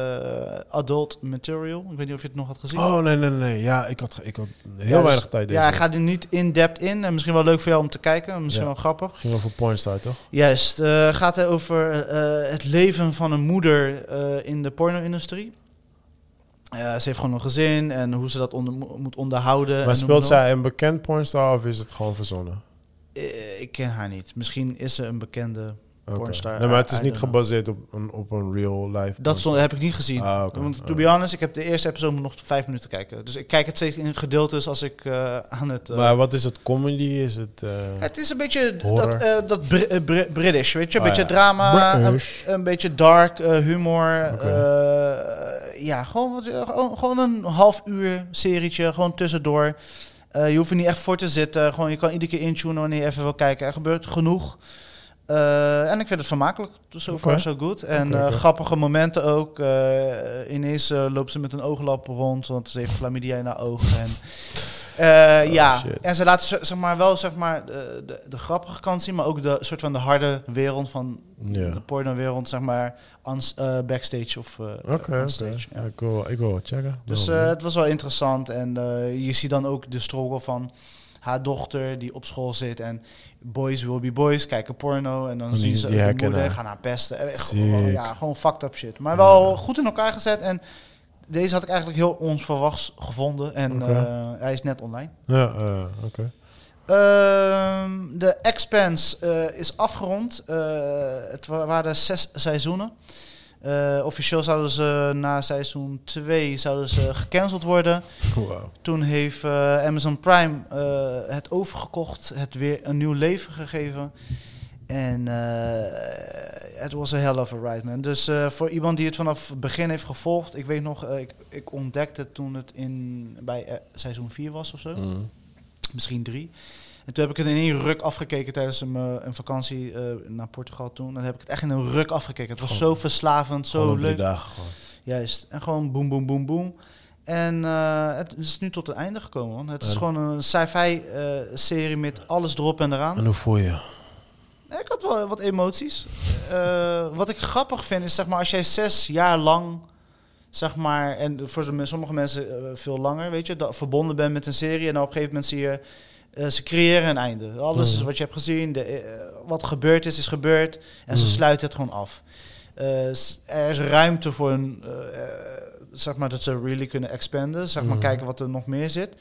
C: Adult Material. Ik weet niet of je het nog had gezien.
A: Oh, nee, nee, nee. Ja, ik had, ge- ik had heel
C: Ja, dus-
A: weinig tijd deze
C: Ja, hij
A: week.
C: gaat er niet in-depth in. En misschien wel leuk voor jou om te kijken. Misschien
A: Ja.
C: wel grappig.
A: Ging over pornstar, toch?
C: Juist. eh, gaat hij over eh, het leven van een moeder eh, in de porno-industrie. Eh, ze heeft gewoon een gezin en hoe ze dat onder, mo- moet onderhouden. en
A: Maar
C: noem
A: speelt
C: op.
A: zij een bekend pornstar of is het gewoon verzonnen?
C: Eh, ik ken haar niet. Misschien is ze een bekende
A: Oké.
C: pornstar. eh,
A: Nee, maar het
C: I-
A: is
C: I
A: niet
C: don't know.
A: gebaseerd op een, op een real life
C: Dat
A: pornstar.
C: stond, heb ik niet gezien.
A: Ah, oké.
C: Want to be honest, ik heb de eerste episode nog vijf minuten kijken. Dus ik kijk het steeds in gedeeltes als ik eh, aan het... eh,
A: Maar wat is het? Comedy? Is het... eh,
C: het is een beetje
A: Horror.
C: dat, eh, dat Bri- eh, Bri- British, weet je? Een
A: Ah,
C: beetje
A: ja.
C: drama, een,
A: British.
C: een beetje dark eh, humor.
A: Oké.
C: eh, ja, gewoon, wat- eh, gewoon, gewoon een half uur serietje, gewoon tussendoor. Eh, je hoeft er niet echt voor te zitten. Gewoon, je kan iedere keer intunen wanneer je even wil kijken. Er gebeurt genoeg. Eh, en ik vind het vermakelijk. dus So far,
A: Oké.
C: so good. En
A: Oké,
C: eh,
A: oké.
C: grappige momenten ook. Eh, ineens eh, loopt ze met een ooglap rond, want ze heeft chlamydia in haar ogen. En, eh,
A: Oh,
C: ja,
A: shit.
C: en ze laat ze- zeg maar, wel zeg maar, de, de, de grappige kant zien, maar ook de soort van de harde wereld van de
A: ja.
C: porno-wereld, zeg maar, on, eh, backstage of eh
A: Oké, oké.
C: onstage, ja.
A: Ja, ik, wil, ik wil wat checken.
C: Dus
A: Nou,
C: eh,
A: man.
C: het was wel interessant. En eh, je ziet dan ook de struggle van haar dochter die op school zit en boys will be boys, kijken porno en dan
A: Oh, Die-
C: zien ze
A: die
C: de
A: herkennen
C: moeder,
A: haar.
C: gaan haar pesten. Eh, echt
A: Sick.
C: gewoon- Ja, gewoon fucked up shit. Maar
A: Ja.
C: wel goed in elkaar gezet en deze had ik eigenlijk heel onverwachts gevonden en
A: Oké.
C: eh, hij is net online.
A: Ja, eh, oké.
C: Ehm, de Expanse eh, is afgerond. Eh, het wa- waren zes seizoenen. Eh, officieel zouden ze na seizoen 2 zouden ze gecanceld worden.
A: Wow.
C: Toen heeft eh, Amazon Prime eh, het overgekocht, het weer een nieuw leven gegeven. En eh, het was een hell of a ride, man. Dus eh, voor iemand die het vanaf het begin heeft gevolgd... Ik weet nog, eh, ik, ik ontdekte het toen het in, bij eh, seizoen 4 was of zo
A: Mm.
C: misschien drie. En toen heb ik het in één ruk afgekeken tijdens een, eh, een vakantie eh, naar Portugal toen. En dan heb ik het echt in een ruk afgekeken. Het was
A: Gewoon-
C: zo verslavend,
A: Gewoon
C: zo
A: om drie
C: leuk.
A: dagen gewoon.
C: Juist. En gewoon boem, boem, boem, boem. En eh, het is nu tot het einde gekomen. Man. Het is
A: En-
C: gewoon een sci-fi eh, serie met alles erop en eraan.
A: En hoe voel je?
C: Ik had wel wat emoties. Eh, wat ik grappig vind is, zeg maar, als jij zes jaar lang, zeg maar, en voor som- sommige mensen eh, veel langer, weet je, dat, verbonden bent met een serie en dan op een gegeven moment zie je, eh, ze creëren een einde. Alles is
A: Mhm.
C: wat je hebt gezien, de, eh, wat gebeurd is, is gebeurd en ze
A: Mhm.
C: sluiten het gewoon af. Eh, s- er is ruimte voor een, eh, eh, zeg maar, dat ze really kunnen expanden, zeg maar,
A: Mhm.
C: kijken wat er nog meer zit.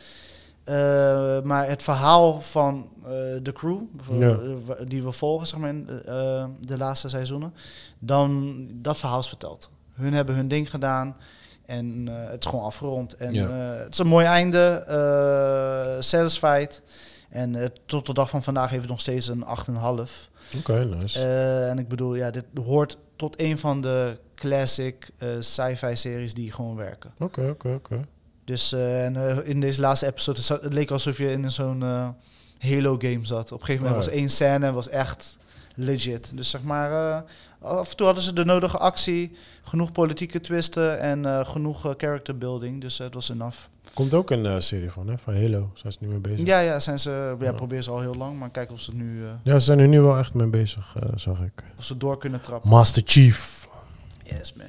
C: Eh, maar het verhaal van eh, de crew,
A: Ja.
C: eh, die we volgen zeg maar, in eh, eh, de laatste seizoenen, dan dat verhaal is verteld. Hun hebben hun ding gedaan en eh, het is gewoon afgerond. En
A: Ja.
C: eh, het is een mooi einde, eh, satisfied. En eh, tot de dag van vandaag heeft het nog steeds een 8,5.
A: Oké, nice.
C: Eh, en ik bedoel, ja, dit hoort tot een van de classic eh, sci-fi series die gewoon werken.
A: Oké, oké, oké.
C: Dus eh, en, eh, in deze laatste episode, za- het leek alsof je in zo'n eh, Halo-game zat. Op een gegeven moment
A: Oh.
C: was één scène en was echt legit. Dus zeg maar, eh, af en toe hadden ze de nodige actie, genoeg politieke twisten en eh, genoeg eh, character building. Dus eh, het was enough.
A: Komt ook een eh, serie van, hè? Van Halo. Zijn ze nu mee bezig?
C: Ja, ja, zijn ze, ja,
A: Ja.
C: proberen ze al heel lang, maar kijken of ze nu eh,
A: Ja, ze zijn er nu wel echt mee bezig, eh, zag ik.
C: of ze door kunnen trappen.
A: Master Chief.
C: Yes, man.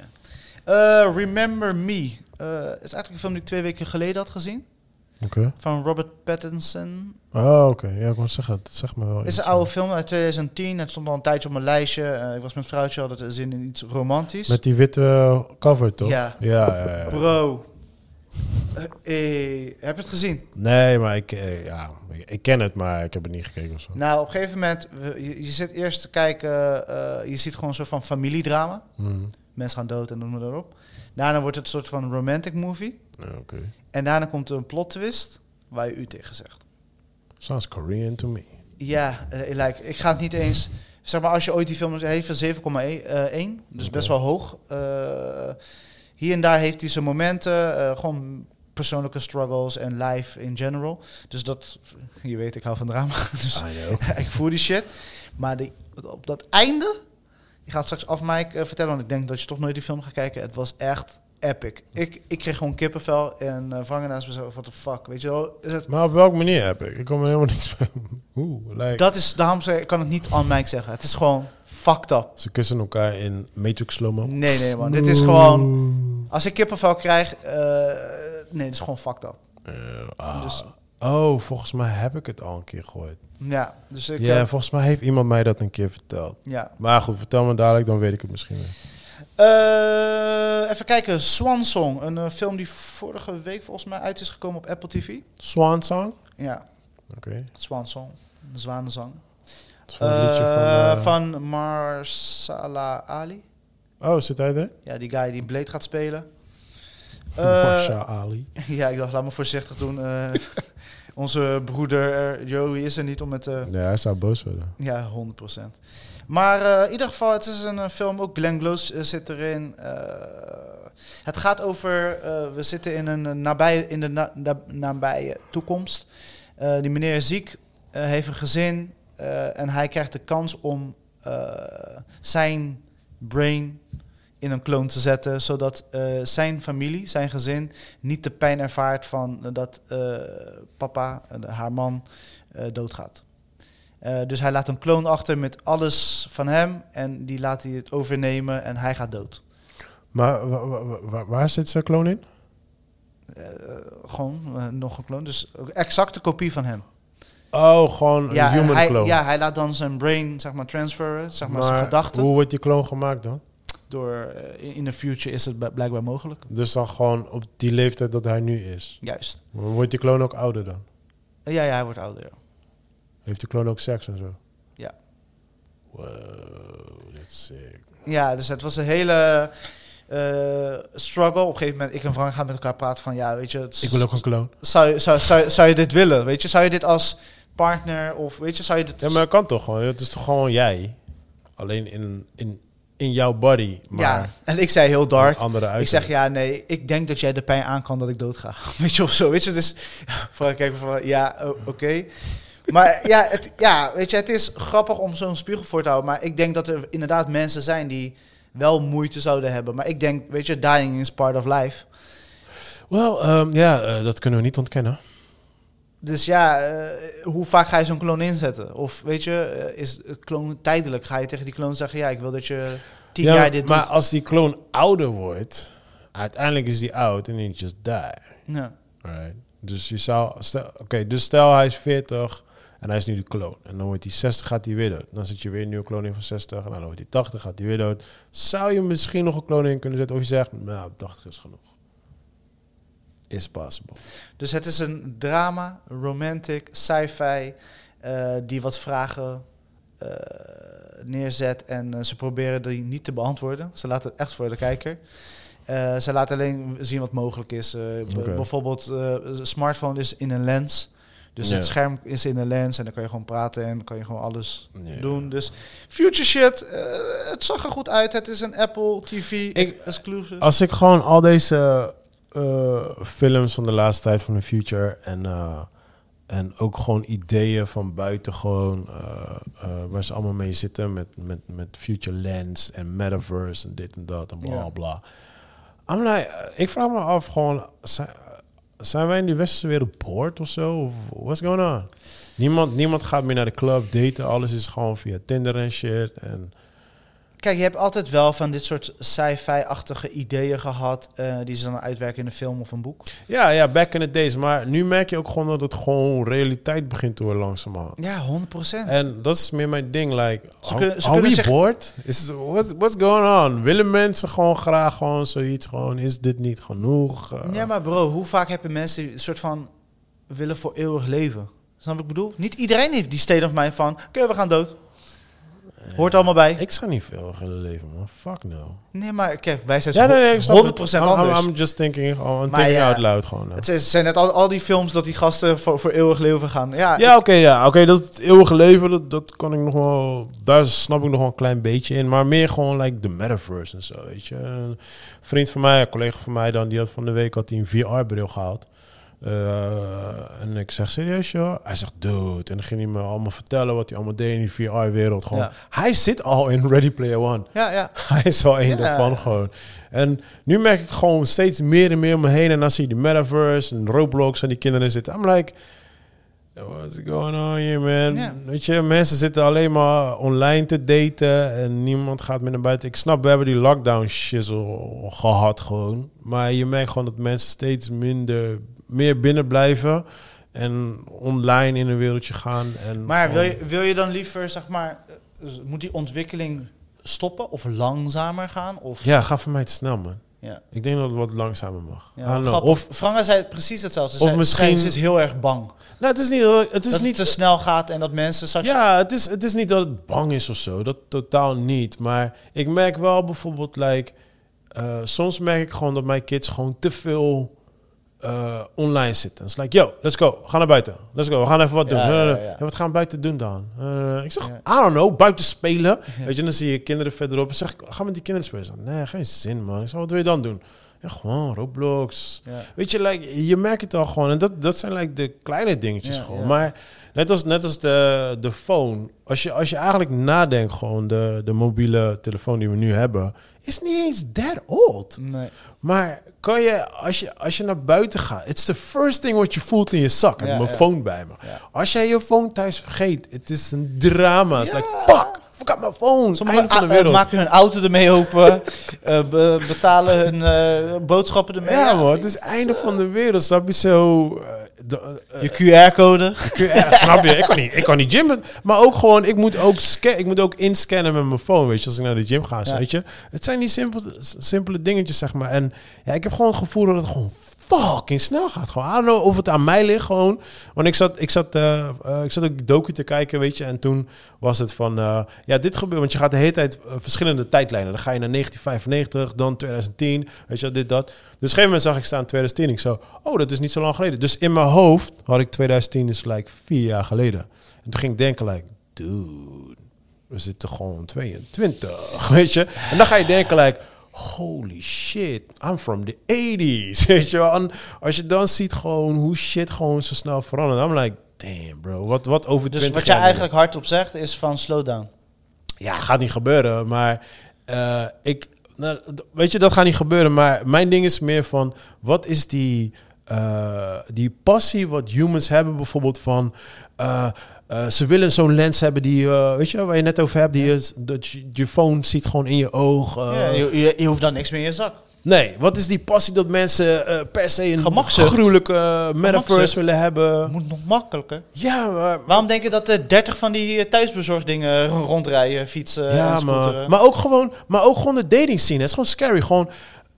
C: Eh, Remember Me eh, is eigenlijk een film die ik twee weken geleden had gezien.
A: Oké.
C: Van Robert Pattinson
A: Oh, oké. Ja, ik wou zeggen, dat zeg maar wel
C: Het is een
A: iets. eh,
C: oude film uit 2010. Het stond al een tijdje op mijn lijstje. Eh, ik was met vrouwtje, had het zin in iets romantisch.
A: Met die witte eh, cover, toch?
C: Ja.
A: Ja, ja, ja.
C: Bro. Eh, eh, heb je het gezien?
A: Nee, maar ik, eh, ja, ik ken het, maar ik heb het niet gekeken of zo.
C: Nou, op een gegeven moment, we- je, je zit eerst te kijken, eh, je ziet gewoon een soort van familiedrama.
A: Mm.
C: Mensen gaan dood en noem maar erop. Daarna wordt het een soort van romantic movie.
A: Ja, Oké.
C: En daarna komt er een plot twist waar je u tegen zegt.
A: Sounds Korean to me.
C: Ja, eh, like, ik ga het niet eens. Zeg maar, als je ooit die film heeft van 7,1, eh, dus best wel hoog. Eh, hier en daar heeft hij zijn momenten, eh, gewoon persoonlijke struggles en life in general. Dus dat, je weet, ik hou van drama. Dus
A: I know.
C: ik voel die shit. Maar die, op dat einde, je gaat straks af Mike eh, vertellen, want ik denk dat je toch nooit die film gaat kijken. Het was echt epic. Ik, ik kreeg gewoon kippenvel en eh vangen naast mezelf, what the fuck, weet je wel. Is het
A: Maar op welke manier heb ik? Ik kom er helemaal niks bij. Oeh, like,
C: Dat is, daarom zei- ik kan het niet aan Mike zeggen. Het is gewoon fucked up.
A: Ze kussen elkaar in Matrix slow-mo.
C: Nee, nee, man. Dit is gewoon... Als ik kippenvel krijg... eh, nee, het is gewoon fucked up.
A: Eh, ah.
C: Dus-
A: Oh, volgens mij heb ik het al een keer gehoord.
C: Ja, dus ik...
A: Ja,
C: eh,
A: volgens mij heeft iemand mij dat een keer verteld.
C: ja.
A: Maar goed, vertel me dadelijk, dan weet ik het misschien weer.
C: Eh, even kijken. Swan Song. Een eh, film die vorige week volgens mij uit is gekomen op Apple TV.
A: Swan Song?
C: Ja,
A: Oké.
C: Swan Song. De zwanenzang.
A: Dat is van een liedje van...
C: Eh,
A: eh,
C: van Marsala Ali.
A: Oh, zit hij erin?
C: Ja, die guy die Blade gaat spelen. Eh,
A: Marsha Ali.
C: Ja, ik dacht, laat me voorzichtig doen. Eh, onze broeder eh, Joey is er niet om het... eh,
A: Ja, hij zou boos worden.
C: ja, 100%. Maar eh, in ieder geval, het is een eh, film. Ook Glenn Close eh, zit erin. Eh, het gaat over... eh, we zitten in een eh, nabije, in de na- na- nabije toekomst. Eh, die meneer is ziek, eh, heeft een gezin. eh, en hij krijgt de kans om eh, zijn brain in een kloon te zetten, zodat eh, zijn familie, zijn gezin, niet de pijn ervaart van eh, dat eh, papa, eh, haar man, eh, doodgaat. Eh, dus hij laat een kloon achter met alles van hem en die laat hij het overnemen en hij gaat dood.
A: Maar wa- wa- wa- wa- waar zit zijn kloon in?
C: Eh, gewoon eh, nog een kloon, dus ook exacte kopie van hem.
A: Oh, gewoon een
C: en
A: human
C: hij,
A: kloon.
C: ja, hij laat dan zijn brain zeg maar transferen, zeg maar, zijn gedachten.
A: hoe wordt die kloon gemaakt dan?
C: Door eh, in- in de future is het bl- blijkbaar mogelijk.
A: Dus dan gewoon op die leeftijd dat hij nu is.
C: Juist.
A: Wordt die kloon ook ouder dan?
C: Eh, ja, ja, hij wordt ouder. ja.
A: Heeft de kloon ook seks en zo?
C: Ja.
A: Wow, that's sick.
C: Ja, dus het was een hele eh, struggle. Op een gegeven moment, ik en Frank gaan met elkaar praten van, ja, weet je, het
A: Ik wil ook een kloon.
C: zou, je- zou, zou, zou je dit willen? Weet je, zou je dit als partner of weet je, zou je dit...
A: Ja, maar dat kan toch gewoon? Het is toch gewoon jij? Alleen in, in, in jouw body, maar
C: Ja, en ik zei heel
A: een
C: dark.
A: andere uit.
C: Ik zeg ja, nee, ik denk dat jij de pijn aan kan dat ik doodga. Weet je of zo. Weet je, dus Frank kijkt me van ja, o- oké. Maar ja, het, ja, weet je, het is grappig om zo'n spiegel voor te houden. Maar ik denk dat er inderdaad mensen zijn die wel moeite zouden hebben. Maar ik denk, weet je, dying is part of life.
A: Wel, ehm, ja, eh, dat kunnen we niet ontkennen.
C: Dus ja, eh, hoe vaak ga je zo'n kloon inzetten? Of weet je, eh, is het kloon tijdelijk? Ga je tegen die kloon zeggen, ja, ik wil dat je tien
A: Ja,
C: jaar dit
A: maar
C: doet?
A: als die kloon ouder wordt, uiteindelijk is die oud en he just die.
C: Ja.
A: Alright. Dus je zou, stel- oké, dus stel hij is 40 en hij is nu de kloon. En dan wordt hij 60, gaat hij weer dood. Dan zit je weer een nieuwe kloon in van 60. En dan wordt hij 80, gaat hij weer dood. Zou je misschien nog een kloon in kunnen zetten? Of je zegt, nou, 80 is genoeg. Is possible.
C: Dus het is een drama, romantic, sci-fi, eh, die wat vragen eh, neerzet. En eh, ze proberen die niet te beantwoorden. Ze laten het echt voor de kijker. Eh, ze laten alleen zien wat mogelijk is. Eh, b-
A: Oké.
C: Bijvoorbeeld, eh, een smartphone is in een lens. Dus
A: Ja.
C: het scherm is in een lens en dan kan je gewoon praten en dan kan je gewoon alles
A: Ja.
C: doen. Dus future shit, eh, het zag er goed uit. Het is een Apple TV
A: Ik-
C: exclusive.
A: Als ik gewoon al deze eh, films van de laatste tijd van de future en, eh, en ook gewoon ideeën van buiten gewoon eh, eh, waar ze allemaal mee zitten met, met, met future lens en metaverse en dit en dat en bla
C: Ja.
A: bla. I'm like, eh, ik vraag me af gewoon zijn, zijn wij in die westerse wereld boord of zo? Of What's going on? Niemand, niemand gaat meer naar de club daten. Alles is gewoon via Tinder en shit. En
C: Kijk, je hebt altijd wel van dit soort sci-fi-achtige ideeën gehad... eh, die ze dan uitwerken in een film of een boek.
A: Ja, ja, back in the days. Maar nu merk je ook gewoon dat het gewoon realiteit begint te worden langzamerhand.
C: Ja, 100 procent.
A: En dat is meer mijn ding. Like,
C: Ze
A: are-
C: kunnen- ze
A: are we
C: kunnen zich-
A: bored? Is, what, what's going on? Willen mensen gewoon graag gewoon zoiets? Gewoon, is dit niet genoeg? Eh,
C: Ja, maar bro, hoe vaak hebben mensen die een soort van... willen voor eeuwig leven? Snap wat ik bedoel? Niet iedereen heeft die state of mind van... oké, we gaan dood. Hoort allemaal bij.
A: Eh, Ik zou niet veel willen leven, man. Fuck no.
C: Nee, maar kijk, wij zijn
A: Ja, nee, nee, ik snap het.
C: 100%
A: I'm- I'm-
C: anders.
A: I'm, just thinking, oh, I'm
C: Maar
A: thinking
C: ja,
A: out loud gewoon. nou.
C: Het zijn- het zijn net al, al die films dat die gasten voor, voor eeuwig leven gaan. Ja,
A: Ja, oké, ja. Oké, dat eeuwige leven, dat, dat kan ik nog wel... Daar snap ik nog wel een klein beetje in. Maar meer gewoon, like, de metaverse en zo, weet je. Een vriend van mij, een collega van mij dan, die had van de week had hij een VR-bril gehaald. Eh, en ik zeg, serieus joh? Hij zegt, dude. En dan ging hij me allemaal vertellen wat hij allemaal deed in die VR-wereld. Gewoon,
C: Ja.
A: hij zit al in Ready Player One.
C: ja, ja.
A: Hij is wel één
C: Ja.
A: daarvan gewoon. En nu merk ik gewoon steeds meer en meer om me heen. En dan zie je die metaverse en Roblox en die kinderen zitten. I'm like, what's going on here, man?
C: Ja.
A: Weet je, mensen zitten alleen maar online te daten. En niemand gaat meer naar buiten. Ik snap, we hebben die lockdown shizzle gehad gewoon. Maar je merkt gewoon dat mensen steeds minder, meer binnen blijven. En online in een wereldje gaan. En
C: Maar wil
A: gewoon-
C: je, wil je dan liever, zeg maar, eh, dus moet die ontwikkeling stoppen of langzamer gaan? Of,
A: Ja, ga voor mij te snel, man.
C: ja.
A: Ik denk dat het wat langzamer mag. I
C: Ja,
A: don't know.
C: grappig.
A: Of
C: Franga zei precies hetzelfde. Ze
A: of
C: zei,
A: misschien-
C: misschien... Ze is heel erg bang.
A: Nou, het is niet, het
C: Dat
A: is
C: het niet
A: niet,
C: te snel gaat en dat mensen straks...
A: ja, het is, het is niet dat het bang is of zo. Dat totaal niet. Maar ik merk wel bijvoorbeeld, like, eh, soms merk ik gewoon dat mijn kids gewoon te veel eh, online zitten. Het is like, yo, let's go, we gaan naar buiten. Let's go, we gaan even wat doen.
C: Ja, ja, ja, ja.
A: Eh, wat gaan we buiten doen dan? Eh, ik zeg,
C: Ja.
A: I don't know, buiten spelen. Weet je, dan zie je kinderen verderop. Dan zeg ik, ga met die kinderen spelen. Ze zeggen, Nee, geen zin man. Ik zeg, wat wil je dan doen? Ja, gewoon Roblox.
C: Ja.
A: Weet je, like, je merkt het al gewoon. En dat, dat zijn like, de kleine dingetjes
C: Ja,
A: gewoon.
C: ja.
A: Maar net als, net als de, de phone. Als je, als je eigenlijk nadenkt, gewoon de, de mobiele telefoon die we nu hebben... is niet eens that old.
C: Nee.
A: Maar kan je als, je, als je naar buiten gaat... It's the first thing what you voelt in je zak. En
C: Ja,
A: mijn
C: ja.
A: phone bij me.
C: Ja.
A: Als jij je phone thuis vergeet, het is een drama. Het is like, fuck, forgot my phone.
C: Sommigen
A: Einde van de
C: a- eh,
A: wereld.
C: maken hun auto ermee open, eh, be- betalen hun eh, boodschappen ermee.
A: ja, man, het is einde van de wereld. Snap je zo... eh, de- eh,
C: Je QR-code.
A: Kun je- ja, snap je? Ik kan niet, ik kan niet gymmen. Maar ook gewoon, ik moet ook, sca- ik moet ook inscannen met mijn phone, weet je, als ik naar de gym ga.
C: Ja.
A: Weet je? Het zijn die simpel, simpele dingetjes, zeg maar. En ja, ik heb gewoon het gevoel dat het gewoon fucking snel gaat. Gewoon, I don't know of het aan mij ligt gewoon. Want ik zat, ik zat, eh, eh, ik zat ook docu te kijken, weet je. En toen was het van, eh, ja, dit gebeurt. Want je gaat de hele tijd eh, verschillende tijdlijnen. Dan ga je naar 1995, dan 2010, weet je, dit, dat. Dus op een gegeven moment zag ik staan 2010. Ik zo, oh, dat is niet zo lang geleden. Dus in mijn hoofd had ik 2010 is like vier jaar geleden. En toen ging ik denken, like, dude, we zitten gewoon 22, weet je. En dan ga je denken, like, holy shit, I'm from the 80s, weet je wel. En als je dan ziet gewoon hoe shit gewoon zo snel verandert. I'm like, damn bro, wat, wat over
C: Dus
A: 20
C: wat jij
A: jaar doen?
C: eigenlijk hardop zegt is van slow down.
A: ja, gaat niet gebeuren. Maar eh, ik, nou, d- weet je, dat gaat niet gebeuren. Maar mijn ding is meer van, wat is die, eh, die passie wat humans hebben bijvoorbeeld van... eh, eh, ze willen zo'n lens hebben die, eh, weet je, waar je net over hebt, die is, dat je, je phone ziet gewoon in je oog. eh.
C: Ja, je, je, je hoeft dan niks meer in je zak.
A: Nee, wat is die passie dat mensen eh, per se een
C: Gemakzucht.
A: gruwelijke eh, metaverse
C: Gemakzucht.
A: willen hebben?
C: moet nog makkelijker.
A: Ja, maar,
C: Waarom denk je dat er 30 van die eh, thuisbezorgdingen r- rondrijden, fietsen eh, en
A: Ja, maar,
C: scooteren?
A: maar, ook gewoon, maar ook gewoon de dating scene. Het is gewoon scary. Gewoon,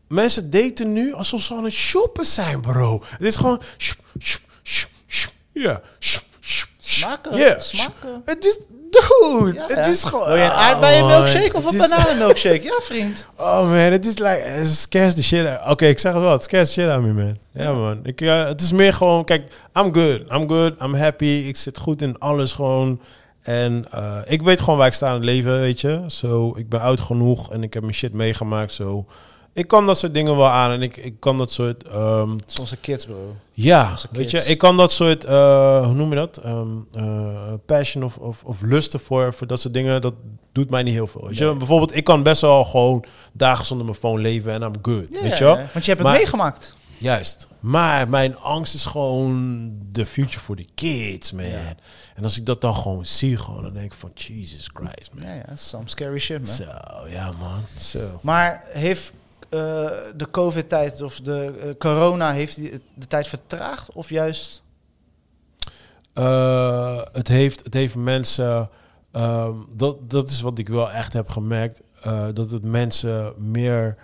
A: mensen daten nu alsof ze aan het shoppen zijn, bro. Het is gewoon... shup, shup, shup, shup. Ja. shup, shup, shup.
C: Smaken,
A: Ja.
C: smaken.
A: Het is... Dude,
C: Ja,
A: het
C: hè?
A: is gewoon...
C: Wil je een
A: Ah,
C: aardbeienmilkshake
A: man.
C: of een
A: Het is-
C: bananenmilkshake? Ja, vriend.
A: Oh man, het is like... Het scares the shit out. Oké, ik zeg het wel. Het scares the shit out me, man. Ja, man. Ik, eh, het is meer gewoon... Kijk, I'm good. I'm good. I'm happy. Ik zit goed in alles gewoon. En eh, ik weet gewoon waar ik sta in het leven, weet je. Zo, ik ben oud genoeg en ik heb mijn shit meegemaakt, zo. Ik kan dat soort dingen wel aan en ik, ik kan dat soort... ehm,
C: Het is onze kids, bro.
A: ja,
C: Onze
A: weet je,
C: kids.
A: ik kan dat soort, eh, hoe noem je dat? Ehm, eh, passion of, of, of lusten voor, voor dat soort dingen, dat doet mij niet heel veel. Weet je? Bijvoorbeeld, ik kan best wel gewoon dagen zonder mijn phone leven en I'm good,
C: Ja,
A: weet je
C: ja,
A: wel?
C: ja. Want je hebt het
A: Maar-
C: meegemaakt.
A: Juist. Maar mijn angst is gewoon de future voor de kids, man. En als ik dat dan gewoon zie, gewoon, dan denk ik van, Jesus Christ, man.
C: Ja, ja, dat is some scary shit, man.
A: Zo, ja man, zo.
C: Maar heeft eh, de COVID-tijd of de eh, corona, heeft die de tijd vertraagd of juist...
A: Eh, het, heeft, het heeft mensen. ehm, dat, dat is wat ik wel echt heb gemerkt. eh, dat het mensen meer.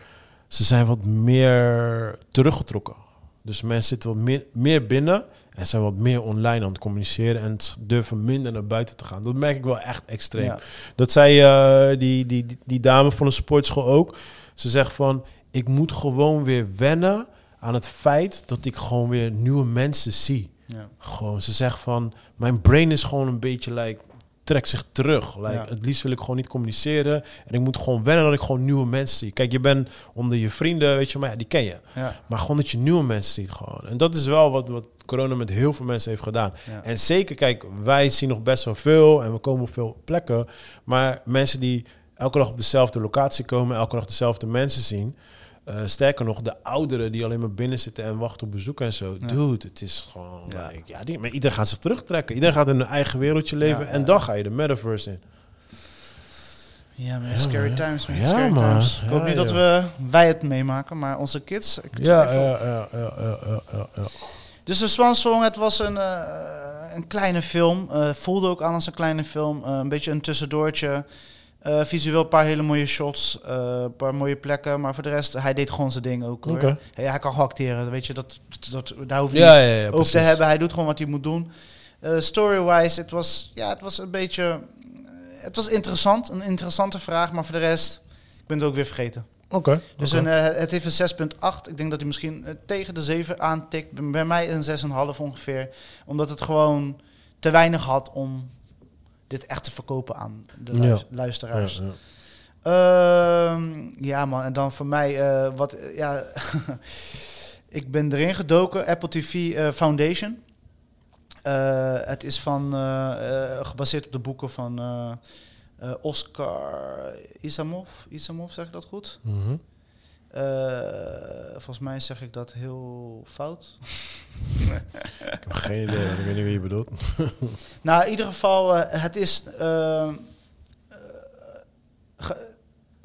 A: Ze zijn wat meer teruggetrokken. Dus mensen zitten wat meer, meer binnen. En zijn wat meer online aan het communiceren en ze durven minder naar buiten te gaan. Dat merk ik wel echt extreem.
C: Ja.
A: Dat zei eh, die, die, die, die dame van de sportschool ook. Ze zegt van, ik moet gewoon weer wennen aan het feit dat ik gewoon weer nieuwe mensen zie.
C: Ja.
A: Gewoon, ze zegt van, mijn brain is gewoon een beetje, like, trekt zich terug. Like,
C: Ja.
A: Het liefst wil ik gewoon niet communiceren. En ik moet gewoon wennen dat ik gewoon nieuwe mensen zie. Kijk, je bent onder je vrienden, weet je, maar ja, die ken je.
C: Ja.
A: Maar gewoon dat je nieuwe mensen ziet gewoon. En dat is wel wat, wat corona met heel veel mensen heeft gedaan.
C: Ja.
A: En zeker, kijk, wij zien nog best wel veel en we komen op veel plekken. Maar mensen die elke dag op dezelfde locatie komen, elke dag dezelfde mensen zien. eh, sterker nog, de ouderen die alleen maar binnen zitten en wachten op bezoek en zo. Dude, het is gewoon...
C: Ja.
A: like, ja, die, maar iedereen gaat zich terugtrekken. Iedereen gaat in hun eigen wereldje leven.
C: Ja,
A: en
C: ja.
A: dan ga je de metaverse in.
C: Ja, maar scary times, man.
A: Ja,
C: scary
A: man.
C: times. Ik hoop
A: Ja,
C: niet dat
A: ja.
C: we, wij het meemaken, maar onze kids. Ik twijfel.
A: ja, ja, ja, ja, ja, ja.
C: Dus de Swan Song, het was een, eh, een kleine film. Eh, voelde ook aan als een kleine film. Eh, een beetje een tussendoortje. Eh, visueel een paar hele mooie shots. eh, Een paar mooie plekken. Maar voor de rest, hij deed gewoon zijn ding ook. Hoor.
A: Oké.
C: Hij, hij kan gewoon acteren. Weet je, dat, dat, dat- daar hoef je
A: Ja,
C: niet
A: ja, ja,
C: over te
A: precies.
C: hebben. Hij doet gewoon wat hij moet doen. Eh, Story-wise, het was, ja, het was een beetje... eh, Het was interessant. Een interessante vraag. Maar voor de rest, ik ben het ook weer vergeten.
A: Oké.
C: Dus
A: oké.
C: een, eh, het heeft een 6,8. Ik denk dat hij misschien eh, tegen de 7 aantikt. Bij- Bij mij een 6,5 ongeveer. Omdat het gewoon te weinig had om dit echt te verkopen aan de luis-
A: Ja.
C: luisteraars.
A: Ja, ja.
C: Ehm, ja, man. En dan voor mij, eh, wat, eh, ja, ik ben erin gedoken, Apple TV eh, Foundation. Eh, het is van, eh, eh, gebaseerd op de boeken van eh, eh, Oscar Isamov. Isamov, zeg ik dat goed?
A: Mhm.
C: Eh, volgens mij zeg ik dat heel fout.
A: Ik heb geen idee, want ik weet niet wie je bedoelt.
C: Nou, in ieder geval, eh, het is eh, eh, ge-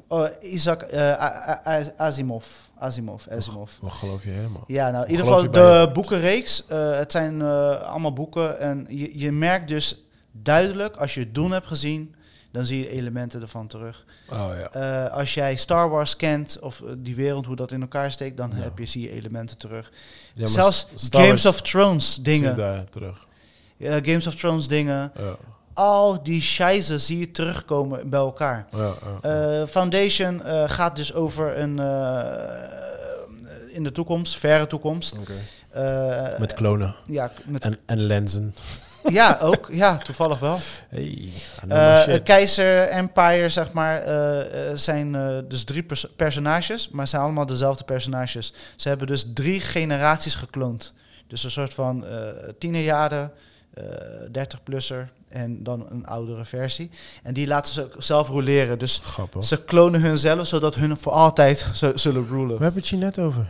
C: oh, Isaac eh, A- A- A- Asimov. Asimov, Asimov.
A: Wat geloof je helemaal?
C: Ja, nou, in
A: Ik
C: ieder
A: geloof
C: geval
A: je bij
C: de
A: je.
C: boekenreeks. eh, het zijn eh, allemaal boeken. En je, je merkt dus duidelijk, als je het doen hebt gezien, dan zie je elementen ervan terug.
A: Oh ja.
C: Eh, als jij Star Wars kent, of eh, die wereld, hoe dat in elkaar steekt, dan
A: Ja.
C: heb je, zie je elementen terug.
A: ja
C: Zelfs Games of Thrones dingen.
A: daar terug.
C: Ja, Games of Thrones dingen.
A: Ja,
C: Al die scheisse zie je terugkomen bij elkaar.
A: ja, ja.
C: Eh, Foundation eh, gaat dus over een... eh, in de toekomst, verre toekomst.
A: Oké.
C: Eh,
A: Met klonen
C: ja, k- met,
A: en, en lenzen.
C: ja, ook. Ja, toevallig wel.
A: Hey,
C: Eh,
A: uh,
C: het Keizer Empire, zeg maar, eh, eh, zijn eh, dus drie pers- personages, maar zijn allemaal dezelfde personages. Ze hebben dus drie generaties gekloond. Dus een soort van eh tienerjaren, eh 30-plusser en dan een oudere versie. En die laten ze ook zelf roleren. Dus
A: Grappig.
C: ze klonen hunzelf, zodat hun voor altijd z- zullen
A: We
C: rulen.
A: hebben het hier net over.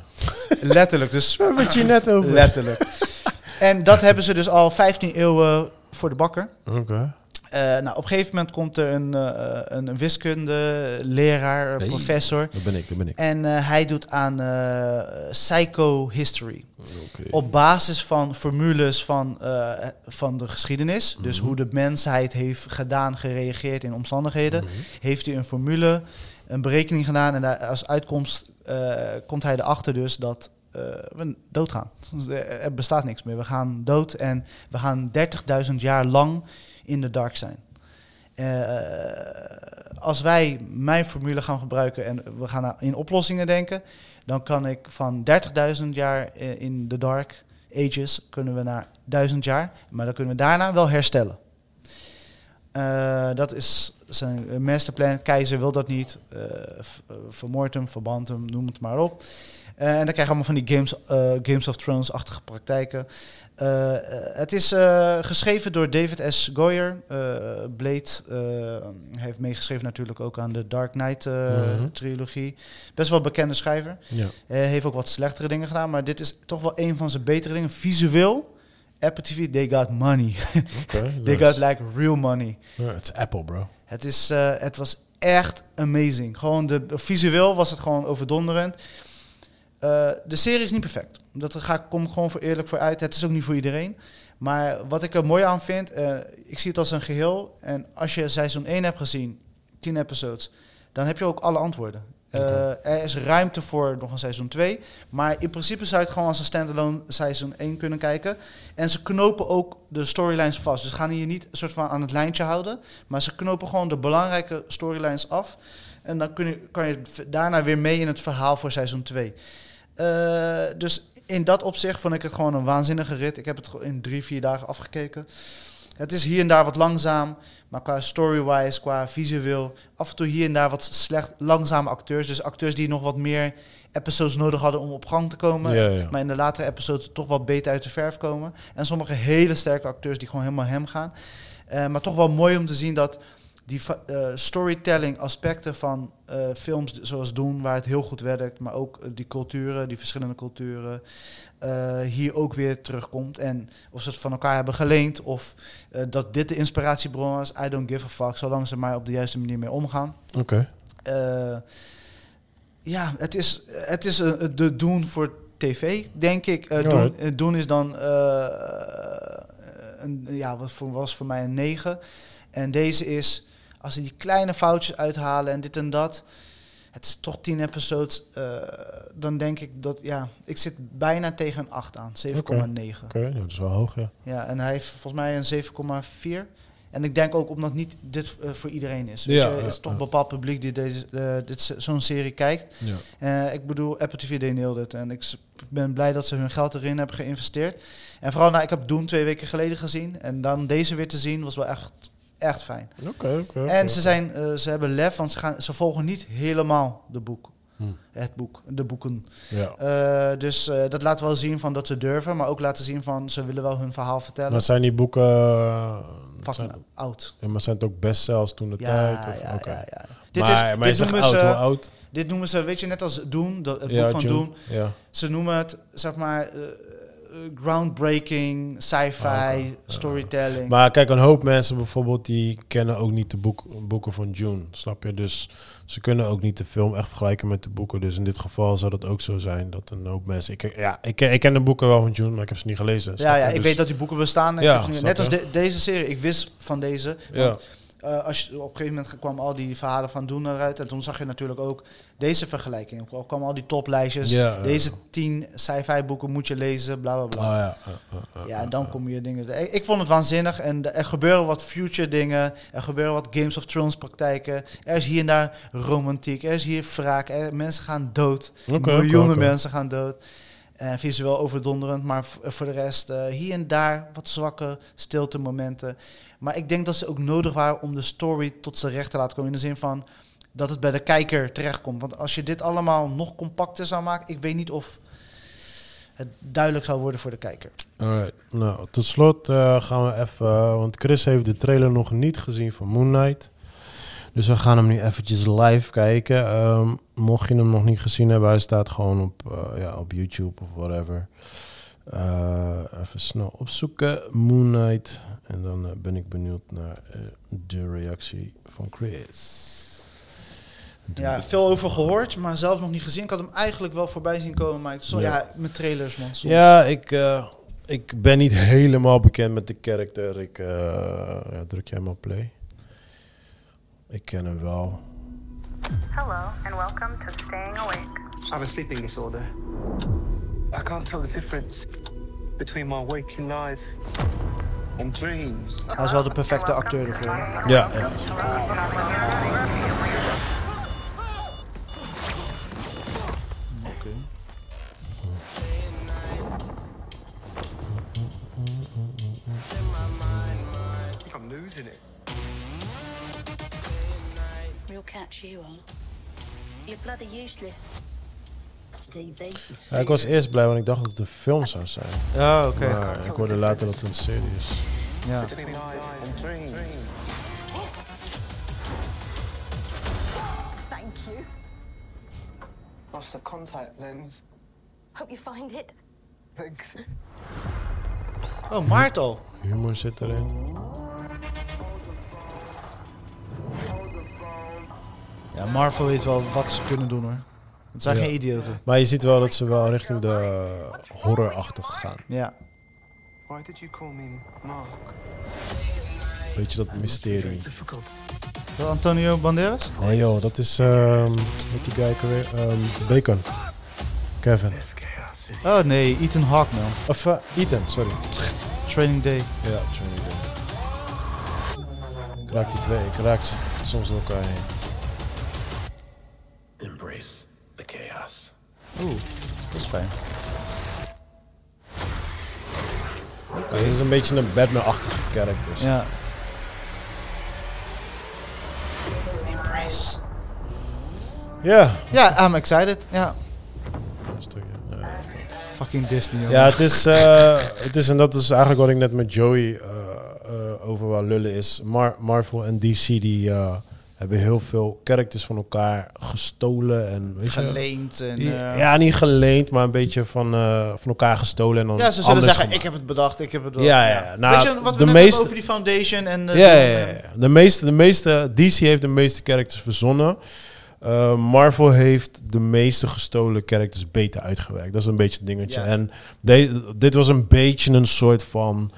C: Letterlijk. Dus
A: We hebben het hier net over.
C: letterlijk. En dat hebben ze dus al 15 eeuwen voor de bakker.
A: Oké.
C: Eh, nou, op een gegeven moment komt er een, eh, een, een wiskunde, leraar,
A: Hey.
C: professor.
A: Dat ben ik, dat ben ik.
C: En eh, hij doet aan eh, psychohistory.
A: Oké.
C: Op basis van formules van, eh, van de geschiedenis. Dus hoe de mensheid heeft gedaan, gereageerd in omstandigheden. Heeft hij een formule, een berekening gedaan. En daar, als uitkomst eh, komt hij erachter dus dat eh, we doodgaan. Dus Er er bestaat niks meer. We gaan dood en we gaan 30.000 jaar lang in de dark zijn. Eh, als wij mijn formule gaan gebruiken en we gaan na- in oplossingen denken, dan kan ik van 30.000 jaar eh, in de dark ages kunnen we naar 1000 jaar, maar dan kunnen we daarna wel herstellen. Eh, dat is zijn masterplan. Keizer wil dat niet. Eh, v- eh, vermoord hem, verband hem, noem het maar op. Eh, en dan krijg je allemaal van die Games, eh, Games of Thrones-achtige praktijken. Eh, eh, het is eh, geschreven door David S. Goyer. Eh, Blade eh, hij heeft meegeschreven natuurlijk ook aan de Dark
A: Mhm.
C: Knight-trilogie. Best wel bekende schrijver.
A: Ja.
C: Eh, heeft ook wat slechtere dingen gedaan, maar dit is toch wel een van zijn betere dingen. Visueel, Apple TV, they got money.
A: Oké.
C: they
A: nice.
C: got like real money.
A: Ja, Het is Apple, bro.
C: Het, is, eh, het was echt amazing. Gewoon de, visueel was het gewoon overdonderend. Eh, de serie is niet perfect. Dat ga ik, kom ik gewoon voor eerlijk voor uit. Het is ook niet voor iedereen. Maar wat ik er mooi aan vind, eh, ik zie het als een geheel. En als je seizoen 1 hebt gezien, 10 episodes, dan heb je ook alle antwoorden. Eh, er is ruimte voor nog een seizoen 2. Maar in principe zou je het gewoon als een standalone seizoen 1 kunnen kijken. En ze knopen ook de storylines vast. Dus ze gaan hier niet een soort van aan het lijntje houden. Maar ze knopen gewoon de belangrijke storylines af. En dan kun je, kan je v- daarna weer mee in het verhaal voor seizoen 2. Eh, dus in dat opzicht vond ik het gewoon een waanzinnige rit. Ik heb het ge- in drie, vier dagen afgekeken. Het is hier en daar wat langzaam, maar qua story-wise, qua visueel, af en toe hier en daar wat slecht langzame acteurs. Dus acteurs die nog wat meer episodes nodig hadden om op gang te komen.
A: Ja, ja.
C: Maar in de latere episodes toch wat beter uit de verf komen. En sommige hele sterke acteurs die gewoon helemaal hem gaan. Eh, maar toch wel mooi om te zien dat die fa- eh, storytelling aspecten van eh, films zoals Doen, waar het heel goed werkt, maar ook eh, die culturen, die verschillende culturen, eh, hier ook weer terugkomt. En of ze het van elkaar hebben geleend of eh, dat dit de inspiratiebron was, I don't give a fuck, zolang ze maar op de juiste manier mee omgaan.
A: Oké.
C: Eh, ja, het is, het is eh, de doen voor tv, denk ik. Eh, doen,
A: Alright.
C: eh, doen is dan, eh, een, ja, wat voor, was voor mij een 9. En deze is, als ze die kleine foutjes uithalen en dit en dat. Het is toch 10 episodes. eh, dan denk ik dat, ja, ik zit bijna tegen een 8 aan, 7,9.
A: Oké, ja, dat is wel hoog, ja.
C: Ja, en hij heeft volgens mij een 7,4. En ik denk ook omdat niet dit eh, voor iedereen is. Weet
A: Ja,
C: je,
A: ja,
C: het is toch
A: ja.
C: een bepaald publiek die deze, eh, dit, se- zo'n serie kijkt.
A: ja.
C: Eh, ik bedoel, Apple TV deed het. En ik s- ben blij dat ze hun geld erin hebben geïnvesteerd. En vooral, nou, ik heb Doom twee weken geleden gezien. En dan deze weer te zien was wel echt, echt fijn.
A: Oké, oké. oké.
C: En ze, zijn, eh, ze hebben lef, want ze, gaan, ze volgen niet helemaal de boek.
A: Hmm.
C: Het boek, de boeken.
A: Ja.
C: Eh, dus eh, dat laat wel zien van dat ze durven, maar ook laten zien van ze willen wel hun verhaal vertellen.
A: Maar zijn die boeken... eh,
C: Fucking
A: zijn,
C: oud.
A: ja, maar zijn het ook bestsellers toen de
C: Ja,
A: tijd?
C: ja,
A: Of,
C: ja,
A: oké.
C: ja, ja. Dit,
A: maar,
C: is,
A: maar
C: dit,
A: je
C: noemen
A: zegt oud, hoe
C: ze,
A: oud?
C: dit noemen ze, weet je, net als Doen, dat, het
A: Ja,
C: boek van
A: June.
C: Doen.
A: Ja.
C: Ze noemen het, zeg maar, eh, eh, groundbreaking, sci-fi,
A: Ah, oké.
C: storytelling.
A: Maar kijk, een hoop mensen bijvoorbeeld, die kennen ook niet de boek, boeken van June. Snap je? Dus ze kunnen ook niet de film echt vergelijken met de boeken. Dus in dit geval zou dat ook zo zijn dat een hoop mensen... Ik, ja, ik, ken- ik ken de boeken wel van June, maar ik heb ze niet gelezen.
C: ja,
A: snap je?
C: ja, ik
A: Dus-
C: weet dat die boeken bestaan. Ik
A: Ja,
C: heb ze nu-
A: snap
C: net als
A: je.
C: de- deze serie. Ik wist van deze.
A: Ja,
C: Eh, als je, op een gegeven moment kwam al die verhalen van Doen eruit. En toen zag je natuurlijk ook deze vergelijking. Er kwamen al die toplijstjes.
A: Ja, ja,
C: deze tien sci-fi boeken moet je lezen, bla bla bla.
A: Oh, ja. eh, eh, eh,
C: Ja, en dan kom je dingen. te- Ik, ik vond het waanzinnig. En de- er gebeuren wat future dingen. Er gebeuren wat Games of Thrones praktijken. Er is hier en daar romantiek. Er is hier wraak. Er, mensen gaan dood.
A: Oké, oké,
C: Miljoenen
A: oké.
C: mensen gaan dood. En visueel overdonderend. Maar v- voor de rest eh, hier en daar wat zwakke stilte momenten. Maar ik denk dat ze ook nodig waren om de story tot zijn recht te laten komen. In de zin van dat het bij de kijker terechtkomt. Want als je dit allemaal nog compacter zou maken, ik weet niet of het duidelijk zou worden voor de kijker.
A: Alright. Nou, tot slot eh, gaan we even... eh, want Chris heeft de trailer nog niet gezien van Moon Knight. Dus we gaan hem nu eventjes live kijken. Ehm, mocht je hem nog niet gezien hebben, hij staat gewoon op, eh, ja, op YouTube of whatever. Eh, even snel opzoeken. Moon Knight. En dan eh, ben ik benieuwd naar eh, de reactie van Chris.
C: Ja, veel over gehoord, maar zelf nog niet gezien. Ik had hem eigenlijk wel voorbij zien komen, maar ik, zo,
A: Ja.
C: ja. met trailers, man. soms.
A: Ja, ik, eh, ik ben niet helemaal bekend met de karakter. Ik eh, ja, druk jij maar play. Ik ken hem wel.
D: Hello, and welcome to Staying Awake.
E: I have a sleeping disorder. I can't tell the difference between my waking life and dreams.
C: Hij is wel de perfecte acteur ervoor.
A: Ja.
E: I think I'm losing it.
F: We'll catch you on. You're bloody useless. Stevie.
A: Ja, ik was eerst blij, want ik dacht dat het een film zou zijn.
C: Ja, oké.
A: Maar ik hoorde later dat het een serie is.
C: Ja.
E: Between life and dreams.
G: Thank you.
E: Lost a contact lens.
G: Hope you find it.
E: Thanks.
C: Oh, Maart al.
A: Humor zit erin.
C: Ja, Marvel weet wel wat ze kunnen doen, hoor. Het zijn
A: Ja.
C: geen idioten.
A: Maar je ziet wel dat ze wel richting de horrorachtig gaan.
C: Ja.
E: Why did you call me Mark?
A: Weet je dat mysterie?
E: difficult.
C: Wel Antonio Banderas?
A: Nee joh, dat is... ehm wat die guy ook alweer? Ehm, Bacon. Kevin.
E: It's chaos.
C: Oh nee, Ethan Hawke man.
A: Of eh, Ethan, sorry.
C: Training Day.
A: Ja, Johnny Depp. Ik raak die twee, ik raak ze soms door elkaar heen.
E: Embrace the chaos.
C: Oeh, dat is fijn.
A: Hij is een beetje een Batman-achtige karakter.
C: Ja.
A: Ja.
C: Ja, I'm excited. Ja.
A: Een stukje, ja.
C: Fucking Disney. jongen.
A: Ja, het is, eh, het is, en dat is eigenlijk wat ik net met Joey eh, eh, over wou lullen, is Mar- Marvel en DC die eh, hebben heel veel characters van elkaar gestolen en weet je...
C: Geleend en...
A: die-
C: eh,
A: ja, niet geleend, maar een beetje van, eh, van elkaar gestolen en dan
C: Ja, ze zullen
A: anders
C: zeggen,
A: gemaakt.
C: ik heb het bedacht, ik heb het bedacht.
A: Ja, ja, ja. Nou,
C: Weet je wat
A: de
C: we net
A: meeste-
C: hebben over die foundation en... eh,
A: ja,
C: die-
A: ja, ja, ja. De meeste, de meeste, DC heeft de meeste characters verzonnen. Eh, Marvel heeft de meeste gestolen characters beter uitgewerkt. Dat is een beetje het dingetje.
C: Ja.
A: En de- dit was een beetje een soort van...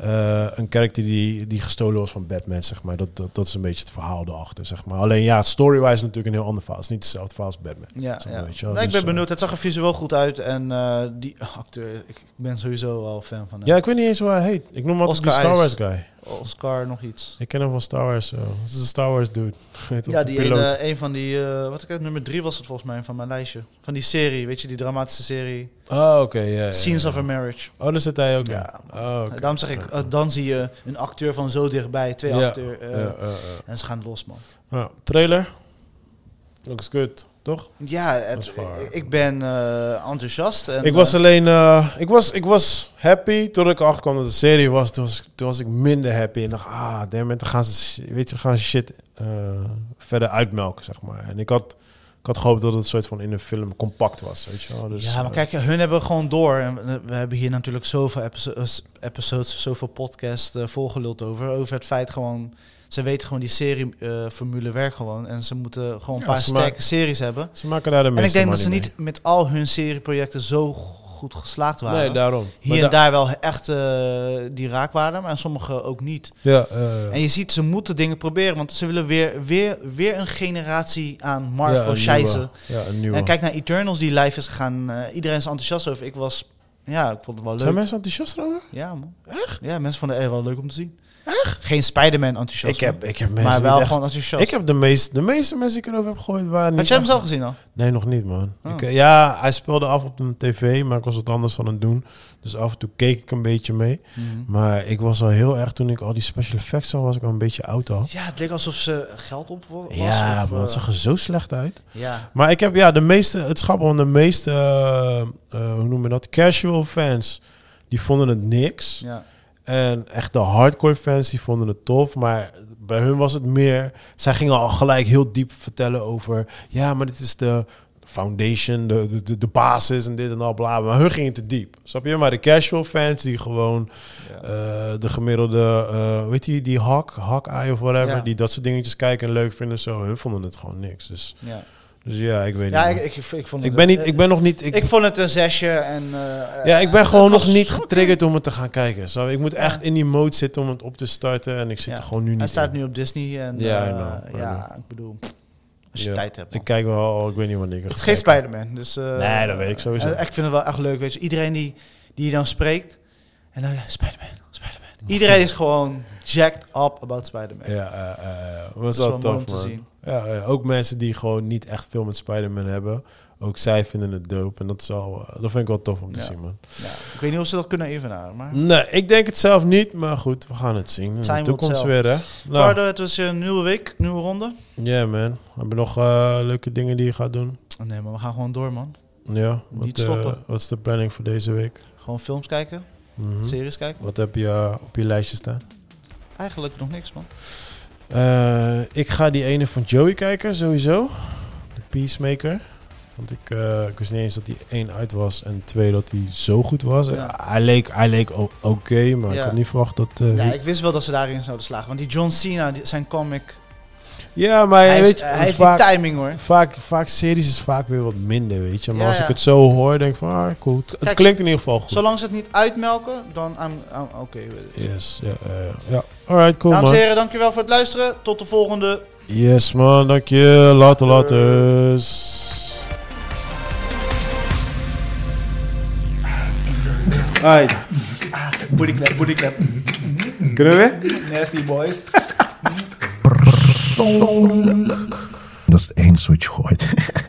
A: eh, een character die, die gestolen was van Batman, zeg maar. Dat, dat, dat is een beetje het verhaal erachter, zeg maar. Alleen ja, story-wise is natuurlijk een heel ander verhaal. Het is niet hetzelfde verhaal als Batman.
C: Ja,
A: Zeg maar,
C: ja.
A: weet je wel.
C: Nee, ik
A: Dus,
C: ben
A: eh,
C: benieuwd. Het zag er visueel goed uit. En eh, die acteur, ik ik ben sowieso wel fan van hem.
A: Ja, ik weet niet eens hoe hij heet. Ik noem hem altijd die
C: Oscar
A: Star Wars
C: Isaac.
A: guy.
C: Oscar nog iets.
A: Ik ken hem van Star Wars. zo. Het is een Star Wars dude. Heet ook
C: Ja,
A: een
C: die
A: piloot.
C: ene, een van die, eh, wat ik heb, nummer drie was het volgens mij van mijn lijstje. Van die serie, weet je, die dramatische serie.
A: Oh, oké. ja, ja, ja.
C: Scenes of a Marriage.
A: Oh, daar zit hij ook
C: Ja.
A: in. Oh, oké.
C: Daarom zeg ik, eh, dan zie je een acteur van zo dichtbij, twee
A: Ja,
C: acteur. eh,
A: ja, ja, ja.
C: En ze gaan los, man.
A: Ja, trailer. Looks good, toch?
C: Ja,
A: Dat is
C: het,
A: waar.
C: ik- ik ben eh, enthousiast. En,
A: ik was
C: eh,
A: alleen... eh, ik, was, ik was happy toen ik achterkwam dat de serie was. Toen was, ik- toen was ik minder happy. En dacht, ah, damn it, dan gaan ze, sh- weet je, gaan ze shit eh, verder uitmelken, zeg maar. En ik had, ik had gehoopt dat het soort van in een film compact was, weet je wel. Dus,
C: ja, maar
A: eh,
C: kijk, hun hebben gewoon door. En we- we hebben hier natuurlijk zoveel episo- eh, episodes, zoveel podcasts eh, volgeluld over. Over het feit gewoon, ze weten gewoon die serieformule werkt gewoon. En ze moeten gewoon een
A: Ja,
C: paar
A: ze maar-
C: sterke series hebben.
A: Ze maken daar de meeste
C: En ik denk dat ze
A: money
C: niet met al hun serieprojecten zo goed geslaagd
A: mee.
C: waren.
A: Nee, daarom.
C: hier
A: Maar
C: en
A: da-
C: daar wel echt eh, die raakwaarden, maar sommige ook niet.
A: Ja, eh,
C: En je ziet, ze moeten dingen proberen, want ze willen weer, weer, weer een generatie aan
A: ja,
C: Marvel
A: een
C: scheizen.
A: nieuwe. Ja, een nieuwe.
C: En kijk naar Eternals, die live is gegaan. Eh, iedereen is enthousiast over. Ik was, ja, ik vond het wel leuk.
A: Zijn mensen enthousiast over?
C: Ja, man. Echt? Ja, mensen vonden het echt wel leuk om te zien. Echt? Geen Spider-Man enthousiast.
A: Ik heb,
C: hoor.
A: ik heb mensen
C: maar
A: niet
C: wel
A: echt-
C: gewoon enthousiast.
A: Ik heb de meeste, de meeste mensen die ik erover heb gegooid waren niet
C: Had jij hem
A: echt-
C: zelf gezien al?
A: Nee, nog niet, man.
C: Oh.
A: Ik, eh, ja, hij speelde af op een tv, maar ik was wat anders aan het doen. Dus af en toe keek ik een beetje mee.
C: Mhm.
A: Maar ik was al heel erg, toen ik al die special effects zag, was ik al een beetje oud al.
C: Ja, het leek alsof ze geld op wa- was.
A: Ja,
C: of,
A: maar het
C: eh,
A: zag er zo slecht uit.
C: Ja.
A: Maar ik heb, ja, de meeste, het schappen van de meeste, eh, eh, hoe noem je dat, casual fans, die vonden het niks.
C: ja.
A: En echt de hardcore fans die vonden het tof, maar bij hun was het meer. Zij gingen al gelijk heel diep vertellen over. Ja, maar dit is de foundation, de, de, de, de basis en dit en al bla. bla." Maar hun gingen te diep. Snap je? Maar de casual fans die gewoon eh, de gemiddelde, eh, weet je, die hak, hak-eye of whatever,
C: Ja.
A: die dat soort dingetjes kijken en leuk vinden, zo. Hun vonden het gewoon niks. Dus,
C: ja.
A: dus ja, ik weet niet.
C: Ja, ik,
A: man.
C: ik, ik vond
A: ik
C: het-
A: ben niet,
C: eh,
A: ik ben nog niet.
C: ik,
A: Ik,
C: vond het een zesje en... eh,
A: ja, ik ben gewoon
C: het was
A: nog niet
C: oké.
A: getriggerd om het te gaan kijken. Zo, ik moet echt in die mode zitten om het op te starten. En ik zit
C: Ja.
A: er gewoon nu niet
C: Hij staat
A: in.
C: nu op Disney en...
A: Ja,
C: eh,
A: I know, I
C: ja,
A: know.
C: ik bedoel, pff, als je
A: Ja.
C: tijd hebt. man.
A: Ik kijk wel, ik weet niet wanneer ik
C: Het is
A: ga
C: geen
A: kijken.
C: Spider-Man. Dus, eh,
A: Nee, dat weet ik sowieso.
C: eh, ik vind het wel echt leuk. Weet je. Iedereen die, die je dan spreekt. En dan ja, Spider-Man, Spider-Man. Iedereen is gewoon jacked up about Spider-Man.
A: Ja, eh, eh, was
C: is
A: wel,
C: wel mooi
A: tof
C: om te
A: man.
C: zien.
A: Ja, eh, ook mensen die gewoon niet echt veel met Spider-Man hebben. Ook zij vinden het dope. En dat, is al, eh, dat vind ik wel tof om te
C: Ja.
A: zien, man.
C: Ja, ik weet niet of ze dat kunnen evenaren. Maar
A: Nee, ik denk het zelf niet. Maar goed, we gaan het zien. In
C: Time
A: de
C: will
A: toekomst
C: tell.
A: weer, hè. Nou,
C: Pardo, het was een nieuwe week, nieuwe ronde.
A: yeah, man. Heb je nog eh, leuke dingen die je gaat doen?
C: Oh, nee, maar we gaan gewoon door, man.
A: Ja, wat,
C: Niet
A: eh,
C: stoppen.
A: wat is de planning voor deze week?
C: Gewoon films kijken,
A: Mhm.
C: series kijken.
A: Wat heb je eh, op je lijstje staan?
C: Eigenlijk nog niks, man.
A: Eh, ik ga die ene van Joey kijken, sowieso. De Peacemaker. Want ik, eh, ik wist niet eens dat die één uit was en twee dat hij zo goed was.
C: Ja.
A: Hij leek, hij leek o- oké, maar ik
C: Ja.
A: had niet verwacht dat... eh,
C: Ja,
A: ja,
C: ik wist wel dat ze daarin zouden slagen. Want die John Cena, die- zijn comic.
A: maar
C: Hij,
A: weet
C: is,
A: je,
C: hij heeft
A: vaak,
C: die timing, hoor.
A: vaak, vaak series is vaak weer wat minder, weet je. Maar
C: Ja,
A: als
C: ja.
A: ik het zo hoor, denk ik van, ah, cool. Het, het
C: Kijk,
A: klinkt in ieder geval goed.
C: Zolang ze het niet uitmelken, dan... I'm- I'm- Oké, weet ik.
A: Yes, ja, eh, ja. Alright, cool
C: Dames en
A: man.
C: heren, dankjewel voor het luisteren. Tot de volgende.
A: Yes man, dank je. Later, later.
H: Alright,
C: Bodyclap, bodyclap.
H: kunnen we weer?
C: Nasty boys.
I: Dat is het enige wat je hoort.